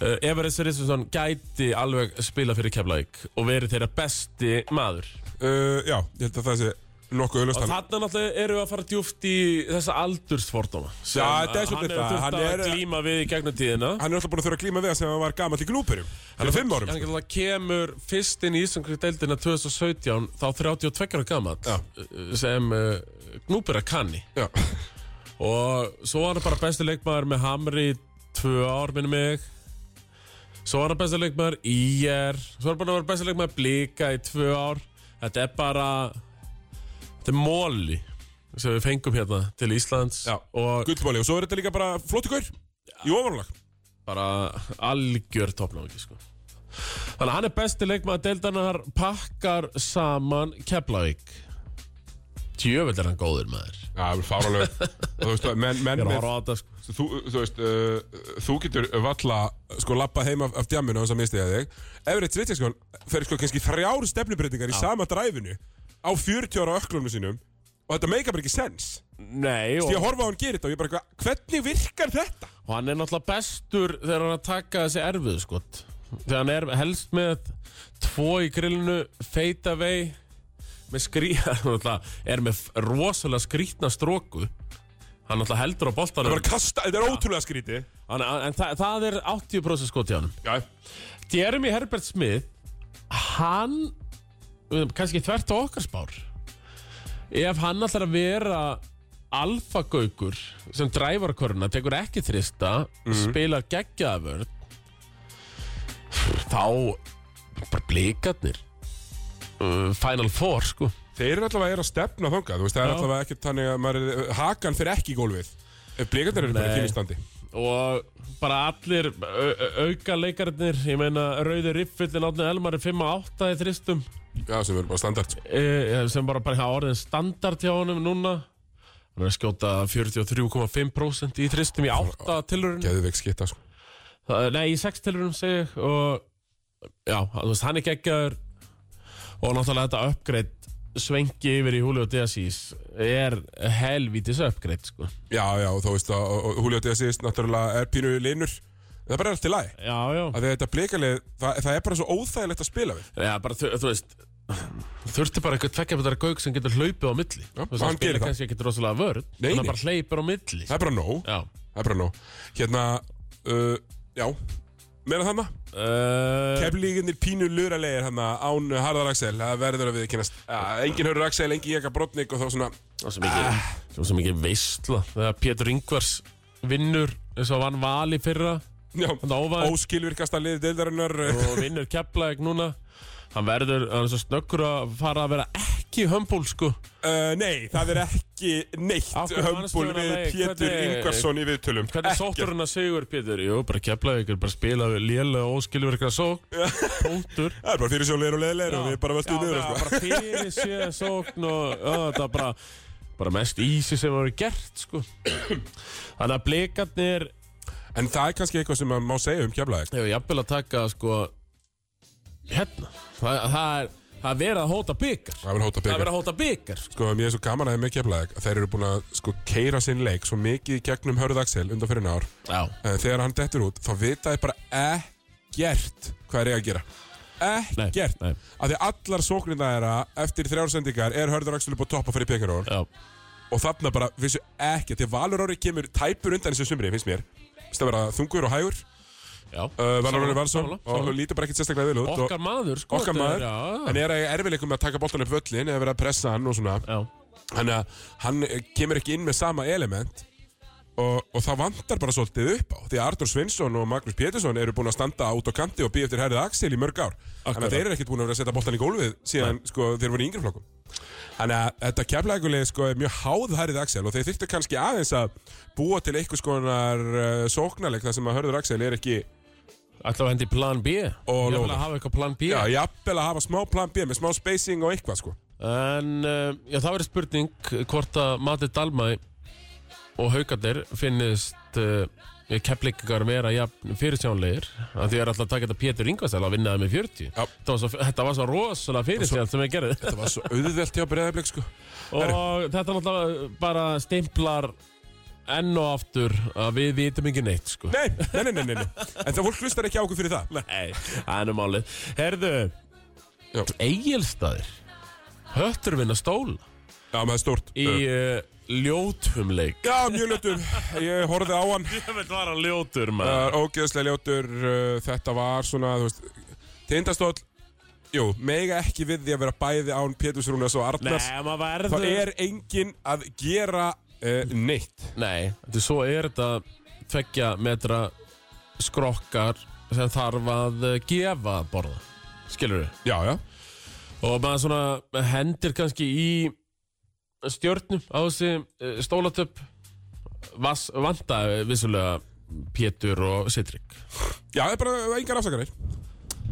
S2: uh, Everest Rizzursson gæti alveg spila fyrir Keflavík og verið þeirra besti maður
S1: uh, Já, ég held að það sé nokkuð auðlust
S2: og þarna náttúrulega eru við að fara djúft í þessa aldursfordóma sem eh,
S1: Já, þetta er
S2: hann
S1: svolítið
S2: hefur
S1: það.
S2: þurft
S1: Hann
S2: að
S1: er-
S2: glíma við í gegnum tíðina
S1: hann er alltaf búin að þurfa að glíma við það sem hann var gamall í glúperum fyrir fimm árum
S2: Hann
S1: sko.
S2: náttúrulega kemur fyrst inn í Íslandkrikt deildina 2017 þá 32 ára gamall
S1: Já.
S2: uh, sem uh, gnúbera kanni
S1: Já.
S2: Og svo var hann bara besti leikmaður með Hamri í tvö ár, minnum mig. Svo var hann besti leikmaður í IR. Svo var hann búinn að vera besti leikmaður Blika í tvö ár. Þetta er bara... Þetta er móli sem við fengum hérna til Íslands.
S1: Já.
S2: Og
S1: gullmáli og svo er þetta líka bara flóttu gaur í ofanlag
S2: bara algjör toppnáki, sko. Þannig að hann er besti leikmaður deildanar pakkar saman Keflavík. Tjöfell er hann góður maður.
S1: Já, það er fáralega Þú veist, menn, menn
S2: Ég er að
S1: með,
S2: horfa á þetta, sko.
S1: þú, þú, veist uh, þú getur valla sko lappa heim af, af djamminu og þess að misti ég þig Everett Svitjaskon fer sko kannski þrjár stefnubreitingar í sama dræfinu á 40 ára öklunum sínum og þetta meika bara ekki sens
S2: Nei, og...
S1: Því að horfa á hann gerir þetta og ég bara eitthvað, hvernig virkar þetta?
S2: og hann er náttúrulega bestur þegar hann er að taka þessi erfið skot þegar hann er helst með tvo í grillinu, fade away með skrí hann náttúrulega er með rosalega skrítna stróku hann náttúrulega heldur á
S1: Það
S2: boltanum
S1: bara kasta, þetta er ótrúlega skríti
S2: hann, en það, það er 80% skot hjá hann
S1: Já,
S2: Jeremy Herbert Smith hann um, kannski þvert á okkar spár ef hann ætlar að vera alfagaukur sem drævar körna, tekur ekki þrista spilar geggjaðavörn þá bara blikarnir uh, Final Four sko
S1: Þeir eru allavega er að stefna þangað, þú veist, það er
S2: Já.
S1: allavega ekkert þannig að maður, er- hakan fyrir ekki í gólfið. Blíkandir eru bara
S2: Nei.
S1: ekki í standi.
S2: og bara allir au- au- auka leikarnir, ég meina Rauður Riffillin Átni Elmar er 5-8 í þristum
S1: Já, sem eru bara standard. sko.
S2: Eh, sem bara bara hafa orðin standard hjá honum núna hann er að skjóta 43,5% í tristum í 8 tilurinn
S1: Geðveik skitta, sko.
S2: nei, í 6 tilurinn segi ég og já, þú veist, hann er geggjaður og náttúrulega þetta uppgreitt svengi yfir í Julio Deasís er helvítis uppgreitt sko.
S1: Já, já, og þú veist að og- og Julio Desis náttúrulega er pínu linur. Það er bara allt í lagi.
S2: já, já,
S1: Af því Að þetta blíkalið, það, það er bara svo óþægilegt að spila við.
S2: já bara, þú, þú veist þurfti bara eitthvað tvekja betara gauk sem getur hlaupið á milli
S1: Já,
S2: Þú veist,
S1: hann gerir
S2: spilar
S1: það.
S2: kannski ekkert rosalega vörð
S1: Nei,
S2: hann
S1: nei.
S2: bara hleypir á milli
S1: Það er bara nóg,
S2: já
S1: það er bara nóg. Hérna, uh, já, meina þarna.
S2: uh,
S1: Keflíkinir pínu luralegir hérna án Harðar Axel, það verður að við kynast. Engin hörur Axel, engin Jekka Brotnik og þá svona,
S2: Það sem ekki, ah. sem ekki veistla Þegar Pétur Ingvars vinnur eins og vann val í fyrra
S1: já,
S2: Hann ávaði
S1: óskilvirkasta liði deildarinnar.
S2: og vinnur Keflavík núna Hann verður, hann er svo snöggur að fara að vera ekki ekki hömbúl sko
S1: Uh, nei, það er ekki
S2: Af
S1: neitt
S2: hverju manstu
S1: hömbul
S2: hana
S1: við
S2: leik?
S1: Pétur
S2: Hvernig-
S1: Ingvarsson í viðtölum
S2: Hvernig sóttur hann að sigur Pétur? Jú, bara keflaði ykkur, bara spilaði lélega og óskilverkra sók Póntur
S1: Það er bara fyrir sjónleir og leiðleir og við bara veltum niður sko.
S2: bara fyrir séða sókn og já, þetta var bara, bara mest ísi sem hefur gert sko Þannig að blikarnir
S1: En það er kannski eitthvað sem maður má segja um keflaðið
S2: hefur jafnvel að taka sko hérna Það, það er það er verið að hóta byggar
S1: Það er hóta
S2: Það er verið
S1: byggar
S2: að hóta byggar sko.
S1: Sko, mér er svo gaman aðeins með keflaðið að þeir eru búin að sko keira sinn leik svo mikið í gegnum Hörð Axel undan fyrir ár
S2: Já,
S1: Eh, Þegar hann dettur út, þá vita þið bara ekkert hvað er ég að gera
S2: nei,
S1: Ekkert
S2: nei,
S1: Af því allar sóknirna þeirra eftir þrjársendingar er Hörður Axel upp á topp að fara í pengaról
S2: já
S1: og þarna bara vissu ekki því að Valur Ári kemur tæpur undan þessu sumri finnst mér finnst það vera þungur og hægur
S2: Já,
S1: uh, Valur Ári
S2: Sammála,
S1: Valsson
S2: sammála,
S1: og
S2: sammála.
S1: lítur bara ekkert sérstaklega vel út og-
S2: Okkar maður sko
S1: okkar
S2: þetta er-
S1: maður
S2: já,
S1: en er að erfileikum með að taka boltan upp völlin eða vera að pressa hann og svona
S2: Já,
S1: hann, hann eh, kemur ekki inn með sama element og, og það vantar bara svolítið upp á því að Artur Svinsson og Magnús Pétursson eru búin að standa út á kanti og býja eftir herðið Axel í mörg ár þannig
S2: Akkurat.
S1: að þeir eru ekkert búin að vera að setja boltan í gólfið síðan sko, þeir voru í yngri flokkum þannig að þetta keflæguleg sko, er mjög háð herðið Axel og þeir þyrftu kannski aðeins að búa til einhvers konar uh, sóknarleik þar sem að hörður Axel er ekki
S2: Ætlaðu að hendi plan B
S1: Og
S2: Ég vil
S1: Lóðar.
S2: að hafa eitthvað plan B
S1: já, jafnvel að hafa smá plan B með smá spacing og eitthvað sko.
S2: En uh, já, það verður spurning hvort að Mati Dalmæ og Haukarnir finnist uh, keplingar vera jafn fyrirsjónlegir að því er alltaf að taka þetta Pétur Ingvarsson að vinna það með 40
S1: Já.
S2: þetta var, svo, þetta var svo rosalega fyrirsjónlega sem ég gerði
S1: það var svo auðvelt hjá breyðarbleik sko.
S2: og þetta náttúrulega bara stimplar enn og aftur að við vitum ekki neitt sko.
S1: nei, nei, nei, nei, nei, nei. en það fólk hlustar ekki á okkur fyrir það
S2: Nei, það er nú málið Herðu,
S1: Já.
S2: Egilstaðir Höttur vinna stól
S1: Já, maður það er stórt
S2: Í uh, ljótum leik
S1: Já, mjög ljótur, ég horfði á hann
S2: Ég veit var hann ljótur
S1: Það var ógeðslega ljótur uh, Þetta var svona, þú veist Tindastóll, jú, mega ekki við því að vera bæði án Péturs Rúnas og
S2: Nei,
S1: Arnars
S2: maður verður
S1: Það er engin að gera uh, neitt
S2: Nei, þetta er svo er þetta Tveggja metra skrokkar Sem þarf að eh, gefa að borða Skilur við
S1: Já, já
S2: Og maður svona hendir kannski í stjórnum á þessi eh, stólatöpp Vass, Vanda eh, vissulega Pétur og Sitrik
S1: Já, það er bara engar afsakanir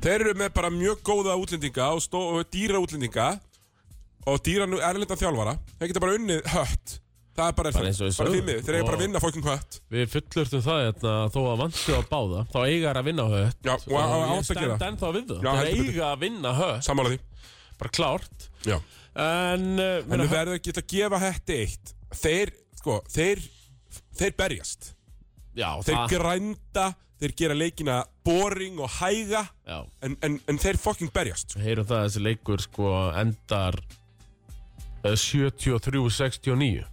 S1: Þeir eru með bara mjög góða útlendinga og, stó, og dýra útlendinga og dýra nú erlendan þjálfara Þeir geta bara unnið hött Það er bara,
S2: Bara eins og við
S1: bara
S2: sögðum.
S1: fimmið, þeir eru bara að
S2: Og-
S1: vinna fólkum hött
S2: Við fullurtum það hérna að þó að vantu á báða þá eiga þær að vinna á hött
S1: Já, og á- á-
S2: ég
S1: átt að
S2: stend
S1: gera.
S2: ennþá við það
S1: Já,
S2: Það
S1: heldur betur.
S2: eiga að vinna hött
S1: Sammála því
S2: Bara klárt
S1: Já
S2: En, uh,
S1: En
S2: meina,
S1: við verðum ekki að gefa hætti eitt Þeir, sko, þeir Þeir berjast
S2: já,
S1: Þeir
S2: það,
S1: grænda, þeir gera leikina boring og hæga
S2: já,
S1: En, en, en þeir fucking berjast sko.
S2: við heyrum það að þessi leikur sko endar uh, 73-69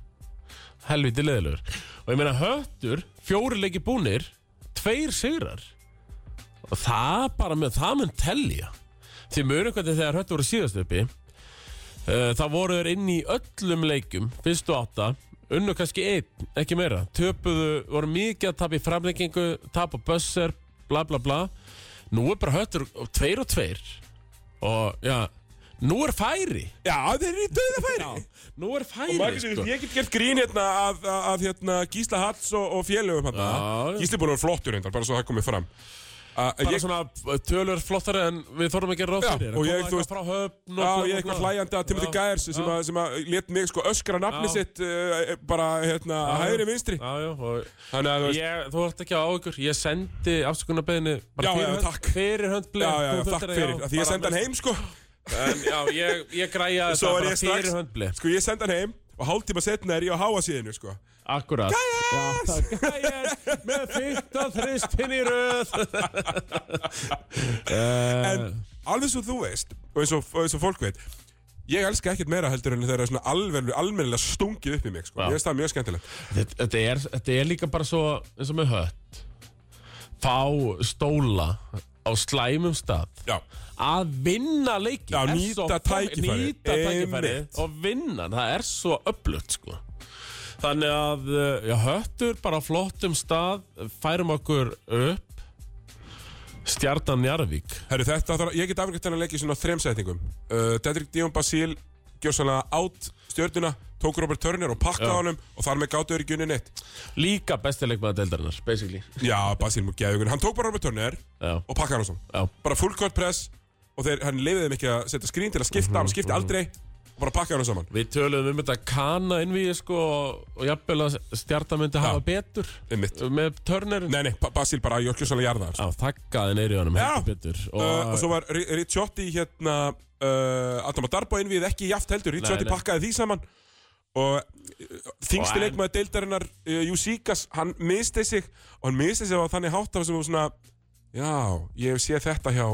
S2: Helviti leðilegur Og ég meina höttur, fjóri leiki búnir Tveir sigrar Og það bara með, það mun tellja Því mjög einhvern þegar höttur voru síðast uppi Uh, Það voru þeir inn í öllum leikum Fyrstu átta Unnu kannski einn, ekki meira Töpuðu, voru mikið að tapa í framleggingu Tapa bössar, bla bla bla Nú er bara höttur og tveir og tveir Og já Nú er færi
S1: Já, þeir eru í döða færi
S2: Nú er færi
S1: Margir, sko. Ég get gert grín hérna að, að, að hérna, Gísla Hall og, og félögum hérna.
S2: Já, já.
S1: Gísli búin að vera flottur reyndar, bara svo það komið fram að,
S2: Bara
S1: ég,
S2: svona tölur flottari en við þorðum ekki að ráð
S1: Já,
S2: fyrir
S1: og
S2: Að
S1: ég, þú
S2: koma eitthvað
S1: veist-
S2: frá höfn
S1: Já,
S2: og bla,
S1: ég
S2: bla,
S1: er eitthvað
S2: bla.
S1: hlæjandi að Timothy
S2: Já,
S1: Gærs sem, að, sem að let mig sko öskra nafni
S2: Já.
S1: sitt uh, bara hérna að hægri vinstri
S2: Já, já, og
S1: Þannig að þú veist,
S2: ég, þú ert ekki á ykkur Ég sendi afsökunarbeðinu
S1: Já, já,
S2: fyrir hönd-
S1: takk.
S2: Fyrir hönd
S1: já,
S2: bleið
S1: já, já, takk fyrir, að því ég sendi hann heim sko
S2: En já, ég, ég græja
S1: Svo er
S2: þetta bara
S1: ég strax,
S2: fyrir höndbli
S1: sko ég senda hann heim og hálftíma setna er ég á háa síðinu sko
S2: Akkurat Gæjars Með 15 þristinn í röð
S1: En alveg svo þú veist og eins og, og eins og fólk veit Ég elska ekkert meira heldur en þegar það er svona alveg, almennilega stungið upp í mig sko
S2: Já.
S1: Ég veist það mjög skemmtilegt
S2: þetta, þetta, er, þetta er líka bara svo eins og með hött Fá stóla á slæmum stað
S1: Já,
S2: að vinna leikin
S1: Já,
S2: er
S1: nýta
S2: svo fang-
S1: tækifærið.
S2: nýta tækifærið
S1: Einmitt.
S2: og vinna, það er svo upplutt sko. þannig að uh, já, höttur bara á flottum stað færum okkur upp Stjarnan Jarvík
S1: herru þetta þarf, ég get afgriðt þennan leik í svona þrem setningum uh, Dedrick Dion Basíl gjósalega átt stjörnuna tók Robert Turner og pakkaði
S2: Já.
S1: honum og þar með gátu er ekki unni neitt
S2: Líka bestileikmaða deildarinnar, basically
S1: Já, Basil mjög geðugur Hann tók bara Robert Turner
S2: Já,
S1: og pakkaði hann á svo
S2: já,
S1: Bara full court press Og þeir, hann leiði þeim ekki að setja skrín til að skipta Hann skipti
S2: Mhm,
S1: aldrei og bara pakkaði hann á saman
S2: Við töluðum um þetta kana innvíði sko og jafnvel að stjarta myndi hafa betur
S1: Einmitt.
S2: með törnerin.
S1: Nei, nei, Pa- Basil bara jólkjósalega jarða
S2: Já, þakkaði neyri honum
S1: Já.
S2: heldur betur.
S1: og, og svo var Ri- Ricciotti hérna uh, Adam að darba innvið ekki jaft heldur Ricciotti
S2: Nei, nei.
S1: pakkaði því saman og uh, þingsti
S2: Og en-
S1: leikmaður deildarinnar uh, Júsíkas, hann misti sig og hann misti sig á þannig háttaf sem var svona já, ég hef séð þetta hjá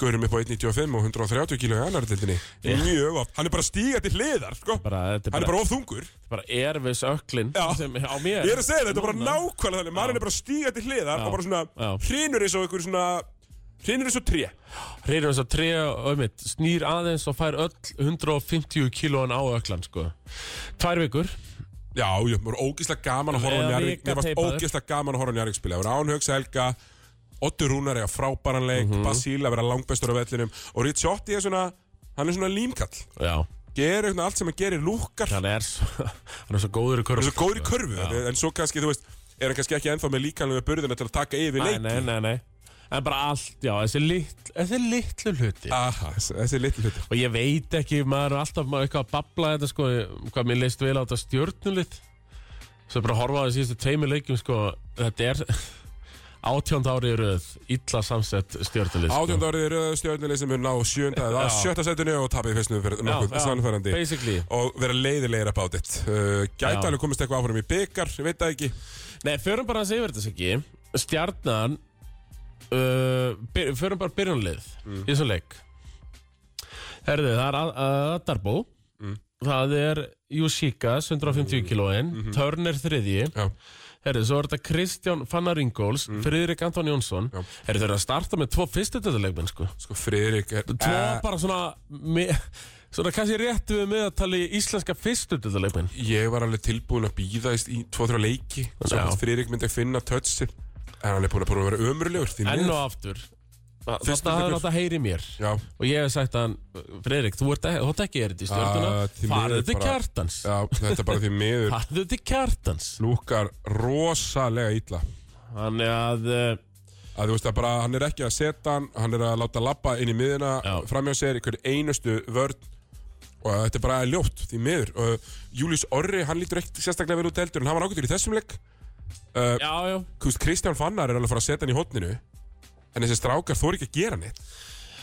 S1: Gaurum upp á 1.95 og 130 kíló í annar deildinni
S2: Já.
S1: mjög oft, hann er bara stígandi hliðar sko.
S2: bara, þetta er
S1: hann er
S2: bara,
S1: bara of þungur
S2: bara erfis öklin
S1: Já.
S2: sem á mér.
S1: ég er að segja þetta, þetta er bara
S2: Núna.
S1: nákvæmlega þannig maður er bara stígandi hliðar
S2: Já.
S1: og bara svona
S2: Já.
S1: hrinur eins og einhver svona hrinur eins og tré
S2: Reynir þess að treja og mitt, snýr aðeins og fær öll 150 kílóan á öklan sko. Tvær vikur.
S1: Já, ég mér var ógeðslega gaman að horfa á
S2: Eða
S1: Njarvík Mér varst
S2: vikateipaður.
S1: ógeðslega gaman að horfa á Njarvík spila Það var Án Hauks Helga, Oddur Rúnar eiga frábæran leik
S2: Mhm.
S1: Basíl að vera langbestur á vellinum Og Ricciotti er svona, hann er svona límkall
S2: Já,
S1: Gerir eitthvað allt sem hann gerir lúkar Hann
S2: hann er svo, hann er svo góður í
S1: er
S2: körf.
S1: svo góður í körfu en- En svo kannski, þú veist, er hann kannski ekki ennþá með líkanlega burðina Til að taka yfir
S2: Nei,
S1: leik
S2: nei, nei, nei. En bara allt, já, þessi litlu, þessi litlu hluti.
S1: Aha, þessi- þessi er litlu hluti
S2: Og ég veit ekki, maður er alltaf maður er eitthvað að babla þetta sko, hvað mér leist vel á þetta stjórnulið. Svo bara að horfa á það síðustu tveimur leikjum sko, þetta er átjónd árið röð, illa samsett stjórnulið. sko.
S1: Átjönda árið er stjórnileg sem mun ná sjönda eða
S2: Já.
S1: sjötta sætunni og tapið fyrstum fyrir nokkuð
S2: já,
S1: sannfærandi
S2: Basically.
S1: og vera leiðilegir about it uh, Gæti
S2: Já.
S1: alveg komist eitthvað áfram í byggar, veit það ekki
S2: Nei, förum bara að segja þetta ekki. Stjarnan, uh, byr, förum bara byrjunlið í þessum leik. Herðu, það er að- að Darbo, það er Jusíkas, 150 kílóin, Turner þriðji.
S1: Já.
S2: Herri, svo er þetta Kristján Fannar Ingóls, Friðrik Anton Jónsson
S1: Mm. Já.
S2: Herri, þeir eru að starta með tvo fyrstutöðuleikmenn sko.
S1: Sko Friðrik er
S2: Tvo
S1: eh,
S2: bara svona me, Svona kannski réttu við meðatali íslenska fyrstutöðuleikmenn
S1: Ég var alveg tilbúin að býða í 2-3 leiki Svo
S2: Já.
S1: að Friðrik myndi að finna touchið En hann er búin að, búin að vera ömurlegur því
S2: Enn
S1: miður.
S2: og aftur
S1: Fyrstu
S2: Þetta hafði
S1: tökur.
S2: nátt að heyri mér
S1: Já,
S2: Og ég hef sagt að hann, Friðrik, þú ert, þú ert ekki erið í
S1: Ah,
S2: stjórnuna
S1: því
S2: Farðu
S1: miður
S2: til
S1: bara-
S2: kjartans
S1: já, þetta er bara því miður
S2: Farðu til kjartans
S1: Lúkar rosalega illa
S2: Þannig að eh,
S1: að þú veist að bara hann er ekki að setja hann hann er að láta labba inn í miðina
S2: Já.
S1: framjá sér í hverju einustu vörn og þetta er bara ljótt því miður og Július Orri hann lítur ekkert sérstaklega vel út heldur en hann var ágættur í þessum leik
S2: Já, já
S1: Kust Kristján Fannar er alveg að fara að setja hann í hotninu en þessi strákar þóri ekki að gera neitt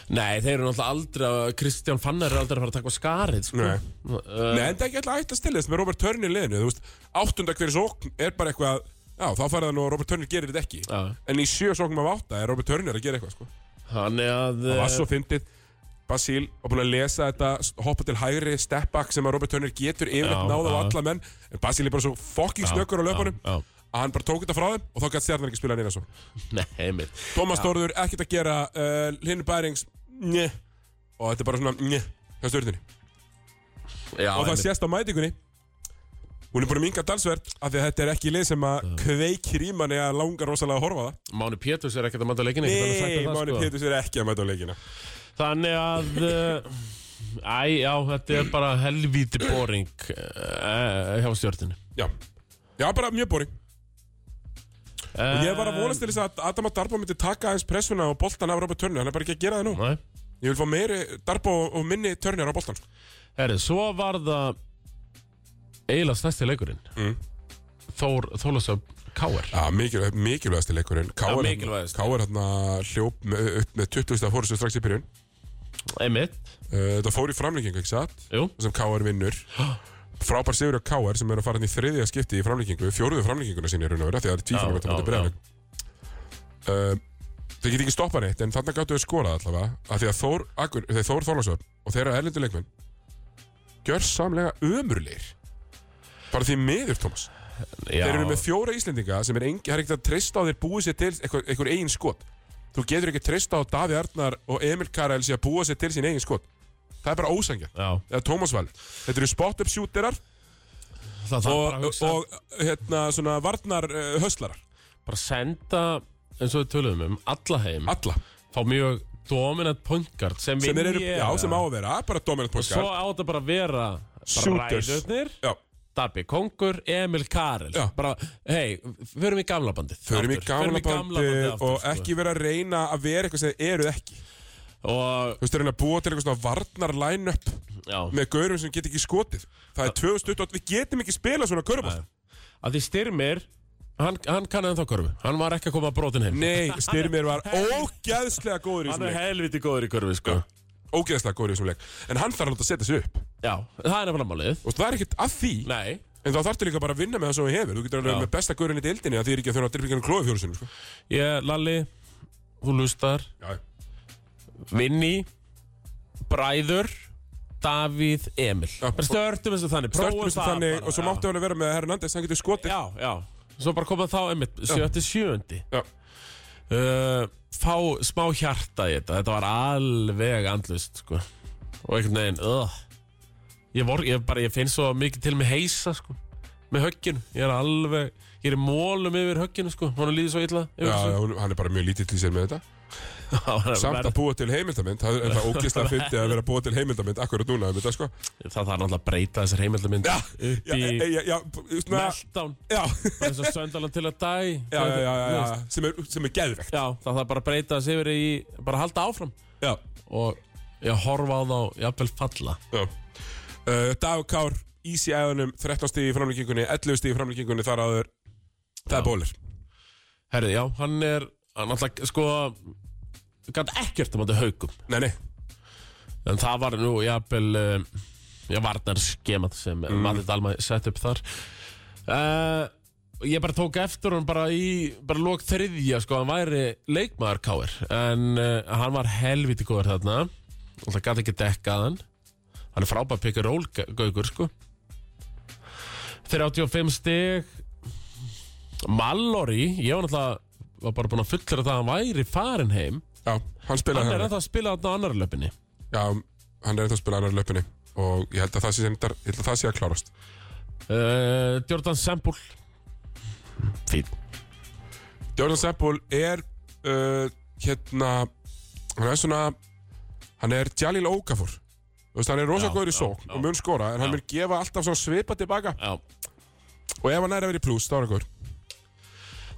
S2: Nei, þeir eru náttúrulega aldrei að Kristján Fannar er aldrei að fara að taka á skarið sko.
S1: Nei.
S2: Eh,
S1: Nei, en það er ekki alltaf ætla að stilla þess með Robert Turner í liðinu Þú veist, áttunda hverjir sókn er bara eitthvað Já, þá færði hann og Robert Turner gerir þetta ekki
S2: Já.
S1: En í sjö sóknum af átta er Robert Turner að gera eitthvað sko.
S2: Þannig að
S1: Það var svo fyndið Basíl var búin að lesa þetta s- hoppa til hægri step back sem að Robert Turner getur yfirleitt
S2: Já,
S1: náða á
S2: já.
S1: alla menn En Basíl er bara svo fucking snökkur á löpunum að hann bara tók þetta frá þeim og þá gætt stjarnan ekki spila neina svo
S2: Nei, einmitt
S1: Thomas Þórður ekkert að gera uh, Linur Bærings njö og þetta er bara svona njö hjá stjórninni
S2: já,
S1: og það sést á mætingunni hún er búin að minga dalsvert af því að þetta er ekki lið sem að kveikir í manni að langar rosalega að horfa á það
S2: Máni Péturs er ekkert að mæta leikinni
S1: Nei, Máni Péturs er ekki að mæta á leikina
S2: Þannig að uh, Æ, já, þetta er bara helvíti boring uh, hjá stjórninu
S1: Já, já bara mjög boring
S2: uh,
S1: Ég var að volast til þess að Adam að Darbo myndi taka aðeins pressuna og boltan af Robert Turner, hann er bara ekki að gera það nú
S2: Eh, Nei,
S1: Ég vil fá meiri Darbo og minni Turner á sko. boltan
S2: herri, svo var það eiginlega stærsti leikurinn
S1: Mm.
S2: Þór Þólasöf K.R.
S1: Já, mikilvæg, mikilvægasti leikurinn K.R.
S2: Já,
S1: hérna-
S2: mikilvægasti.
S1: K.R. hérna hljóp með, upp með 20. fórustu strax í byrjun
S2: Einmitt,
S1: Uh, Það fór í framlengingu, ekki satt?
S2: jú
S1: sem K.R. vinnur frábær sigur á K.R. sem er að fara inn í þriðja skipti í framlengingu, fjóruðu framlenginguna sinni í raun og vera, því að það er
S2: Já,
S1: tvíframlega
S2: já,
S1: þetta bregðan uh, Þeir geti ekki stoppað neitt en þarna gáttu þau skorað allavega af því að Þór, Akur, þeir Þór Þorlásöf og þeirra erlendu leikmenn gjör samlega ömurleir bara því miður, Thomas
S2: já,
S1: Þeir eru með fjóra Íslendinga sem er engi, það er ekkert að treysta á að þeir búið sér til einhver, einhver eigin skot Þú getur ekki treysta á Davi Arnar og Emil Karel sér að búa sér til sín eigin skot Það er bara ósangjart
S2: Já,
S1: eða Thomas Val þetta eru spot-up shooterar
S2: það þarf bara að
S1: og,
S2: hugsa
S1: og hérna svona varnar uh, höslarar,
S2: Bara senda, eins og við töluðum um, alla heim
S1: alla
S2: fá mjög dominant point guard sem,
S1: sem,
S2: vinn
S1: er,
S2: ég
S1: já, sem á að vera, Ah, bara dominant
S2: og svo
S1: podcast
S2: á þetta bara að vera bara
S1: Shooters.
S2: ræðurnir
S1: Já,
S2: Dabbi Kongur, Emil Karel
S1: Já.
S2: bara, hei, förum í gamla bandið
S1: förum í
S2: aftur,
S1: gamla bandi
S2: aftur,
S1: og
S2: sko.
S1: ekki vera að reyna að vera eitthvað sem þið eruð ekki Þú
S2: og,
S1: veist, reyna að búa til eitthvað svona varnar line-up
S2: já,
S1: með gaurum sem get ekki skotið Það er 2028, við getum ekki spilað svona körubótt
S2: að því Styrmir hann, hann kann ennþá körfu, hann var ekki að koma að brotin heim
S1: Nei, Styrmir var ógeðslega góður í
S2: hann
S1: þessum
S2: er
S1: leik
S2: helviti góður í körfu, sko já,
S1: Ógeðslega góður í þessum leik En hann þarf alltaf að setja sig upp
S2: það er nefnilega málið
S1: Og það er ekkert að því
S2: nei,
S1: En þá þarftu líka bara að vinna með það sem við hefur Þú getur alveg
S2: Já.
S1: með besta gaurinn í deildinni Það þýr ekki að þurfa að dribblingan klófi fjóru sinni sko.
S2: ég, Lalli þú lustar,
S1: Já,
S2: Vinni Bræður Davíð Emil
S1: Já,
S2: bara störtum þessu þannig,
S1: Startum
S2: prófum
S1: þessu
S2: það
S1: þannig
S2: bara,
S1: og svo
S2: já.
S1: máttu hann að vera með Hernandez Hann getur skotið
S2: Já, já Svo bara koma þá einmitt, sjötti sjöundi
S1: Já.
S2: uh, Fá smá hjarta í þetta Þetta var alveg andlust sko. Og einhvern veginn uh. ég, vor, ég, bara, ég finn svo mikið til með heisa sko. Með högginu Ég er alveg, ég er í mólum yfir högginu sko. Hún líður svo illa
S1: Já,
S2: yfir þessu.
S1: hún- hann er bara mjög lítill í sér með þetta
S2: Það var
S1: Samt að
S2: verð-
S1: búa til heimildamind Það er það ógeðslega fyndi að vera að búa til heimildamind Akkurat núna, þetta sko
S2: Það þarf náttúrulega að breyta þessar heimildamind
S1: Já,
S2: Upp
S1: já, e,
S2: í
S1: já, já, já, svona,
S2: meltdown
S1: já,
S2: Bara eins og söndalan til að dæ
S1: Hérna- já, já, já, já, já Sem er, sem er geðvegt
S2: Já, það þarf bara að breyta þessi yfir í Bara halda áfram
S1: Já,
S2: og ég horfa á þá jafnvel falla
S1: já uh, Dag Kár, ís í æðunum 13 stíð í framlíkingunni, 11 stíð í framlíkingunni Þar áður, það
S2: Já.
S1: er bólir
S2: Herri, já, hann er hann alltaf, sko gæti ekkert um að þetta haugum
S1: Nei, nei,
S2: en það var nú jafnvel uh, já, varnar skemað sem mm. Madur Dalma sett upp þar uh, ég bara tók eftir hann bara í, bara lók þriðja sko, hann væri leikmaður káir en uh, hann var helviti góður þarna og það gæti ekki dekkað hann hann er frábæð pikkur rólgaugur sko 35 stig Mallory, ég var náttúrulega var bara búin að fullera það að hann væri farin heim
S1: já, hann
S2: hann
S1: spilaði
S2: er
S1: hann
S2: ennþá að spila þarna á annar löpunni
S1: Já, hann er eitthvað að spila annar löpunni Og ég held að það sé, sem, ég held að, það sé að klárast
S2: uh, Jordan Sembúl Fín
S1: Jordan Seppel er uh, hérna hann er svona hann er Jalil Okafor Þú veist, hann er rosa
S2: Já,
S1: góður í
S2: já,
S1: sókn
S2: já.
S1: og mun skora en hann
S2: Já.
S1: mun gefa alltaf svona svipa tilbaka
S2: Já.
S1: og ef hann er að vera í pluss, þá er hann góður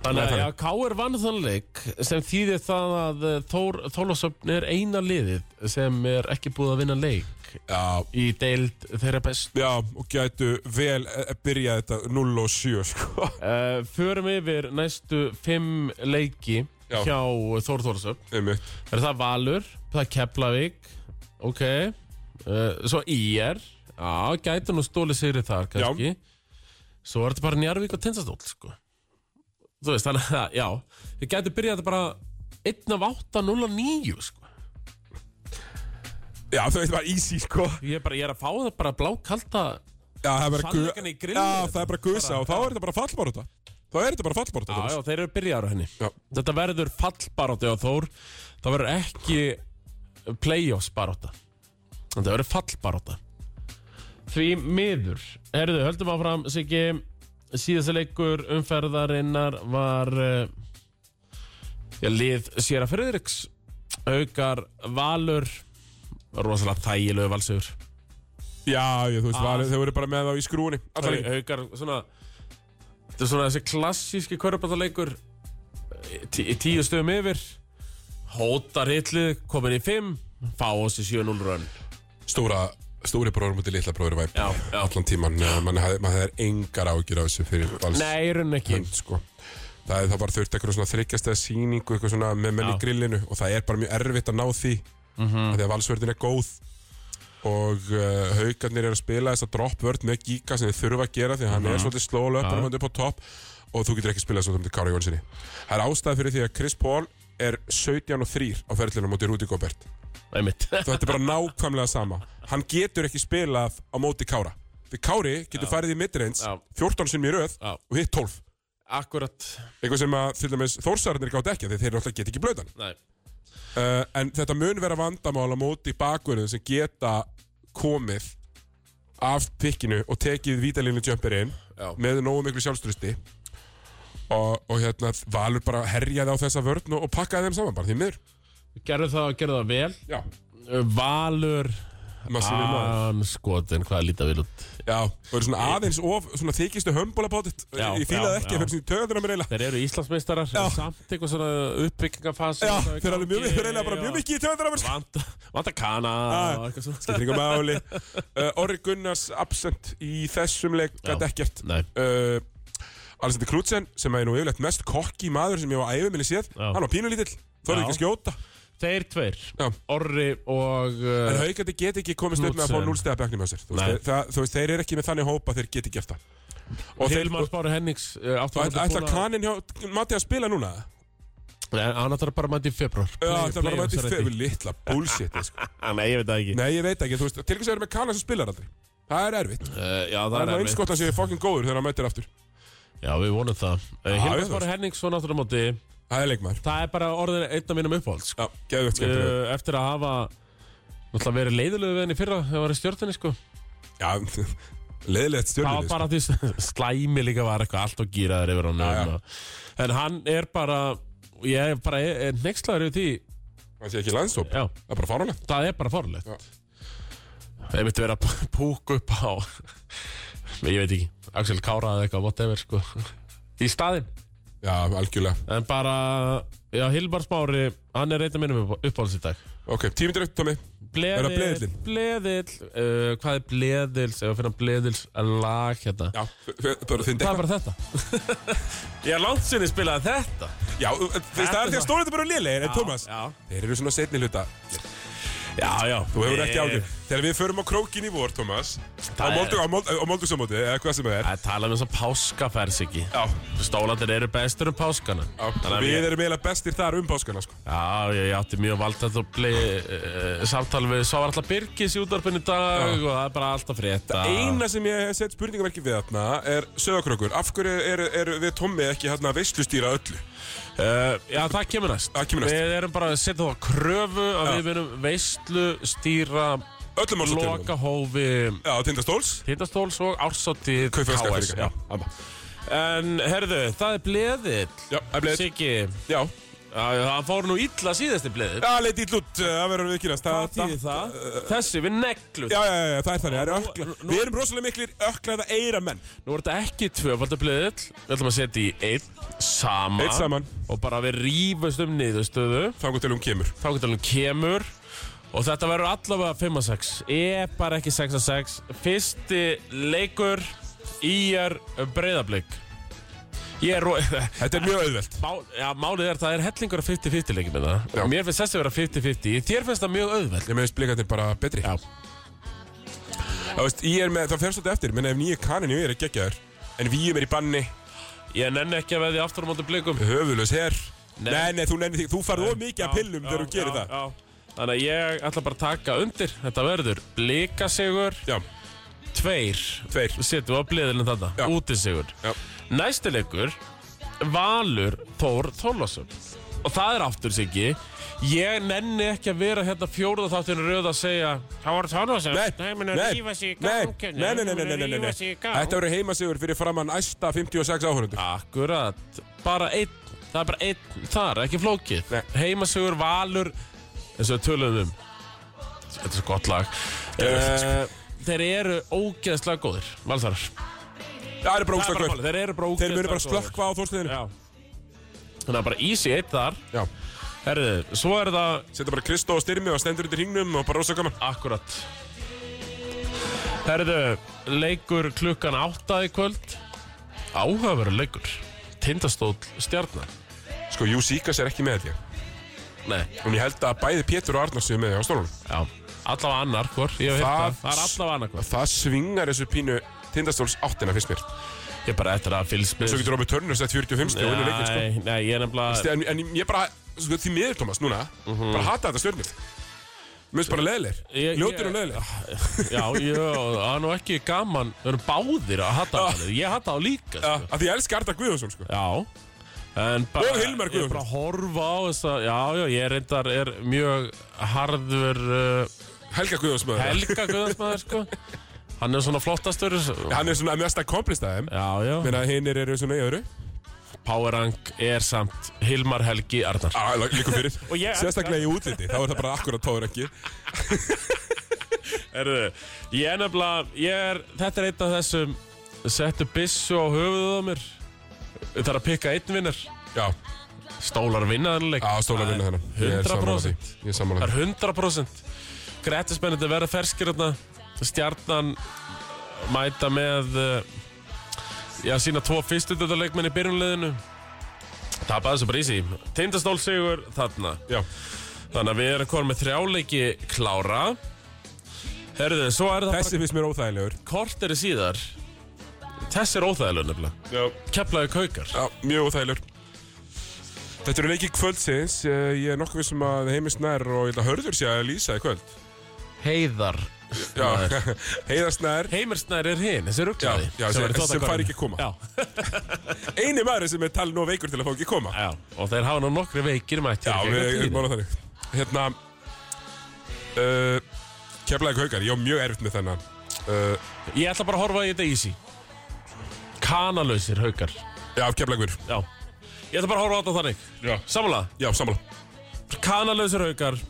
S2: Þannig
S1: Nei,
S2: að
S1: þannig.
S2: ja, K.R. vann þann leik sem þýðir það að eh, Þór Þólasöfn er eina liðið sem er ekki búið að vinna leik
S1: Já,
S2: í deild þeirra best
S1: já og gætu vel að byrja þetta 0 og 7 sko.
S2: uh, Förum yfir næstu fimm leiki
S1: Já.
S2: hjá Þór Þólasöfn
S1: Einmitt.
S2: Er það Valur, það er Keflavík Ok uh, Svo IR Já, gæti nú stóli sigri þar kannski Svo er þetta bara Njarvík og Tindastól sko. Þú veist, þannig að Já, við gæti byrjað þetta bara 1 af 8, 0 af 9 sko.
S1: Já, þú veist, það var easy sko.
S2: ég, er bara, ég er að fá það bara blákalda
S1: Já, það er bara, gu-
S2: Sannleikann í grillinu,
S1: já,
S2: þetta
S1: það er bara gusa og þá er þetta bara fallbaróta Þá er þetta bara fallbaróta
S2: Já, já, þeir eru byrjaður á henni
S1: Já.
S2: Þetta verður fallbaróta á Þór Það verður ekki playoffs baróta Þetta verður fallbaróta Því miður Herðu, höldum áfram, Siggi Síðasta leikur umferðarinnar var eh, Já, lið Sera Friðriks Haukar Valur Rosalega þægilegu valsugur
S1: Já, ég, þú veist,
S2: Ah.
S1: var, þau voru bara með þá í skrúni Alla
S2: Hau-
S1: leikina.
S2: haukar svona þetta er svona þessi klassíski kvörbáttaleikur tí, tíu stöðum yfir hótar hitlið, komin í fimm fá á sig 7-0 rönn
S1: Stóra, stóri bróður mútið litla bróður væp
S2: Já, já.
S1: Allan tíman, mann hafði man hafði engar ágjur á þessu fyrir vals
S2: nei, rönn ekki
S1: hönd, sko. Það, er- það var þurft eitthvað svona þryggjastæða sýningu eitthvað svona með menn í
S2: Já. Mhm.
S1: grillinu og það er bara mjög erfitt að ná því mm þegar valsvörðin er góð og uh, haugarnir eru að spila þess að droppvörð með gíka sem þið þurfa að gera því að hann
S2: Mhm.
S1: er svolítið slóla upp, hann upp á topp og þú getur ekki spilað svolítið með Kára Jónssoni Það er ástæða fyrir því að Chris Paul er 17 og 3 á ferlinu á móti Rúdi Gobert
S2: einmitt
S1: þetta er bara nákvæmlega sama hann getur ekki spilað á móti Kára því Kári getur farið í midreins
S2: Já.
S1: 14 sinni í röð
S2: Já.
S1: og hitt 12
S2: akkurat
S1: eitthvað sem að til dæmis þórsarnir gátt ekki af því þeir náttúrulega get ekki blöðan
S2: nei,
S1: uh, en þetta mun vera vandamál á móti bakverðin sem geta komið af pikkinu og tekið vítalínu jumperinn
S2: Já.
S1: með nógu miklu sjálfstrusti og, og hérna Valur bara herjaði á þessa vörn og, og pakkaði þeim saman bara því miður
S2: gerðu það og gerðu það vel
S1: Já,
S2: Valur
S1: massífur
S2: Ah.
S1: maður
S2: anskotin, hvað líta vil út
S1: Já, og eru svona aðeins of svona þykistu hömbólabátitt
S2: Já,
S1: Ég fílaði
S2: já,
S1: ekki,
S2: já.
S1: ég fyrir svona í töðunum reyla
S2: Þeir eru Íslandsmeistarar,
S1: Já.
S2: samt eitthvað svona uppbyggingafasa
S1: Já, þeir eru alveg mjög, þeir eru eiginlega bara mjög mikið í töðunum reyla
S2: Vanta, vanta kana
S1: Já.
S2: og eitthvað svona
S1: Skiptir ykkur máli uh, Orri Gunnars absent í þessum leik gæti ekkert
S2: Nei,
S1: uh, Alexander Knudsen sem er nú yfirlegt mest kokki maður sem ég var æfið minni séð
S2: Já.
S1: Hann var pínulítill, þorði
S2: Já.
S1: ekki að skjóta
S2: þeir tveir,
S1: Já.
S2: Orri og
S1: En
S2: uh,
S1: haugandi get ekki komist upp með að fá
S2: Knudsen.
S1: núlstega bekknum á sér þú
S2: Nei.
S1: veist, það, þú veist, þeir eru ekki með þannig hópa, þeir get ekki gert það Og þeir,
S2: Hilmar Báru Hennings uh, áttu
S1: ætla, ætla kaninn hjá Matti að spila núna?
S2: Nei, hann ætlar bara að mæta í februar
S1: Já, það var mætti fyrir litla bullshit sko.
S2: Ah, Nei, ég veit það ekki
S1: Nei, ég veit ekki, þú veist, til hvers að vera með kanna sem spilar aldrei Það er erfitt,
S2: Uh, já, það,
S1: það er
S2: er
S1: eins
S2: einmitt.
S1: gott að sé fokkin góður þegar hann mætir aftur
S2: Já, við vonum það. Uh,
S1: Já,
S2: Hilmar
S1: ég
S2: Báru
S1: veist.
S2: Hennings og náttúrulega á móti,
S1: Það er leikmaður,
S2: það er bara orðin einn af mínum uppáhalds.
S1: já, geðvegt skemmtilegur
S2: Uh, eftir að hafa náttúrulega verið leiðilegu við henni í fyrra þegar það var í stjórninni sko
S1: Já, sko. leiðilegt
S2: það var
S1: stjórnulist
S2: bara því s- slæmi líka var eitthvað allt og gýraður yfir hann
S1: Já, já.
S2: en hann er bara ég er bara er nexlaður yfir því
S1: Það sé ekki landsóp,
S2: já,
S1: það er bara farulegt
S2: það er bara forlegt
S1: Já.
S2: það myndi vera að p- púka upp á ég veit ekki, Axel Kára eða eitthvað whatever sko í staðinn,
S1: Já, algjörlega
S2: en bara já, Hilmar Smári, hann er reynda minnum uppáhalds í dag
S1: Ok, tímindir upp, Tómi Er það
S2: Bleðill,
S1: Bleðillinn?
S2: bleðill uh, Hvað er bleðils, ef að finna bleðils lag hérna
S1: Já, f- f- bara þinn
S2: Það er
S1: dekka
S2: bara þetta Ég er langt sinni spilaði þetta
S1: Já, þú veist, það er því að stóriður bara lélegir, en Tómas
S2: Já,
S1: Þeir eru svona setni hluta
S2: já, já
S1: Þú hefur ekki ágjör Þegar við förum á krókin í vor, Tómas Á
S2: Eh. Það er-
S1: Moldu- á Mold- á Moldugsamóti, eða hvað sem það er
S2: Það er talað um þess að páska færs ekki
S1: Já,
S2: Stólandir eru bestur um páskana
S1: já
S2: Þannig að
S1: Við
S2: ég-
S1: erum eiginlega bestir þar um páskana, sko
S2: Já, ég, ég átti mjög valdætt og blei uh, samtal við Sá var alltaf Birgis í útvarpinu í dag
S1: Já.
S2: og það er bara alltaf frétta
S1: Eina sem ég hef sett spurningamerki við þarna er söðakrökkur, af hverju eru er, við Tommi ekki hérna veistlustýra öllu?
S2: Uh, já, það kemur næst.
S1: Það kemur næst.
S2: Við erum bara að setja þá kröfu að
S1: Já.
S2: við munum veistlu, stýra,
S1: Öllum árshátíðunum.
S2: loka hófi,
S1: Já, Tindastóls
S2: tindastóls og ársáttíð
S1: Kaupfélagsskattar
S2: KS.
S1: líka.
S2: Já. En, herðu, það er bleðill.
S1: Já, það er bleðill.
S2: Siggi,
S1: Já,
S2: já, það fór nú illa síðasti bleðill.
S1: það leit íll út, uh, það verður við kynast
S2: Hvað þýðir það? Þessi, við neglum.
S1: Já, já, já, já, það er þannig, það er ökla
S2: nú-
S1: Við erum rosalega miklir ökla eða eira menn
S2: Nú er þetta ekki tvöfaldar bleðill. Við ætlum að setja í einn saman.
S1: Einn saman.
S2: Og bara við rífast um niðurstöðu.
S1: Þangu til hún kemur
S2: þá getur hann kemur og þetta verður allavega 5 að 6 ég bara ekki 6 að 6 fyrsti leikur íjar breyðablík ég er ró-
S1: Þetta er mjög auðvelt
S2: Má, já, málið er það er hellingur af 50-50 leikum með það
S1: Já.
S2: og mér finnst þessi vera 50-50 þér finnst það mjög auðveld
S1: Ég meðist blikandir bara betri
S2: já,
S1: Það veist, ég er með, það fer svolítið eftir Menna ef nýju kaninu er að gegja þér En víum er í banni,
S2: ég nenni ekki að veði aftur á móti blikum
S1: höfuðlaus her
S2: Nei.
S1: Nei, nei, þú nennir því, þú farð of mikið að pillum þegar þú gerir það
S2: já, já. þannig að ég ætla bara að taka undir þetta verður blikasegur
S1: Já,
S2: tveir
S1: tveir
S2: setjum við á bliðilin
S1: Já.
S2: þetta útisegur
S1: Já,
S2: Næsti leikur Valur Þór Þórlásson Og það er aftur Siggi Ég nenni ekki að vera hérna fjórða þáttinu röð að segja Það voru Þórlásson
S1: Nei,
S2: Nei,
S1: nei,
S2: munu rífa sig í gang
S1: nei, nei, nei, nei, nei, nei, nei, nei. Þetta verður heimasigur fyrir framann æsta 56 áhörundur
S2: Akkurat Bara einn Það er bara einn þar, ekki flókið
S1: Nei.
S2: Heimasugur Valur eins og við töluðum um Þetta er svo gott lag uh, Þeir eru ógeðslega góðir Valsarar
S1: Það er bara
S2: Það er
S1: óslag
S2: bara málið, Þeir eru
S1: Þeir
S2: bara ógeðslega
S1: munu bara
S2: góðir.
S1: slökkva á þórsliðinu
S2: Já Þannig að bara easy eitt þar
S1: Já,
S2: Herðu, svo er það
S1: setja bara Kristó og styrmi og stendur undir hringnum og bara rosa gaman
S2: akkurat Herðu, leikur klukkan átta í kvöld Áhugaveru leikur Tindastóll stjarnar
S1: Sko, Jú Sýkas er ekki með þetta ég.
S2: Nei,
S1: En ég held að bæði Pétur og Arnar séu með á stólunum
S2: já Allavega annar hvort, ég hef
S1: Það-
S2: hitt það Það er allavega annar hvort
S1: Það svingar þessu pínu tindastóls áttina fyrst mér
S2: Ég bara eftir að fylgst með
S1: Svo getur Robert Turner sett 45 stíð og unni leikin sko.
S2: Nei, nei, ég er nefnilega
S1: en, en ég bara, sko, því miður Thomas núna Bara hata þetta stjórnir Mér finnst bara leðilegir,
S2: Ég-
S1: ljótir
S2: ég-
S1: og leðilegir
S2: Já, ég, það er nú ekki gaman Við erum báðir að hata hann Ég hata hann líka
S1: Já,
S2: sko.
S1: af Því ég elska Arnar Guðjónsson sko.
S2: Já En bara,
S1: Og Hilmar
S2: Ég er bara
S1: Guðjónsson.
S2: að horfa á þess að Já, já, ég reyndar er mjög harður uh,
S1: Helga Guðjónsson
S2: Helga Guðansmaður sko Hann er svona flottastur Já,
S1: Hann er svona mest að komplista þeim
S2: já
S1: Meina hinnir eru svona í öðru
S2: Power Rank er samt Hilmar Helgi Arnar
S1: Á, Líka fyrir
S2: Og ég-
S1: Sérstaklega í útliti Þá er það bara akkurat tóður ekki
S2: Erðu, ég er nefnilega ég er, Þetta er eitt af þessum Settu byssu á höfuðuð á mér Það er að pikka einn vinnar
S1: Já,
S2: Stólar vinnaðanleik
S1: á stóla vinna þennan Ég er sammála því.
S2: 100%
S1: Ég er sammála
S2: Það
S1: því
S2: er 100% Grettismennandi verða ferskir þarna Stjarnan mæta með uh, Já, sína tvo fyrstutöldarleikmenn í byrjunliðinu Tapaði þessu bara í sí Tindastól sigur þarna
S1: Já,
S2: Þannig að við erum komin með þrjáleiki klára Herðu, svo er það
S1: þessi finnst mér óþægilegur
S2: bara kort eru síðar Þessi er óþægilega nefnilega
S1: Já,
S2: Keflaði kaukar
S1: Já, mjög óþægilegur Þetta eru leiki kvöldsins Eh, Ég er nokkuð vissum að Heimis Nær og ég held að Hörður sé að lýsa í kvöld
S2: Heiðar
S1: Já, Heiðar Snær
S2: Heimersnær er hinn, þessi rugglaði
S1: Já, já, sem- sem fær ekki að koma.
S2: Já,
S1: Einu maður sem er talin og veikur til að fá ekki að koma
S2: Já, og þeir hafa nú nokkri veikir mættir
S1: Já,
S2: í
S1: við
S2: gegnum
S1: erum
S2: tíðina.
S1: málað þannig Hérna uh, Keflaði haukar, ég á mjög erfitt með þennan uh,
S2: Ég ætla bara að horfa í þetta easy Kanalausir haukar
S1: Já,
S2: Já
S1: keflaðingur
S2: Ég ætla bara að horfa á þetta þannig
S1: Já,
S2: Samanlega,
S1: já sammála
S2: kanalausir haukar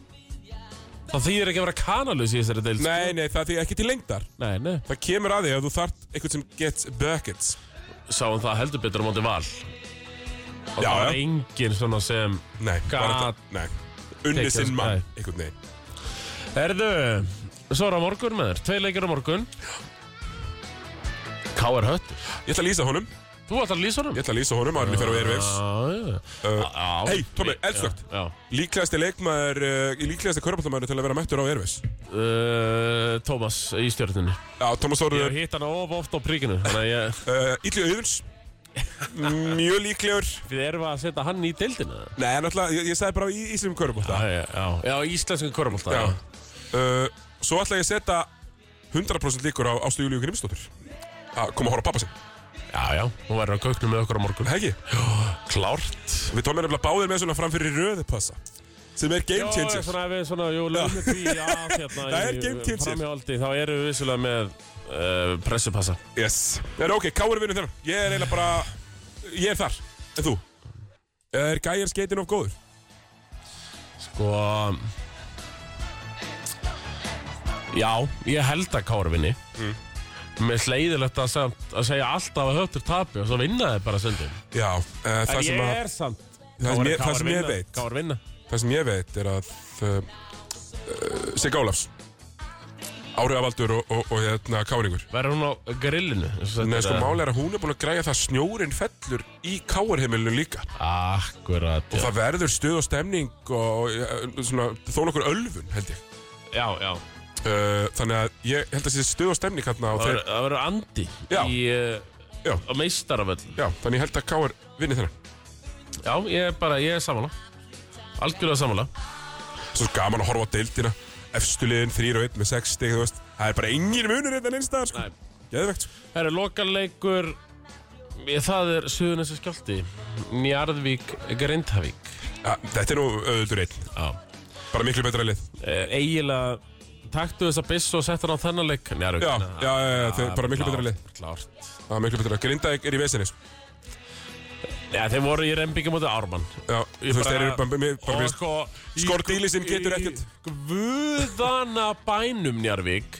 S2: Það þýðir ekki að vera kanalaus í þessari deild
S1: Nei, nei, það er ekki til lengdar
S2: Nei, nei
S1: Það kemur að því að þú þart eitthvað sem gets buckets
S2: Sáum það heldur betur á móti val Og
S1: Já,
S2: það var
S1: já.
S2: engin svona sem
S1: Nei, bara
S2: Gat-
S1: þetta Nei, unni
S2: Tekið
S1: sinn
S2: þessu-
S1: mann
S2: nei.
S1: Eitthvað nei
S2: Erðu Svo er á morgun með þér Tvei leikir á morgun K.R. Höttur
S1: Ég ætla að lýsa honum
S2: Þú ætlar að lýsa honum
S1: Ég ætla að lýsa honum Arni fer á Airwaves Uh,
S2: Já
S1: hey, Tommi, eldsnöggt.
S2: Já, já.
S1: Líklegasti leikmaður uh, Líklegasti körbáttamæður til að vera mættur á Airwaves
S2: Uh, Tómas í stjórnunni
S1: Já, Thomas
S2: Ég hef
S1: Þóruður
S2: hitt hann of oft á príkinu Þannig að ég,
S1: uh, Ítli Auðuns Mjög líklegur
S2: við erum að setja hann í deildina
S1: Nei, náttúrulega, ég, ég sagði bara í Ísum körbáttamæður
S2: Já, já, já, já íslensku korfbólta
S1: Já. Uh, svo ætla ég að setja 100% líkur á Ástu Júlíu Grimsdóttir að koma að horfa á pappa sinn
S2: já, já, hún verður á köknum með okkur á morgun
S1: Hegi,
S2: Klárt
S1: við tómum nefnilega báðir með svona framfyrir röðu passa sem er game
S2: Já,
S1: changer
S2: svona, við, svona, jú, lögum við því að hérna
S1: Það er
S2: í-
S1: game changer.
S2: Framhjáldi, þá erum við vissulega með uh, pressupassa
S1: Yes, en ok, hvað er vinnum þennan? Ég er eiginlega bara ég er þar, en þú? Er gæjar skeitin of góður?
S2: Sko Já, ég held að kárvinni mm. Með sleiðilegt að, samt, að segja alltaf að höftur tapi og svo vinna þið bara söndum
S1: Já, uh, það, sem að,
S2: samt
S1: það, sem ég, það sem ég
S2: vinna,
S1: veit
S2: Kár vinna
S1: það sem ég veit er að uh, uh, Sig Ólafs Áriðavaldur og, og, og hérna Káringur
S2: Verður hún á grillinu?
S1: Nei, sko, máli er að hún er búin að græja það að snjórinn fellur í káarheimilinu líka.
S2: Akkurat,
S1: Og
S2: já.
S1: það verður stuð og stemning og eh, svona, þó nokkur ölfun, held ég.
S2: já, já
S1: Uh, þannig að ég held að þessi stuð og stemning hérna á
S2: Það
S1: þeir...
S2: verður- það verður andi
S1: Já.
S2: í,
S1: Já.
S2: uh, á meistaravöll
S1: Já, þannig ég held að káar vinni þennan.
S2: Já, ég er bara, ég er samanlega Algjörlega samanlega
S1: Svo gaman að horfa á deildina. Efstuliðin 3 og 1 með 6 stig, þú veist. Það er bara engin munur hérna einnstaðar, sko.
S2: Nei.
S1: Geðvegt.
S2: Það eru lokaleikur ég, Það er Suðunessu skjálti Njarðvík, Grindavík
S1: Ja, þetta er nú öðuldur einn.
S2: Já
S1: Bara miklu betra lið.
S2: Eigilega Taktu þessa byssu og settu hann á þennan leik Njarðvík
S1: Já,
S2: na-
S1: já, já, já, þau
S2: Ah,
S1: bara miklu
S2: klárt,
S1: betra lið.
S2: Klárt
S1: Já, miklu betra. Grindavík er í vesinni, sko.
S2: Já, þeir voru í reymbyggjum út af Ármann
S1: Já, þú veist,
S2: bara-
S1: þeir eru bara, mér- bara,
S2: Og
S1: mér-
S2: sko-
S1: Skordýli sem getur
S2: í-
S1: ekkert.
S2: Guðana bænum Njarvík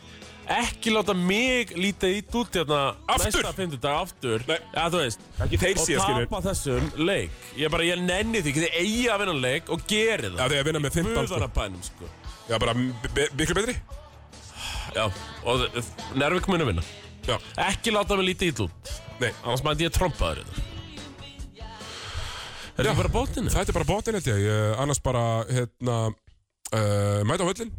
S2: Ekki láta mig líta ít út hérna
S1: Aftur.
S2: Næsta fyndudag aftur
S1: Nei.
S2: Já, þú veist
S1: Ekki þeir
S2: Og
S1: síðan, skilur.
S2: tapa þessum leik Ég bara, ég nenni því Þið eigi að vinna leik og geri það
S1: Já, þau eiga að vinna með 15, sko.
S2: Guðana bænum, sko
S1: Já, bara m- be- miklu betri.
S2: Já, og Njarvík muni vinna
S1: Já,
S2: Ekki láta mig líta ít út
S1: nei.
S2: Annars mætti ég trompaður þetta Er
S1: Já.
S2: þetta bara bótinu?
S1: Þetta er bara bótinn held ég, ég annars bara hérna, uh, mæta á höllin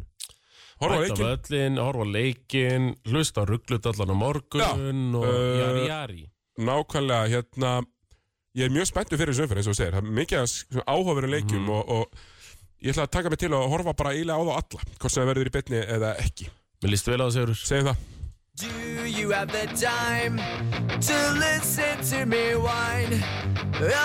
S1: horfa á
S2: Mæta
S1: leikin
S2: völlin, horfa á leikinn, hlusta á rugglutallan á morgun
S1: Já.
S2: og
S1: Eh,
S2: jari jari.
S1: nákvæmlega hérna, ég er mjög spenntur fyrir þessu umferð eins og þú segir, það er mikið áhugaverðin leikjum og, og ég ætla að taka mig til að horfa bara eiginlega á þá alla, hvort sem það verður í betni eða ekki,
S2: Mér líst vel á það, Sigurður.
S1: segjum það
S4: Do you have the time to listen to me whine?